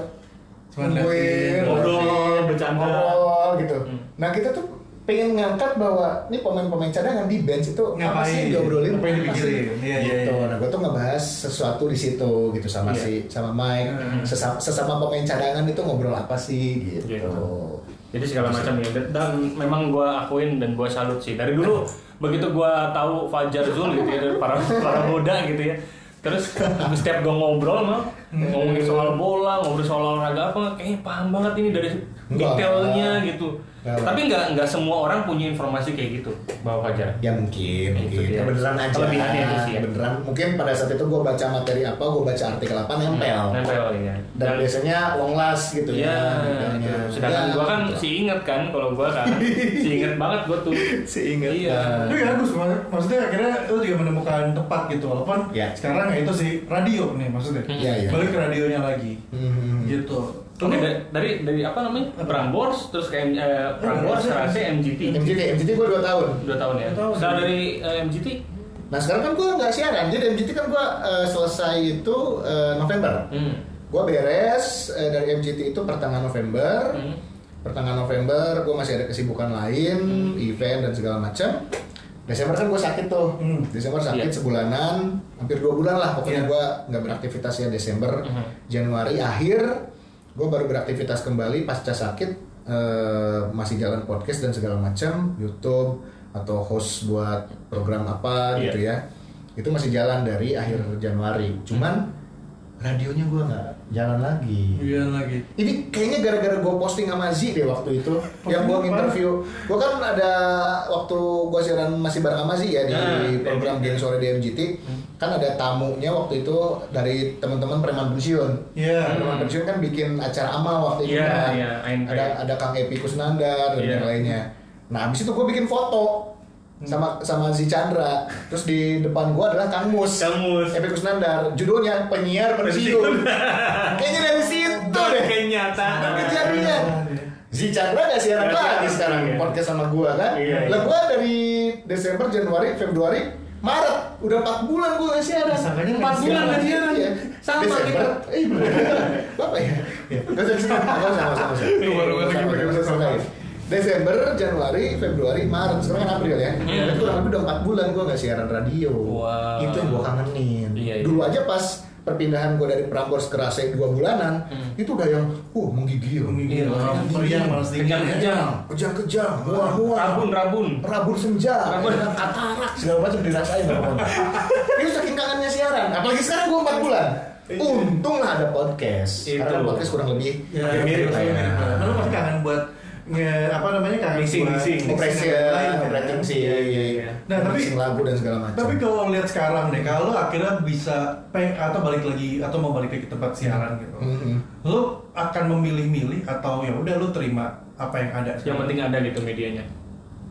S1: Cuma
S3: nungguin,
S1: ngeliatin,
S2: ngobrol,
S3: ngeliatin,
S2: bercanda.
S3: ngobrol gitu
S2: Hmm.
S3: nah kita tuh pengen ngangkat bahwa ini pemain-pemain cadangan di bench itu apa sih
S1: Ngapain?
S3: yang diobrolin
S1: Apa yang
S3: Apa
S1: dipikirin?
S3: sih?
S1: Iya, iya,
S3: gitu
S1: iya.
S3: nah gue tuh ngebahas sesuatu di situ gitu sama
S2: Iya.
S3: si sama Mike
S1: Hmm.
S3: sesama, sesama pemain cadangan itu ngobrol apa sih gitu,
S2: Gitu. Jadi segala macam ya. Dan memang gua akuin dan gua salut sih. Dari dulu begitu gua tahu Fajar Zul gitu ya dari para para muda gitu ya. Terus setiap gua ngobrol mah
S3: Hmm.
S2: ngomongin soal bola, ngobrol soal olahraga apa, kayaknya paham banget ini dari
S3: Enggak.
S2: detailnya gitu.
S3: Enggak.
S2: Tapi nggak nggak semua orang punya informasi kayak gitu bahwa Fajar.
S3: ya mungkin
S2: Itu
S3: mungkin
S2: dia.
S3: kebeneran aja
S2: Kelebihannya itu sih ya.
S3: kebeneran mungkin pada saat itu gue baca materi apa gue baca artikel apa nempel
S2: Nempel ya.
S3: dan biasanya long last gitu
S2: Iya,
S3: ya
S2: gitu.
S3: gitu.
S2: sedangkan
S3: Ya,
S2: gua kan
S3: gitu.
S2: si inget kan kalau gua kan si inget banget gua tuh.
S3: *laughs* Si inget
S2: Iya.
S3: banget.
S1: Tapi ya bagus, mak- maksudnya akhirnya lu juga menemukan tempat gitu walaupun
S3: Ya.
S1: sekarang ya itu sih radio nih maksudnya.
S3: Iya, iya.
S1: Balik ke radionya lagi.
S3: Hmm.
S1: Gitu.
S2: Oke, dari, dari dari apa namanya? Prambors terus ke M- eh, Prambors Serase MGT.
S3: MGT, MGT gue 2 tahun.
S2: Dua tahun ya.
S1: Dua tahun.
S2: Setelah dari eh, MGT
S3: Nah sekarang kan gue nggak siaran, jadi MGT kan gue eh, selesai itu eh, November.
S2: hmm.
S3: Gue beres eh, dari MGT itu pertengahan November.
S2: Hmm.
S3: Pertengahan November gue masih ada kesibukan
S1: Hmm.
S3: lain, event dan segala macam. Desember kan gue sakit tuh,
S1: Hmm.
S3: Desember sakit
S2: Iya.
S3: sebulanan, hampir dua bulan lah pokoknya
S1: Iya. Hmm.
S3: gue nggak beraktivitas ya Desember,
S2: Mhm.
S3: Januari akhir gue baru beraktivitas kembali pasca sakit eh, masih jalan podcast dan segala macam YouTube atau host buat program apa
S2: Iya.
S3: gitu ya itu masih jalan dari akhir
S1: Hmm.
S3: Januari, cuman radionya gue nggak jalan lagi.
S1: Iya lagi.
S3: Ini kayaknya gara-gara gue posting sama Zi deh waktu itu Yang gue
S1: apa?
S3: interview Gue kan ada waktu gue siaran masih bareng sama Zi ya Di
S2: Nah,
S3: program Geng Sore di MGT
S2: Hmm.
S3: Kan ada tamunya waktu itu dari teman-teman preman pensiun
S1: Iya.
S3: Preman pensiun kan bikin acara amal waktu itu
S2: Iya,
S3: kan.
S2: iya, ANP.
S3: ada, ada Kang Epi Kusnandar dan
S2: Iya. Hmm.
S3: yang lainnya Nah abis itu gue bikin foto sama sama Zi Chandra terus di depan gue adalah Kang Mus
S2: Kamus.
S3: Epi Kusnandar judulnya penyiar pensiun kayaknya dari situ deh Ah. Nah,
S2: Kenyataan.
S3: kejadian Zi Chandra gak siaran
S2: Nggak
S3: lagi
S2: siaran,
S3: sekarang
S2: iya.
S3: podcast sama gua kan
S2: Iya, iya.
S3: lah gua dari Desember Januari Februari Maret udah 4 bulan gua gak siaran
S1: Sangkanya
S2: Empat
S1: nggak
S2: bulan
S1: siaran.
S2: nggak siaran.
S3: Iya.
S2: Sama
S3: Desember eh bener. apa ya gak usah disebut gak usah gak usah gak usah.
S1: Baru-baru lagi
S3: Gak usah,
S1: pakai
S3: gak usah,
S1: bahasa
S3: gak usah. Desember, Januari, Februari, Maret Sekarang kan April ya
S2: Iya.
S3: Itu kurang lebih udah 4 bulan gua gak siaran radio
S2: Wow.
S3: Itu yang gua kangenin
S2: Iya, iya.
S3: Dulu aja pas perpindahan gua dari Prambors ke Rasai 2 bulanan
S2: Hmm.
S3: Itu udah yang, wah menggigil
S1: Iya, orang meriang malas ya. dingin.
S2: Kejang-kejang.
S3: kejang-kejang, muah-muah,
S2: Rabun rabun.
S3: rabun senja,
S2: Rabun.
S3: katarak, segala macam dirasain sama orang. Itu saking kangennya siaran, apalagi sekarang gua 4 bulan. Untung lah ada podcast.
S2: Itu.
S3: Karena podcast kurang lebih
S1: Ya, Iya.
S3: hampir
S1: mirip
S3: lah ya.
S1: mirip. Lalu pasti kangen buat nge, apa namanya kangen
S2: Mixing,
S1: buat
S2: mixing.
S3: Kompresi
S1: dan
S3: ya,
S1: lain-lain, kan?
S3: kompresi sih.
S2: Iya, iya, iya.
S1: Nah, tapi-
S3: Kompresi lagu dan segala macam.
S1: Tapi kalau lihat sekarang deh, kalau akhirnya bisa peng atau balik lagi atau mau balik lagi ke tempat siaran gitu,
S3: Mm-mm.
S1: lo akan memilih-milih atau ya udah lo terima apa yang ada.
S2: Yang penting ada gitu medianya.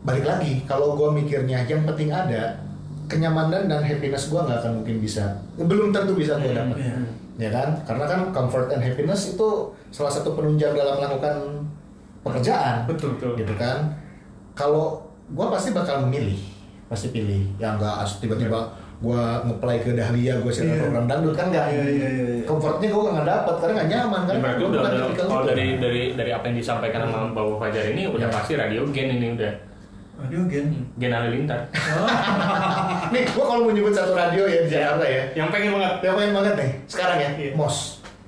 S3: balik lagi kalau gue mikirnya yang penting ada kenyamanan dan happiness gue nggak akan mungkin bisa belum tentu bisa gue dapat
S1: iya.
S3: ya kan karena kan comfort and happiness itu salah satu penunjang dalam melakukan pekerjaan
S1: Betul.
S2: Betul.
S3: gitu kan kalau gue pasti bakal memilih pasti pilih yang nggak as- tiba-tiba gue ngeplay ke Dahlia gue siaran
S1: Iya.
S3: program dangdut kan nggak
S1: Iya, iya, iya, iya.
S3: comfortnya gue nggak dapet karena nggak nyaman
S2: Ya,
S3: karena
S2: berarti
S3: gua
S2: udah,
S3: bukan
S2: udah
S3: tipikal
S2: kalau
S3: itu.
S2: dari dari dari apa yang disampaikan sama Bapak Fajar ini udah
S3: Iya.
S2: pasti radio gen ini udah
S1: Aduh, gen.
S2: gen halilintar.
S3: *laughs* nih gue kalau mau nyebut satu radio ya di Jakarta ya
S2: Yang pengen banget.
S3: Yang main banget nih sekarang ya,
S2: Iya.
S3: Mos.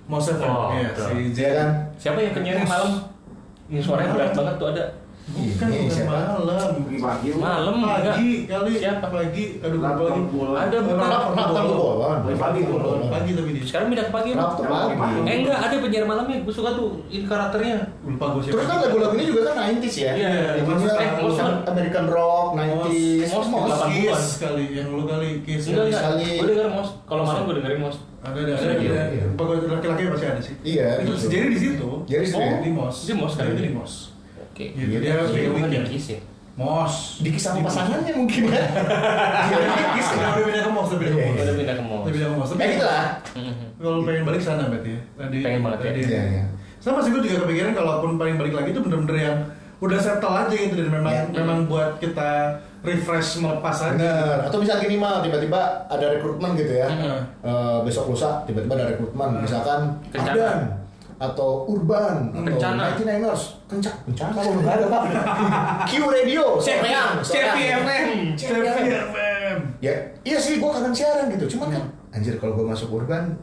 S1: Mau seven,
S2: Oh,
S1: ya,
S2: betul.
S1: si
S3: Iya
S1: Jen.
S3: kan?
S2: Siapa yang penyiar malam? Ini suaranya berat banget tuh ada.
S1: Bukan,
S3: Iya,
S1: bukan
S3: siapa?
S1: malam.
S5: Pagi lu.
S2: Malam
S1: Pagi kali.
S2: Siapa?
S1: Pagi. Aduh,
S5: Laptop
S1: pagi.
S5: bola.
S2: Ada bukan?
S3: Rap- Rap Tangguh Bolon.
S5: Pagi, Bolon.
S1: Pagi tapi dia.
S2: Sekarang pindah ke pagi.
S3: Rap tuh pagi.
S2: Eh enggak, ada penyiar malamnya. Gue suka tuh ini karakternya.
S1: Lupa gue siapa.
S3: Terus kan lagu-lagunya juga kan 90s ya?
S2: Iya,
S3: Lagunya
S2: maksudnya, eh, Mos kan-
S3: American Rock, 90s,
S2: Mos mos di
S3: Mos,
S2: 80-an.
S1: Kiss kali yang lu kali Kiss.
S2: Enggak, enggak.
S3: Sekali-
S2: Gue denger mos. Kalau malam gue dengerin mos.
S1: Ada ada
S2: Ada,
S1: ada.
S2: iya,
S1: ada.
S3: iya.
S1: Bagus laki-laki pasti ada sih.
S3: Iya,
S1: Itu
S3: gitu.
S1: sejari di situ.
S3: Jerry sih, ya?
S1: di mos.
S2: Di mos, kan?
S1: Jerry di mos.
S2: Oke.
S1: Gitu,
S3: Iya,
S1: dia harus
S2: Iya,
S1: pakai
S2: gue
S1: weekend.
S2: nggak kiss ya.
S1: Mos.
S3: Dikis sama
S1: *laughs*
S3: pasangannya mungkin
S2: *laughs*
S3: ya. Iya, dikis.
S1: Nah, udah pindah ke mos, udah pindah ke mos.
S2: Gue udah pindah ke mos.
S1: Udah pindah ke mos. Tapi
S3: Kayak Iya, gitu lah.
S2: Mhm.
S1: Kalau pengen balik sana berarti ya. Tadi,
S2: Pengen banget ya.
S1: tadi.
S3: Iya, iya.
S1: Sama sih gue juga kepikiran kalaupun paling balik lagi itu bener-bener yang udah settle aja gitu dan memang
S3: Ya.
S1: memang buat kita refresh melepas aja.
S3: Bener. Atau misal gini mal, tiba-tiba ada rekrutmen gitu ya.
S1: Heeh.
S3: Eh, besok lusa tiba-tiba ada rekrutmen, misalkan
S2: Kencana.
S3: Ardan atau Urban
S2: Kencana.
S3: atau 99ers kencang kencang kalau nggak
S1: *laughs*
S3: ada pak Q Radio soreang soreang
S1: CPFM.
S3: ya iya sih gua kangen siaran gitu cuman kan
S1: Mm.
S3: anjir kalau gua masuk Urban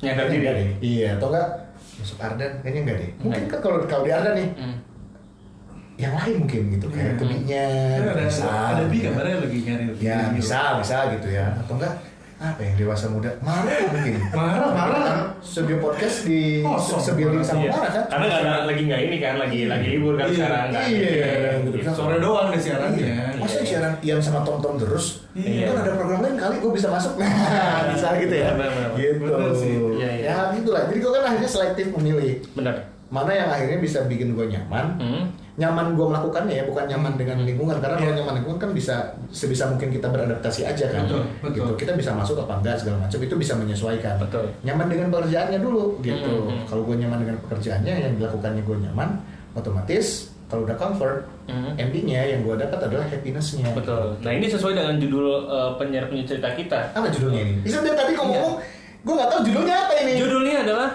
S2: Nyadar
S3: kayaknya
S2: diri.
S3: enggak deh iya atau enggak masuk Ardan kayaknya enggak deh mungkin
S1: ya?
S3: kan kalau kalau di Ardan nih
S2: Mhm.
S3: yang lain mungkin gitu kayak
S1: Iya.
S3: kebinya
S1: Kan
S3: gitu,
S1: ada
S3: misal,
S1: ada bi
S3: gitu.
S1: gambarnya lagi nyari.
S3: ya bisa bisa gitu ya atau enggak apa yang dewasa muda marah mungkin
S1: Marah, marah.
S3: studio podcast di
S1: Kosong.
S3: sebeling sama
S2: Iya.
S3: marah kan
S2: Karena nggak ada lagi nggak ini kan lagi lagi libur kan
S1: Iya.
S2: sekarang kan.
S3: Iya.
S2: Gitu.
S3: Iya.
S1: Sore doang deh siarannya.
S3: Iya. Masa siaran Ian sama Tom Tom terus?
S1: Iya.
S3: Kan ada program lain kali gue bisa masuk. Nah, bisa gitu ya.
S2: Benar, benar, benar.
S3: Gitu.
S1: Benar sih.
S2: Iya, iya.
S3: Ya gitu lah. Jadi gue kan akhirnya selektif memilih
S2: Benar.
S3: mana yang akhirnya bisa bikin gue nyaman.
S2: Hmm.
S3: Nyaman gue melakukannya ya, bukan nyaman dengan lingkungan. Karena
S2: Iya.
S3: kalau nyaman lingkungan kan bisa sebisa mungkin kita beradaptasi aja kan.
S1: Betul, betul.
S3: Gitu. Kita bisa masuk apa enggak segala macam itu bisa menyesuaikan.
S2: Betul.
S3: Nyaman dengan pekerjaannya dulu gitu.
S2: Hmm, hmm.
S3: Kalau gue nyaman dengan pekerjaannya yang dilakukannya gue nyaman, otomatis kalau udah comfort,
S2: Hmm.
S3: endingnya yang gue dapat adalah happinessnya.
S2: Betul. Nah ini sesuai dengan judul eh, penyiar punya cerita kita.
S3: Apa judulnya ini? Bisa dia tadi ngomong,
S2: Iya.
S3: gue nggak tahu judulnya apa ini.
S2: Judulnya adalah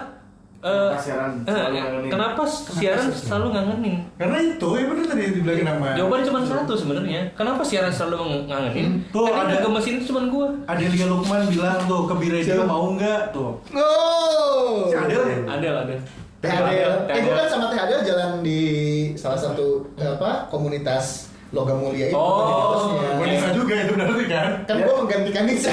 S2: eh,
S4: Kenapa siaran
S2: eh,
S4: selalu ngangenin?
S2: Kenapa siaran selalu ngangenin?
S1: Karena itu, ya bener tadi dibilangin nama.
S2: Jawabannya cuma satu sebenarnya. Kenapa siaran selalu ngangenin?
S1: Tuh,
S2: Karena
S1: ada-
S2: ada mesin itu cuma gua.
S1: Adelia Lukman bilang tuh ke Bi Radio
S3: Siapa?
S1: mau nggak tuh.
S3: Oh.
S1: Si Adel ya?
S2: Ada lah ada. ya?
S3: Teh Adel. Eh
S2: Teh
S3: gue kan
S2: Adel.
S3: sama Teh Adel jalan di salah satu eh, apa komunitas logam mulia itu.
S2: Oh,
S3: jadi hostnya.
S1: Gue Nisa juga itu berarti kan.
S3: Kan gue menggantikan Nisa.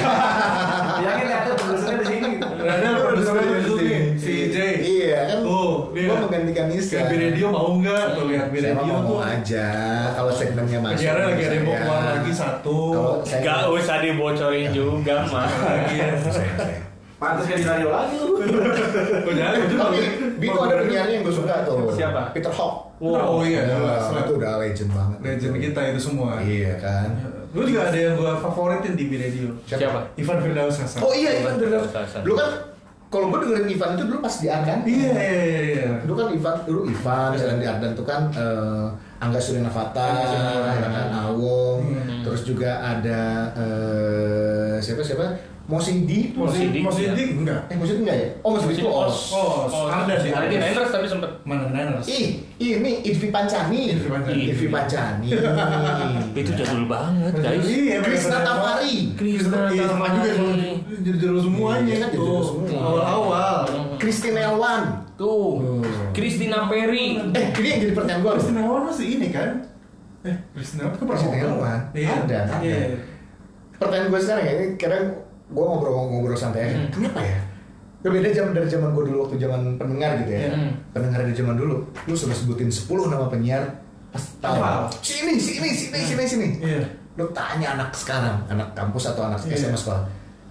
S4: Bilangin ada produsernya di sini.
S1: Ada produsernya itu nih, si J.
S3: iya kan.
S1: Oh, dia.
S3: gue menggantikan Nisa.
S1: Ke Bi Radio mau nggak tuh lihat Bi
S3: Saya mau
S1: Radio tuh.
S3: ngomong aja kalau segmennya masuk.
S1: Penyiaran lagi ada yang mau
S3: saya-
S1: keluar lagi satu.
S3: Kalau saya
S2: Gak usah dibocorin juga mah.
S1: Iya.
S3: Saya- saya-
S4: Pantas gak di radio lagi lu.
S1: Gue jalan, gue juga.
S3: Tapi Biko ada penyiarnya yang gue suka tuh.
S2: Siapa?
S3: Peter Hawk.
S1: Oh iya, jelas.
S3: Nah, itu udah legend banget.
S1: Legend kita itu semua.
S3: Iya kan.
S1: Gue juga ada yang gue favoritin di Bi Radio.
S2: Siapa?
S1: Ivan Firdaus Hasan.
S3: Oh iya Ivan dulu.
S2: Sasan.
S3: Dulu kan kalau gue dengerin Ivan itu dulu pas di Ardan.
S1: Iya, iya, iya.
S3: Dulu kan Ivan, dulu Ivan, selain di Ardan tuh kan eh, Angga Surinavata, ya kan Awong, terus juga ada eh, siapa siapa? Mosidi.
S2: Mo Sidik,
S1: Mau
S2: ya.
S1: Sidik enggak?
S3: Eh Mosidi enggak ya? Oh Mosidi itu Os.
S1: Oh, ada sih.
S2: Ada di Niners tapi sempet
S1: Mana Niners?
S3: Ih, ini Idvi Pancani.
S1: Idvi Pancani.
S3: Idvi Pancani.
S2: itu jadul banget guys.
S1: Iya,
S3: Krishna
S1: bener-bener.
S3: Tafari.
S1: Krishna
S2: Krishna
S1: sama juga
S2: Tafari.
S1: jadi judul semuanya
S3: Iya, kan
S1: tuh.
S3: judul semua.
S1: Awal-awal.
S3: Christine Elwan.
S2: Tuh, Christina Perry.
S3: Eh, ini yang jadi pertanyaan gue.
S1: Krishna Awal masih ini kan? Eh, Krishna Awal itu
S3: Krishna Awal.
S1: Iya.
S3: Ada, ada.
S1: Iya.
S3: Pertanyaan gue sekarang ya, ini kadang gue ngobrol-ngobrol santai aja.
S1: Hmm.
S3: Kenapa ya? Ya beda zaman dari zaman gue dulu waktu zaman pendengar gitu ya.
S2: Hmm.
S3: Pendengar dari zaman dulu, lu sudah sebutin 10 nama penyiar. Pasti
S1: Hafal.
S3: tahu. Sini, sini, sini, sini, sini.
S1: Iya.
S3: Lu tanya anak sekarang, anak kampus atau anak
S1: Iya.
S3: SMA sekolah.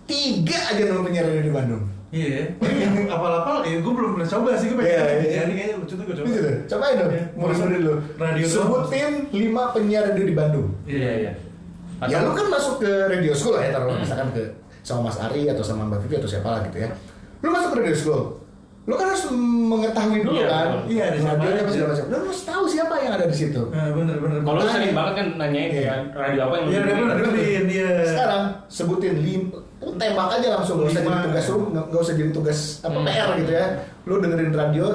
S3: Tiga aja nama penyiar ada di Bandung.
S1: Iya. Tapi yang apal-apal, ya gue belum pernah coba sih. Gue pengen
S3: Iya, iya.
S1: jadi kayaknya lucu tuh gue coba.
S3: Gitu deh. Cobain dong,
S1: Iya.
S3: murid-murid lu.
S1: Radio tuh.
S3: Sebutin lima penyiar radio di Bandung.
S2: Iya iya.
S3: Ya lu kan masuk ke radio school lah ya taruh misalkan ke sama Mas Ari atau sama Mbak Vivi atau siapa lah gitu ya. Lu masuk ke radio school. Lu kan harus mengetahui dulu
S2: Iya,
S3: kan.
S2: betul.
S1: Iya, ada siapa
S3: Radionya apa
S1: aja.
S3: segala macam. Lu harus tahu siapa yang ada di situ.
S1: Nah, bener-bener.
S2: Kalau lu sering
S3: Tanya.
S2: banget kan nanyain
S3: Iya.
S2: kan radio apa yang lu
S1: Iya,
S2: dengerin?
S1: bener-bener. dengerin, Iya.
S3: Sekarang sebutin lim lu tembak aja langsung nggak usah jadi
S1: Lima.
S3: tugas lu nggak nggak usah jadi tugas apa
S2: Hmm.
S3: PR gitu ya. Lu dengerin radio,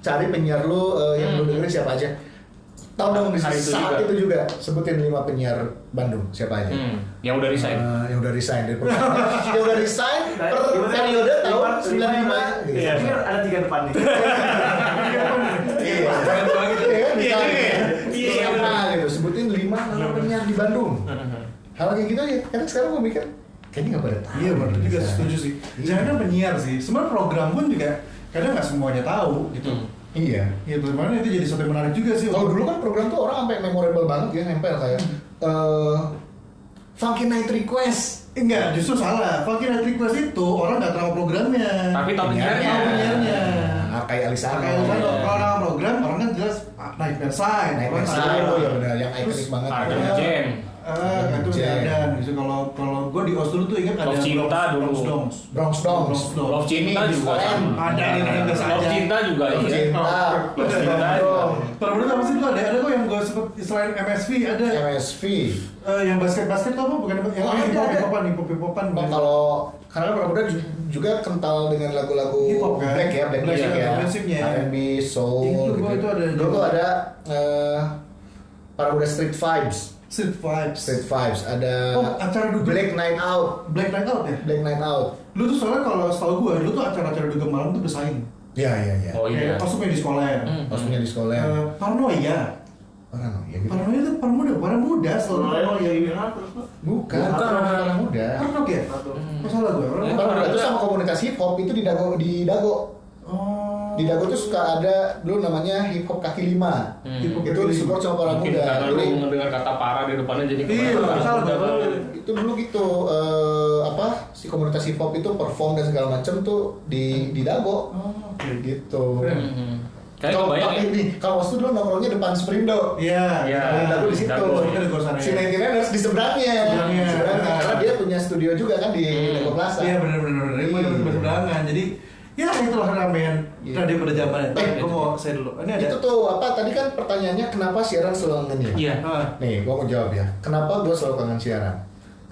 S3: cari penyiar lu eh, yang lu dengerin siapa aja. Tahu dong di
S2: Hmm. Hari itu
S3: saat
S2: juga.
S3: itu juga sebutin lima penyiar Bandung siapa aja.
S2: Hmm, yang udah resign. Nah,
S3: Eh, yang udah resign dari perusahaan. yang udah resign per periode tahun 95 gitu.
S4: Iya. Ini ada tiga depan
S2: *laughs*
S4: nih.
S3: Iya.
S1: Keren banget.
S3: Iya kan?
S2: Iya,
S3: Misalnya,
S2: iya, iya.
S3: siapa gitu sebutin lima nama penyiar di Bandung. Hal kayak gitu ya. Karena sekarang gue mikir kayaknya nggak pada tahu.
S1: Iya benar
S3: nih,
S1: juga
S3: San.
S1: setuju sih.
S3: Iya.
S1: Jangan penyiar sih. Sebenarnya program pun juga kadang nggak semuanya tahu gitu.
S2: Hmm.
S3: Iya. kan
S1: Iya, bagaimana itu jadi sesuatu yang menarik juga sih.
S3: Kalau dulu kan program tuh orang sampai memorable banget ya nempel kayak eh Funky Night Request.
S1: Enggak, Eh, justru salah. Funky Night Request itu orang nggak tahu programnya.
S2: Tapi tahu
S3: Iya.
S2: penyiarnya.
S1: Tahu penyiarnya.
S3: Ah, kayak Alisa.
S1: Kalau kan kalau orang program, orang kan jelas ah, Nightmare Sign. orang
S3: Nightmare
S1: tahu.
S3: Sign, oh ya benar, yang
S1: Terus
S3: ikonik banget. Iya.
S2: Arkham
S1: ada-
S2: Jen.
S1: Eh, kan itu
S3: Jen.
S1: nggak Iya. ada. Justru kalau kalau gue di OS dulu tuh ingat ada
S2: Love Cinta
S1: Bronx-
S2: dulu.
S1: Bronx Dongs.
S3: Bronx Dongs.
S1: Bronx Dongs.
S2: Love Cinta
S3: Ini
S2: juga
S3: UM.
S2: sama.
S1: Ada yang ada
S3: Love
S2: Love
S1: saja.
S2: Cinta juga
S3: Love
S2: iya.
S3: Cinta.
S2: Love Cinta.
S1: Terus apa sih itu ada ada kok yang gue sempet selain MSV ada
S3: MSV.
S1: eh, yang basket basket tuh apa bukan yang
S3: Oh,
S1: hip
S3: Ya. ada,
S1: hop
S3: ada.
S1: hip hopan hip hop hip hopan.
S3: Oh, kalau karena Pramuda ju- juga kental dengan lagu-lagu
S1: Hip hop, kan?
S3: black ya, black
S1: Black
S3: music
S1: juga,
S3: ya,
S1: prinsipnya.
S3: R&B, soul
S1: Itu
S3: gitu.
S1: gua itu ada-
S3: Dulu tuh ada eh Pramuda Street Vibes,
S1: Street Vibes.
S3: Street Vibes, ada
S1: Oh, acara dugem.
S3: Black Night Out,
S1: Black Night Out ya.
S3: Black Night Out.
S1: Lu tuh soalnya kalau setahu gue, lu tuh acara-acara dugem malam tuh bersaing.
S3: Ya, ya, ya.
S2: Oh iya.
S1: Kayak kostumnya di sekolah ya.
S2: Hmm.
S3: Maksudnya di sekolah.
S1: Eh, paranoia.
S3: Orang ya gitu.
S1: Paranoia itu parmuda, parmuda selalu.
S4: Kalau yang ini apa?
S3: Bukan,
S2: Bukan.
S3: orang muda.
S1: Hard ya? Kok salah gue? Orang
S2: Hmm.
S3: Orang muda itu sama komunitas hip hop itu di dago di dago.
S1: Oh.
S3: Di dago itu suka ada dulu namanya hip hop kaki lima.
S2: Hmm.
S3: Hip hop itu disupport sama para
S2: Mungkin
S3: muda.
S2: karena lu
S3: Jadi,
S2: mendengar kata parah di depannya jadi
S1: Iya,
S2: kemarah.
S1: salah gue.
S3: itu dulu gitu eh, apa si komunitas hip hop itu perform dan segala macam tuh di di dago.
S1: Oh, oke.
S3: Gitu.
S2: Hmm. Kayaknya
S3: Kalau
S2: kebayang ya.
S3: tapi nih, kalau waktu dulu nongkrongnya depan Sprindo.
S1: Iya.
S2: Iya.
S1: Nah,
S3: Dago di situ.
S2: Dago,
S1: iya, di kosannya.
S3: Si 99ers di seberangnya.
S1: Seberangnya.
S3: Seberangnya. Karena dia punya studio juga kan di
S2: Hmm.
S3: Dago Plaza.
S1: Iya benar-benar benar. Gue yang berseberangan. Jadi ya itulah ramean
S3: Iya.
S1: radio pada zamannya.
S3: Eh,
S1: Tapi gue mau saya dulu. Ini ada.
S3: Itu tuh apa tadi kan pertanyaannya kenapa siaran selalu kangen ya?
S2: Iya.
S1: Ah,
S3: Nih, gua mau jawab ya. Kenapa gua selalu kangen siaran?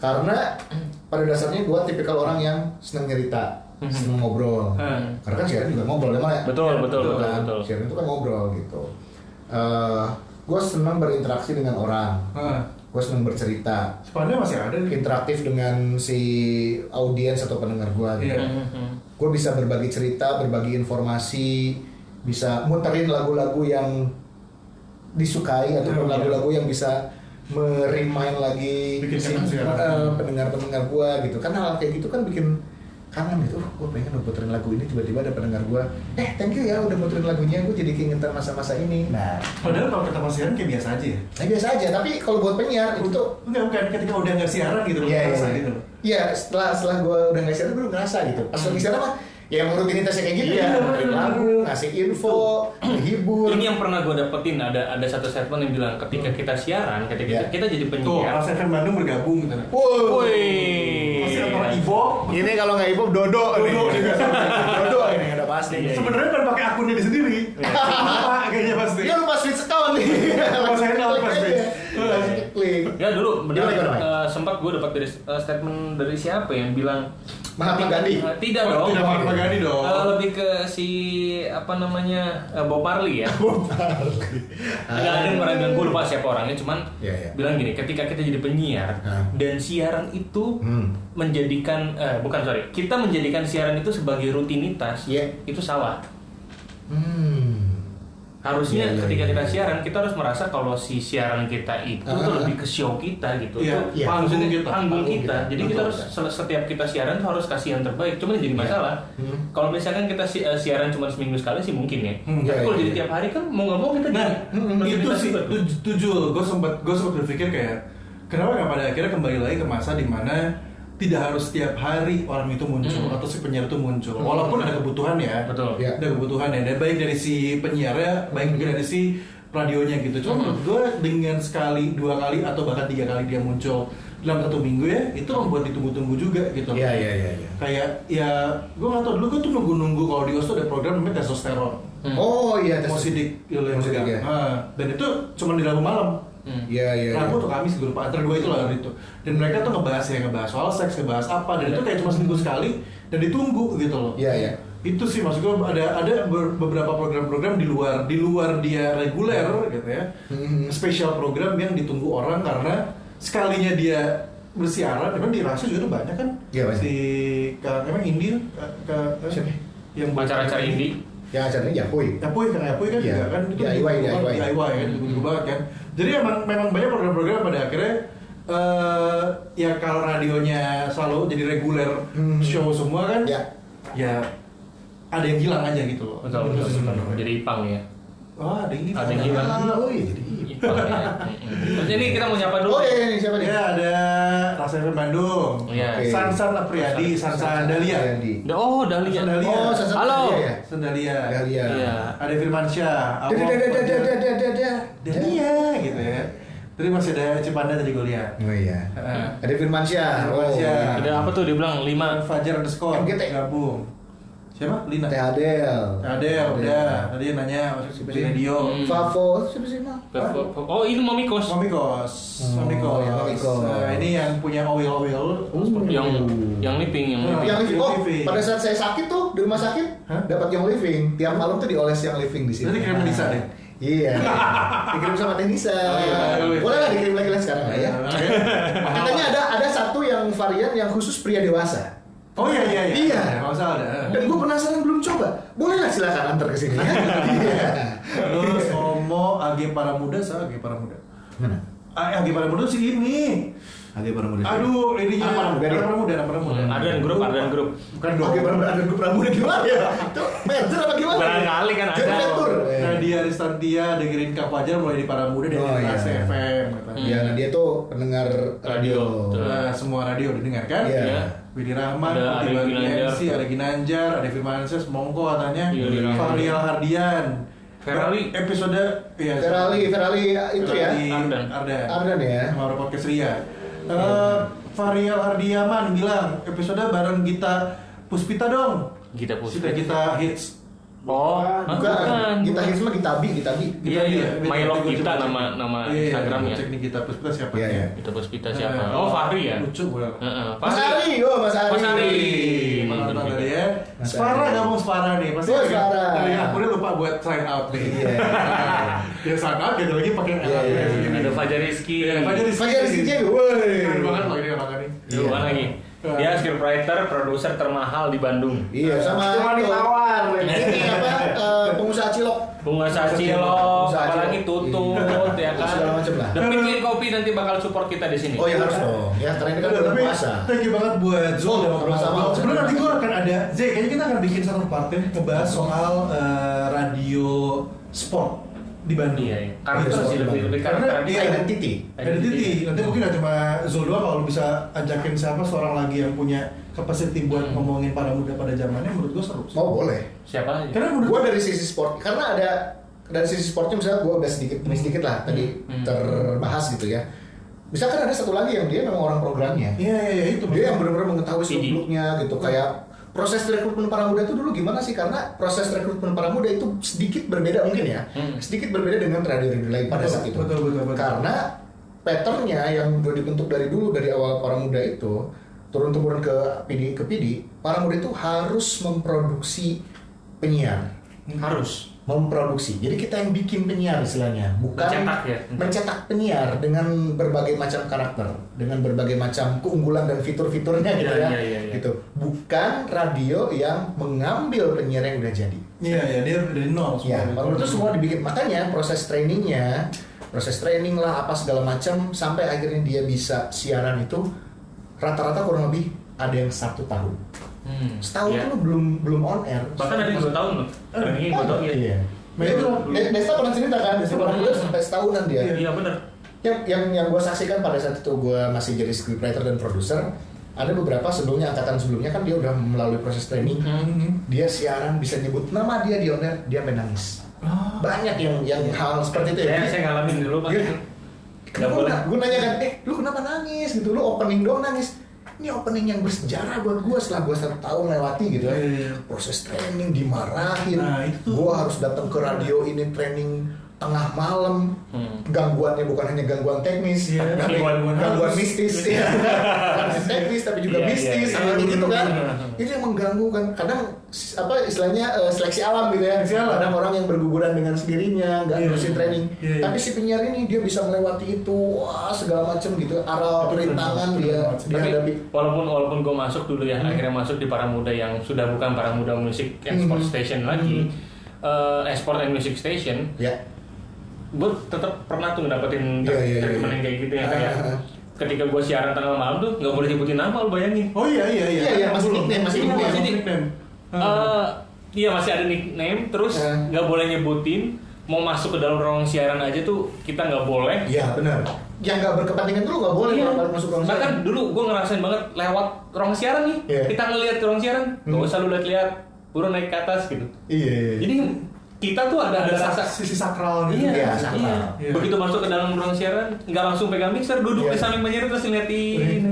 S3: Karena *clears throat* pada dasarnya gua tipikal orang yang seneng cerita, seneng ngobrol.
S2: Hmm.
S3: Karena kan siaran juga ngobrol emang ya.
S2: Betul, betul, betul,
S3: kan?
S2: betul.
S3: Siaran itu kan ngobrol gitu. Eh, gua seneng berinteraksi dengan orang.
S1: ah.
S3: Gua seneng bercerita,
S1: Spandanya masih ada. nih.
S3: interaktif dengan si audiens atau pendengar gua gitu.
S1: Iya.
S2: Hmm.
S3: gue bisa berbagi cerita, berbagi informasi, bisa muterin lagu-lagu yang disukai ataupun
S1: Iya, iya.
S3: lagu-lagu yang bisa merimain lagi
S1: Bikin
S3: si
S1: kangen sih, ya.
S3: eh, pendengar-pendengar gue gitu. Kan hal kayak gitu kan bikin kangen gitu. gue pengen dong puterin lagu ini tiba-tiba ada pendengar gue. Eh, thank you ya udah puterin lagunya. Gue jadi keingetan masa-masa ini. Nah,
S1: Padahal kalau kita masih siaran kayak biasa aja ya.
S3: nah biasa aja. Tapi kalau buat penyiar itu tuh
S1: Enggak, bukan ketika udah nggak siaran gitu loh,
S3: Iya,
S1: kerasa
S3: iya.
S1: gitu. loh.
S3: Iya, setelah setelah gue udah nggak siaran, gue ngerasa gitu. Pas lagi siaran mah, ya emang rutinitasnya kayak gitu.
S1: Iya,
S3: ya.
S1: bener,
S3: Dengerin
S1: bener,
S3: lagu,
S1: bener.
S3: ngasih info, menghibur.
S2: Ini yang pernah gue dapetin ada ada satu statement yang bilang ketika kita siaran, ketika
S3: Iya.
S2: kita, kita jadi
S1: Tuh,
S2: penyiar.
S1: Ras FM Bandung bergabung gitu. nah.
S3: Wow.
S2: Iya.
S1: Masih antara
S2: Woi.
S1: Ivo.
S3: Ini kalau nggak hip hop dodo, nih.
S1: Dodo, iya.
S3: *laughs* dodo ini udah pasti.
S2: Iya, iya.
S1: Sebenarnya kan pakai akunnya di sendiri. Lupa kayaknya pasti.
S3: Dia lupa Iya, switch setahun nih. *laughs*
S1: Lupa saya lupa
S3: Klik
S1: pasti.
S3: aja. Langsung klik.
S2: Ya dulu benar
S3: Gimana, gimana, Mike?
S2: eh, sempat gue dapat dari eh, statement dari siapa yang bilang
S3: Mahatma Gandhi.
S2: Eh, tidak dong.
S1: Oh, Tidak Mahatma Gandhi dong.
S2: Eh, lebih ke si apa namanya eh, Bob Marley ya. Ada ada yang pernah bilang gue lupa siapa orangnya cuman
S3: Iya, iya.
S2: bilang gini ketika kita jadi penyiar
S3: Hah.
S2: dan siaran itu
S3: Hmm.
S2: menjadikan eh, bukan sorry kita menjadikan siaran itu sebagai rutinitas
S3: Iya.
S2: itu salah.
S3: Hmm.
S2: Harusnya
S3: Iya, iya,
S2: ketika
S3: iya,
S2: kita
S3: iya.
S2: siaran kita harus merasa kalau si siaran kita itu
S3: Ah,
S2: tuh
S3: ah,
S2: lebih ke show kita gitu.
S1: Iya,
S2: Itu
S3: iya.
S2: panggung
S1: Panggung
S2: kita.
S1: kita.
S2: Panggung
S3: Panggung
S2: kita.
S3: kita.
S2: Jadi kita
S3: Betul,
S2: harus
S3: betul.
S2: se- setiap kita siaran tuh harus kasih yang terbaik. Cuman yang jadi masalah.
S3: Hmm.
S2: Kalau misalkan kita si- eh, siaran cuma seminggu sekali sih mungkin ya.
S1: Hmm,
S2: Tapi
S3: iya,
S2: kalau
S3: iya,
S2: jadi
S3: iya. hmm,
S2: tiap hari kan mau nggak mau kita
S1: Nah,
S2: jadi
S1: itu
S2: rutinitas
S1: sih
S2: juga tuh.
S1: tuj- tujuh. Gue sempat gue sempat berpikir kayak kenapa nggak pada akhirnya kembali lagi ke masa di mana tidak harus setiap hari orang itu muncul atau si penyiar itu muncul. Walaupun ada kebutuhan ya.
S2: Betul.
S3: Iya.
S1: Ada kebutuhan ya. Dan baik dari si penyiarnya, baik juga dari si radionya gitu. Cuma menurut gue dengan sekali, dua kali atau bahkan tiga kali dia muncul dalam satu minggu ya, itu membuat ditunggu-tunggu juga gitu.
S3: Iya, iya, iya, iya.
S1: Kayak ya gue nggak tau dulu gue tuh nunggu-nunggu kalau di OS tuh ada program namanya testosteron.
S2: Hmm.
S3: Oh iya, tes-
S1: Mau sidik gitu
S3: Mau
S1: yang
S3: sidik,
S1: pegang.
S3: ya.
S1: Ah, dan itu cuma di Rabu malam.
S2: Hmm.
S3: Iya, iya. iya.
S1: Rabu atau Kamis gitu lupa antara dua itu lah hari itu. Dan mereka tuh ngebahas ya ngebahas soal seks, ngebahas apa dan itu kayak cuma seminggu sekali dan ditunggu gitu loh.
S3: Iya, iya.
S1: Itu sih maksud gue ada ada ber- beberapa program-program di luar di luar dia reguler gitu ya.
S3: Hmm.
S1: Spesial program yang ditunggu orang karena sekalinya dia bersiaran, emang di Rahasia juga tuh banyak kan?
S3: Iya, banyak.
S1: Si Kang emang Indi ke, ke
S3: Siapa?
S1: yang
S2: Acara-acara indie.
S3: Yang acaranya Jakoi.
S1: Ya Puy, karena ya Puy kan
S3: Iya.
S1: juga kan itu
S3: DIY,
S1: di-
S3: DIY.
S1: DIY kan ditunggu banget kan. Jadi emang memang banyak program-program pada akhirnya eh ya kalau radionya selalu jadi reguler
S3: Hmm.
S1: show semua kan,
S3: Ya.
S1: ya ada yang hilang aja gitu loh.
S2: Betul, betul,
S1: Itu sih
S2: betul.
S1: sebenarnya.
S2: Jadi ipang ya.
S1: Wah, ada yang hilang.
S2: Ada yang hilang.
S3: Ah, oh iya, jadi
S2: Ipang ya. Mm-mm. Terus ini kita mau nyapa dulu.
S3: Oh iya, iya, iya, siapa nih?
S1: Ya ada Bandung.
S2: Iya.
S1: Sansan Apriyadi, Sansan Dahlia.
S2: Oh, Dahlia.
S1: Sansan Dahlia.
S3: Oh, Sansan
S2: Halo.
S3: Dahlia ya?
S1: Sansan Dahlia.
S3: Dahlia.
S2: Iya.
S1: Ada Firmansyah,
S3: Dadah, dadah, dadah, dadah, dadah, dadah.
S1: Dahlia gitu ya. Terus masih ada Cipanda tadi gue lihat.
S3: Oh iya.
S1: Heeh.
S3: Ada Firmansyah. Oh,
S1: Firmansyah.
S2: Ada apa tuh dibilang lima
S1: Fajar underscore
S3: MGT.
S1: gabung. Siapa? Lina.
S3: Teh Adel.
S1: Ada ya, udah. Tadi nanya masuk di radio.
S2: Hmm.
S3: Favo siapa sih mah?
S2: Oh, ini Momikos.
S1: Mamikos, Mamikos.
S3: iya, Mamikos.
S1: Nah, ini yang punya Oil Oil.
S3: Hmm.
S2: Yang yang liping yang
S1: Hmm.
S2: liping.
S3: yang living. Oh,
S1: Yang living.
S3: pada saat saya sakit tuh di rumah sakit
S1: Hah?
S3: dapat yang living. Tiap malam tuh dioles yang living di sini.
S1: Berarti kirim ke Nisa deh?
S3: Iya.
S1: *laughs*
S3: dikirim sama Tenisa.
S1: iya.
S3: Boleh lah dikirim lagi lah
S1: Nah,
S3: sekarang
S1: *laughs*
S3: lah ya. Katanya ada ada satu yang varian yang khusus pria dewasa.
S1: Oh iya iya iya.
S3: Iya.
S1: Nggak masalah ada.
S3: Dan gue penasaran belum coba. Boleh lah silakan antar ke
S1: *laughs*
S3: sini. Iya.
S1: Terus Omo AG para muda, saya AG para muda.
S3: Mana?
S1: Ah, AG para muda sih ini.
S3: Agak Pramuda.
S1: Aduh,
S3: Anak para
S1: ininya.
S3: muda dia.
S1: Anak para muda, anak para muda.
S2: Ada dan grup, ada dan grup.
S1: Bukan dong.
S3: Agak Pramuda, Agak Pramuda gimana ya? Itu merger apa gimana?
S2: Barangkali kan ada.
S3: Joint venture.
S1: Nadia Ristantia dengerin Kak Fajar mulai di para muda dan
S3: Oh,
S1: di
S3: iya.
S1: Kelas FM katanya.
S3: Ya, nah dia tuh pendengar radio.
S2: Radio. Betul.
S1: Nah, semua radio didengarkan.
S3: Iya.
S2: Iya.
S1: Widi Rahman,
S2: Ada
S1: Putih
S2: Ari
S1: Bagi
S2: Ginanjar.
S1: MC, ada Ginanjar, ada Firmansyah, Semongko katanya,
S2: Iya, Widi Rahman.
S1: Fahrial Hardian,
S2: Ferali.
S1: episode ya,
S3: Ferali, Ferali itu ya.
S1: Ferali
S2: Ardan.
S1: Ardan,
S3: Ardan ya.
S1: sama orang podcast Ria. Eh, Fahrial Hardiaman bilang episode bareng Gita Puspita dong.
S2: Gita Iya, Puspita.
S1: Gita hits.
S2: Oh, hah?
S3: Bukan, kita
S2: bukan.
S3: Hisma, kita Bi, kita Bi.
S2: Iya, iya.
S1: Gita-
S2: My Love
S1: Gua
S2: Gita
S1: coba cek.
S2: nama- nama
S1: Iya, iya,
S2: Instagramnya.
S1: gua Cek nih Gita Puspita siapa?
S3: Iya, iya.
S2: Gita Puspita
S1: Eh,
S2: siapa? Oh, Fahri ya.
S1: Lucu gue.
S2: Heeh, Iya,
S3: Mas
S2: Fahri.
S3: Ari, oh Mas Ari.
S2: Mas Ari.
S1: Mantan
S2: Mantan
S1: tadi ya.
S3: Mas
S1: Spara
S3: Ari.
S1: kamu Spara nih. Pasti
S3: Woi,
S1: agak-
S3: Spara.
S1: Tapi aku udah lupa buat sign out nih.
S3: Iya.
S1: *laughs* Dia sign out gitu lagi pakai
S3: Iya, iya,
S1: LRS
S3: iya.
S1: gini.
S2: Ada Fajar Rizky.
S1: Fajar Rizky.
S3: Fajar Rizky Jago, woi.
S1: Keren banget loh ini orang ini.
S2: Lu
S3: Iya.
S2: mana lagi? Dia scriptwriter, produser termahal di Bandung.
S3: Iya, sama
S4: Cuma
S3: itu.
S4: ditawar.
S3: Ini apa? eh, pengusaha cilok.
S2: Bunga Sacilo,
S3: Bunga
S2: apalagi
S3: Sacilo.
S2: tutut,
S3: Iya.
S2: ya kan?
S3: Segala macam lah.
S2: The Penguin Kopi nanti bakal support kita di sini.
S3: Oh ya harus dong. Ya karena ini kan
S1: Udah,
S3: bulan
S1: tapi
S3: puasa.
S1: thank you banget buat
S2: Oh,
S1: Zul dan
S3: Sama-sama.
S1: ngobrol Sebenarnya nanti gue akan ada, Z, kayaknya kita akan bikin satu part yang ngebahas soal eh, radio sport di Bandung.
S2: Iya, iya. Karakter
S3: Iya,
S2: sih lebih lebih
S1: Karena
S2: karakter.
S1: dia-
S3: Identity.
S2: Iya.
S1: Identity. Nanti mungkin gak cuma Zul doang kalau bisa ajakin siapa seorang lagi yang punya capacity buat
S2: Hmm.
S1: ngomongin para muda pada zamannya menurut gue seru.
S3: Mau boleh.
S2: Siapa lagi?
S1: Karena menurut
S3: Gue dari sisi sport, karena ada dari sisi sportnya misalnya gue udah sedikit demi sedikit lah tadi
S2: Hmm.
S3: terbahas gitu ya. Misalkan ada satu lagi yang dia memang orang programnya.
S1: Iya, iya, iya, itu.
S3: dia yang benar-benar mengetahui
S2: Idi.
S3: sebelumnya gitu kayak proses rekrutmen para muda itu dulu gimana sih karena proses rekrutmen para muda itu sedikit berbeda mungkin ya
S2: Hmm.
S3: sedikit berbeda dengan radio-radio lain pada
S1: Betul,
S3: saat itu
S1: betul, betul, betul.
S3: karena patternnya yang udah dibentuk dari dulu dari awal para muda itu turun temurun ke PD ke PD para muda itu harus memproduksi penyiar
S2: Hmm. Harus.
S3: memproduksi. Jadi kita yang bikin penyiar istilahnya, bukan
S2: Mencetak ya?
S3: mencetak penyiar dengan berbagai macam karakter, dengan berbagai macam keunggulan dan fitur-fiturnya gitu
S2: Iya,
S3: ya.
S2: iya, iya, iya.
S3: Gitu. Bukan radio yang mengambil penyiar yang udah jadi.
S1: Iya, iya, dia dari nol semua.
S3: Ya, kalau itu semua dibikin. Makanya proses trainingnya, proses training lah apa segala macam sampai akhirnya dia bisa siaran itu rata-rata kurang lebih ada yang satu tahun.
S2: Hmm.
S3: Setahun
S2: Iya.
S3: tuh belum belum on air.
S2: Bahkan ada yang dua tahun loh. Ada yang dua tahun ya.
S3: Eh. Iya.
S1: Nah, itu loh.
S3: De- Desta pernah cerita kan, Desta pernah cerita sampai setahunan dia.
S2: Iya benar.
S3: Yang yang yang gue saksikan pada saat itu gue masih jadi scriptwriter dan produser, ada beberapa sebelumnya angkatan sebelumnya kan dia udah melalui proses training,
S1: Mhm.
S3: dia siaran bisa nyebut nama dia di on air, dia sampai nangis. Banyak yang yang hal seperti itu ya.
S2: Saya saya ngalamin dulu pak.
S3: Iya.
S2: Nggak boleh.
S3: Gue nanya kan, eh lu kenapa nangis gitu? Lu opening doang nangis. Ini opening yang bersejarah buat gue setelah gue satu tahun lewati gitu ya.
S1: Iya, iya, iya.
S3: Proses training dimarahin.
S1: Nah, itu tuh.
S3: Gue harus datang ke radio ini training tengah malam.
S2: Hmm.
S3: Gangguannya bukan hanya gangguan teknis,
S1: Iya,
S3: tapi
S1: gangguan-
S3: gangguan,
S1: halus.
S3: mistis. ya. *laughs* Bukan teknis tapi juga
S2: Iya, iya,
S3: mistis,
S2: iya.
S3: hal gitu kan.
S2: Iya.
S3: Itu yang mengganggu kan. Kadang s- apa istilahnya eh, seleksi alam gitu ya.
S1: Seleksi alam.
S3: Kadang orang yang berguguran dengan sendirinya, nggak
S1: Iya.
S3: terusin training.
S1: Iya, iya.
S3: Tapi si penyiar ini dia bisa melewati itu wah segala macam gitu arah
S1: Itu keren
S3: rintangan
S1: banget,
S3: dia
S1: keren
S3: dia
S1: banget.
S2: Tapi
S3: hadapi
S2: walaupun walaupun gue masuk dulu ya,
S3: Hmm.
S2: akhirnya masuk di para muda yang sudah bukan para muda musik export
S3: Hmm.
S2: station lagi, eh, export and music station,
S3: ya
S2: gue tetap pernah tuh dapetin
S3: Iya, iya, iya.
S2: treatment yang kayak gitu ya kayak
S3: Ah.
S2: ketika gue siaran tengah malam tuh nggak boleh nyebutin nama lo bayangin
S1: Oh iya, iya, iya.
S3: Iya, iya, masih
S1: Belum.
S3: nickname, masih
S1: Iya,
S3: nickname.
S1: masih nickname.
S2: Eh, iya masih ada nickname terus
S3: Ah.
S2: nggak boleh nyebutin mau masuk ke dalam ruang siaran aja tuh kita nggak boleh
S3: ya benar yang nggak berkepentingan dulu nggak boleh
S2: Iya.
S3: kalau masuk ruang
S2: Bahkan
S3: siaran.
S2: dulu gue ngerasain banget lewat ruang siaran nih.
S3: Iya.
S2: Kita ngelihat ruang siaran, nggak
S3: Hmm.
S2: usah lu lihat-lihat, buruan naik ke atas gitu.
S3: Iya. iya.
S2: Jadi kita tuh ada ada rasa
S1: sisi sakral gitu.
S2: Iya,
S3: Iya,
S2: iya.
S3: sakral.
S1: Iya.
S2: Begitu masuk ke dalam ruang siaran, nggak langsung pegang mixer, duduk
S3: Iya.
S2: di samping penyiar terus ngeliatin.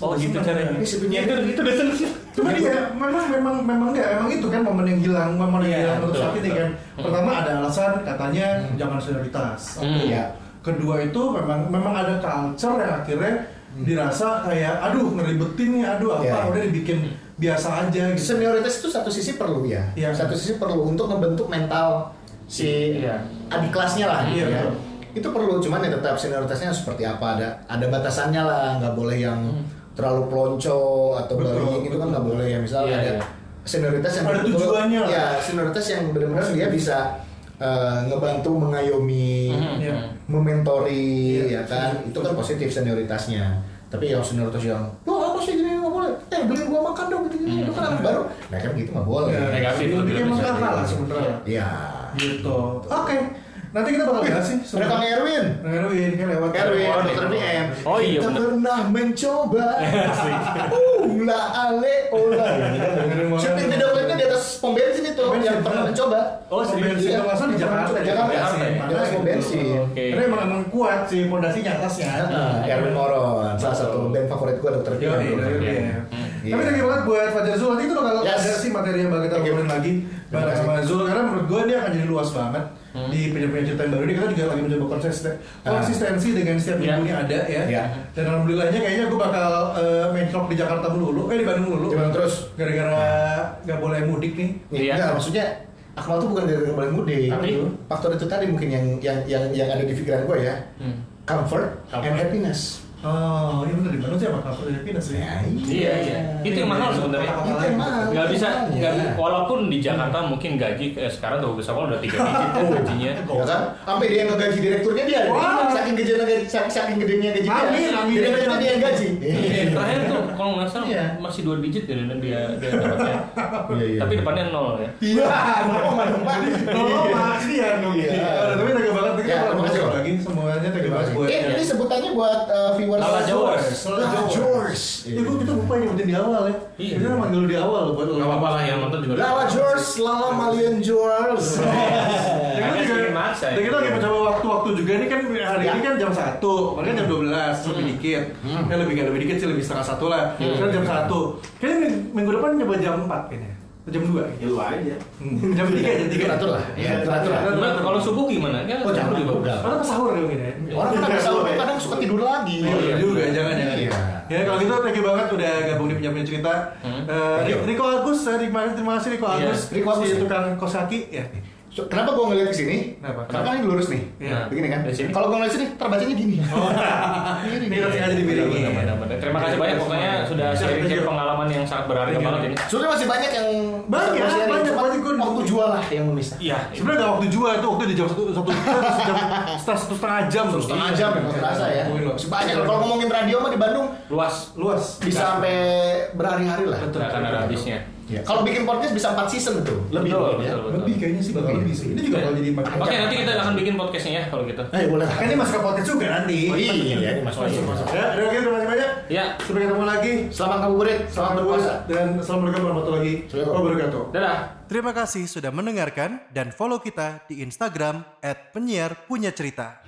S2: Oh gitu
S1: Seneng.
S2: caranya.
S3: Ini sebenarnya-
S2: itu itu udah seneng.
S1: Cuma
S2: Gitu.
S1: iya, memang memang memang enggak, emang itu kan momen yang hilang, momen yang
S2: Iya,
S1: hilang untuk
S2: betul,
S1: saat ini
S2: betul.
S1: kan. Pertama ada alasan katanya jangan senioritas.
S2: Hmm.
S3: Iya.
S1: Kedua itu memang memang ada culture yang akhirnya
S2: Hmm.
S1: dirasa kayak aduh ngeribetin nih, aduh apa
S3: Iya.
S1: udah dibikin
S2: Hmm.
S1: biasa aja gitu.
S3: Senioritas itu satu sisi perlu ya.
S1: Iya.
S3: Satu sisi perlu untuk ngebentuk mental si
S2: Iya.
S3: adik kelasnya lah.
S1: Iya,
S3: ya.
S1: betul.
S3: Itu perlu, cuman ya tetap senioritasnya seperti apa ada ada batasannya lah, nggak boleh yang terlalu plonco atau
S1: Hmm. Betul,
S3: baring itu kan nggak boleh ya
S2: Iya,
S3: misalnya ada
S2: iya.
S3: senioritas yang
S1: Ada
S3: betul-
S1: tujuannya lah.
S3: ya senioritas yang benar-benar dia bisa eh, ngebantu mengayomi
S2: Mhm.
S1: Iya.
S3: mementori
S1: Iya,
S3: ya kan itu kan positif senioritasnya tapi yang senioritas yang lo apa sih gini nggak boleh eh beliin gua makan dong gitu gitu itu kan anak baru nah kan gitu nggak boleh
S1: Ya,
S2: Iya, Negatif
S1: itu
S2: lebih
S1: bikin
S2: lebih
S1: masalah
S2: negatif. Iya.
S1: lah sebenarnya.
S3: ya
S1: Gitu. Oke. Nanti kita bakal
S3: Iya
S1: bahas sih.
S3: ada kang Erwin
S1: Erwin kan lewat
S3: Erwin
S2: Oh,
S3: dokter
S2: iya.
S3: BM
S2: Oh, iya,
S3: kita
S2: bener.
S3: pernah mencoba ula ale ola syuting video klipnya di atas pom bensin itu
S1: Pom bensin,
S3: yang pernah
S1: bener.
S3: mencoba
S2: Oh, serius?
S1: bensin
S3: Iya,
S1: kalau nggak salah di
S3: pernah
S1: Jakarta. iya. gitu.
S3: mencoba. Jakarta
S2: Jakarta,
S3: sih
S2: ya.
S3: di atas pom bensin
S2: Oke. Iya.
S1: Karena emang emang kuat sih pondasinya atasnya.
S3: Nah, Erwin Moron, salah satu band favorit gue dokter
S1: Iya, iya,
S3: Pino.
S1: iya.
S3: Iya.
S1: Tapi thank you banget buat Fajar Zul nanti itu kalau
S3: Yes.
S1: ada sih materi yang bakal kita
S3: Thank you.
S1: ngobrolin lagi
S3: Terima
S1: bareng
S3: kasih.
S1: sama Zul karena menurut gue dia akan jadi luas banget di penyiar-penyiar cerita yang baru ini kita juga lagi mencoba konsisten
S3: Ah.
S1: konsistensi dengan setiap
S2: Iya.
S1: minggunya ada ya.
S3: Iya.
S1: Dan alhamdulillahnya kayaknya gue bakal eh, main vlog di Jakarta dulu, eh di Bandung dulu.
S3: Cuman terus,
S1: Gara-gara nggak boleh mudik nih.
S3: nih,
S2: Iya.
S3: enggak, maksudnya Akmal tuh bukan gara-gara balik mudik.
S2: Tapi?
S3: faktor itu tadi mungkin yang yang yang yang ada di pikiran gue ya.
S2: Hmm.
S3: Comfort, and
S2: Comfort.
S3: happiness.
S1: Oh, iya bener di Bandung sih apa kapal dari Pinas ya.
S3: Ya,
S2: Iya, iya. Itu yang mahal sebenarnya.
S3: Itu yang mahal. Iya.
S2: Nggak bisa,
S3: makanya.
S2: nggak, walaupun di Jakarta mungkin gaji eh, sekarang tuh besar udah tiga digit kan gajinya.
S3: Ya kan? Sampai dia yang ngegaji direkturnya dia.
S1: Wah.
S3: Saking gede gaji, saking, saking gedenya gaji dia.
S1: Amin, amin.
S3: Direkturnya dia yang gaji.
S2: Iya,
S3: Iya,
S2: Terakhir tuh kalau nggak salah
S1: Iya.
S2: masih dua digit ya dan dia dia dapatnya.
S3: Iya, iya.
S2: Tapi depannya nol ya.
S3: Iya, ngomong sama Dompa.
S1: Oh, makasih ya dong.
S3: Iya.
S1: Iya. Tapi thank you banget kita
S3: Ya,
S1: bakal
S3: makasih,
S1: ngobrol
S3: Bang.
S1: lagi semuanya thank you banget buat.
S3: Eh, ini sebutannya buat uh, viewers
S2: Lala Jowers.
S1: Lala
S3: Lala
S1: Jowers.
S3: Jowers.
S1: Ya gue kita lupa nyebutin di awal ya.
S2: Iya.
S1: Kita manggil lu di awal loh buat lu.
S2: Gak apa-apa lah yang nonton juga.
S3: Lala Jowers, Lala Malian Jowers.
S2: Iya.
S1: Dan kita
S2: Agak
S1: juga-
S2: sedikit maksa ya.
S1: dan kita lagi mencoba waktu-waktu juga ini kan
S4: Iya.
S1: hari
S3: Ya.
S1: ini kan jam 1, makanya
S2: Hmm.
S1: jam 12 lebih dikit. Ya lebih nggak lebih dikit sih lebih setengah satu lah.
S2: Hmm.
S1: Sekarang jam 1. Kayaknya ming- minggu depan coba jam 4 kayaknya. Atau Jam 2
S4: Ya lu aja.
S1: Hmm. Jam 3 jam 3.
S3: Teratur lah, ya teratur lah.
S2: Nah, kalau subuh gimana? Kan
S3: Oh, jangan,
S2: subuh
S3: udah.
S1: Karena pas sahur ya mungkin ya.
S3: Orang kan bisa
S4: Iya.
S3: kadang suka tidur lagi.
S1: Oh, iya juga, jangan jangan.
S3: Iya.
S1: Ya kalau gitu thank you banget udah gabung di penyampaian cerita.
S2: Hmm.
S1: Eh,
S3: Thank you.
S1: Riko Agus, eh, terima kasih terima kasih Riko
S2: Iya.
S1: Agus.
S3: Riko Agus,
S1: si
S3: ya.
S1: tukang kos kaki ya.
S3: So, kenapa gua ngeliat ke sini?
S1: Kenapa?
S3: Karena kan ini lurus nih.
S1: Iya.
S3: Begini kan?
S2: Dari sini.
S3: Kalau gua ngeliat sini terbacanya gini. Gini,
S1: Ini
S3: gini.
S1: nanti aja dibiringin.
S3: Iya.
S2: Benar-benar. Terima kasih banyak pokoknya sudah sharing-sharing pengalaman yang sangat berharga
S3: Iya.
S2: banget ini.
S3: Soalnya masih banyak yang
S1: Banyak,
S3: bisa gua sharing.
S1: banyak,
S3: Cuma
S1: banyak, gua
S3: waktu
S1: nungguin.
S3: jual lah yang memisah.
S2: Iya.
S1: Sebenarnya nggak waktu jual itu waktu di jam satu satu terus jam setengah satu setengah jam loh.
S3: Setengah jam ya, nggak terasa ya.
S1: Mungkin loh.
S3: Masih banyak. Kalau ngomongin radio mah di Bandung
S2: luas.
S1: Luas.
S3: bisa sampai berhari-hari lah.
S2: Betul. Akan ada habisnya.
S3: Ya, Kalau bikin podcast bisa 4 season tuh. Lebih
S2: Betul,
S3: mungkin ya.
S2: betul, betul.
S1: Lebih kayaknya sih bakal lebih sih. Ini juga bakal jadi empat jam.
S2: Oke, nanti kita akan bikin podcastnya ya kalau gitu.
S3: Eh, boleh.
S1: Kan ini masuk ke podcast juga nanti.
S3: Oh, iya, ini masuk masuk. masuk.
S1: Ya, udah oke terima kasih banyak.
S2: Ya.
S1: Sampai ketemu lagi.
S3: Selamat ngabuburit, selamat berpuasa.
S1: Dan assalamualaikum warahmatullahi wabarakatuh.
S2: Dadah.
S5: Terima kasih sudah mendengarkan dan follow kita di Instagram @penyiar punya cerita.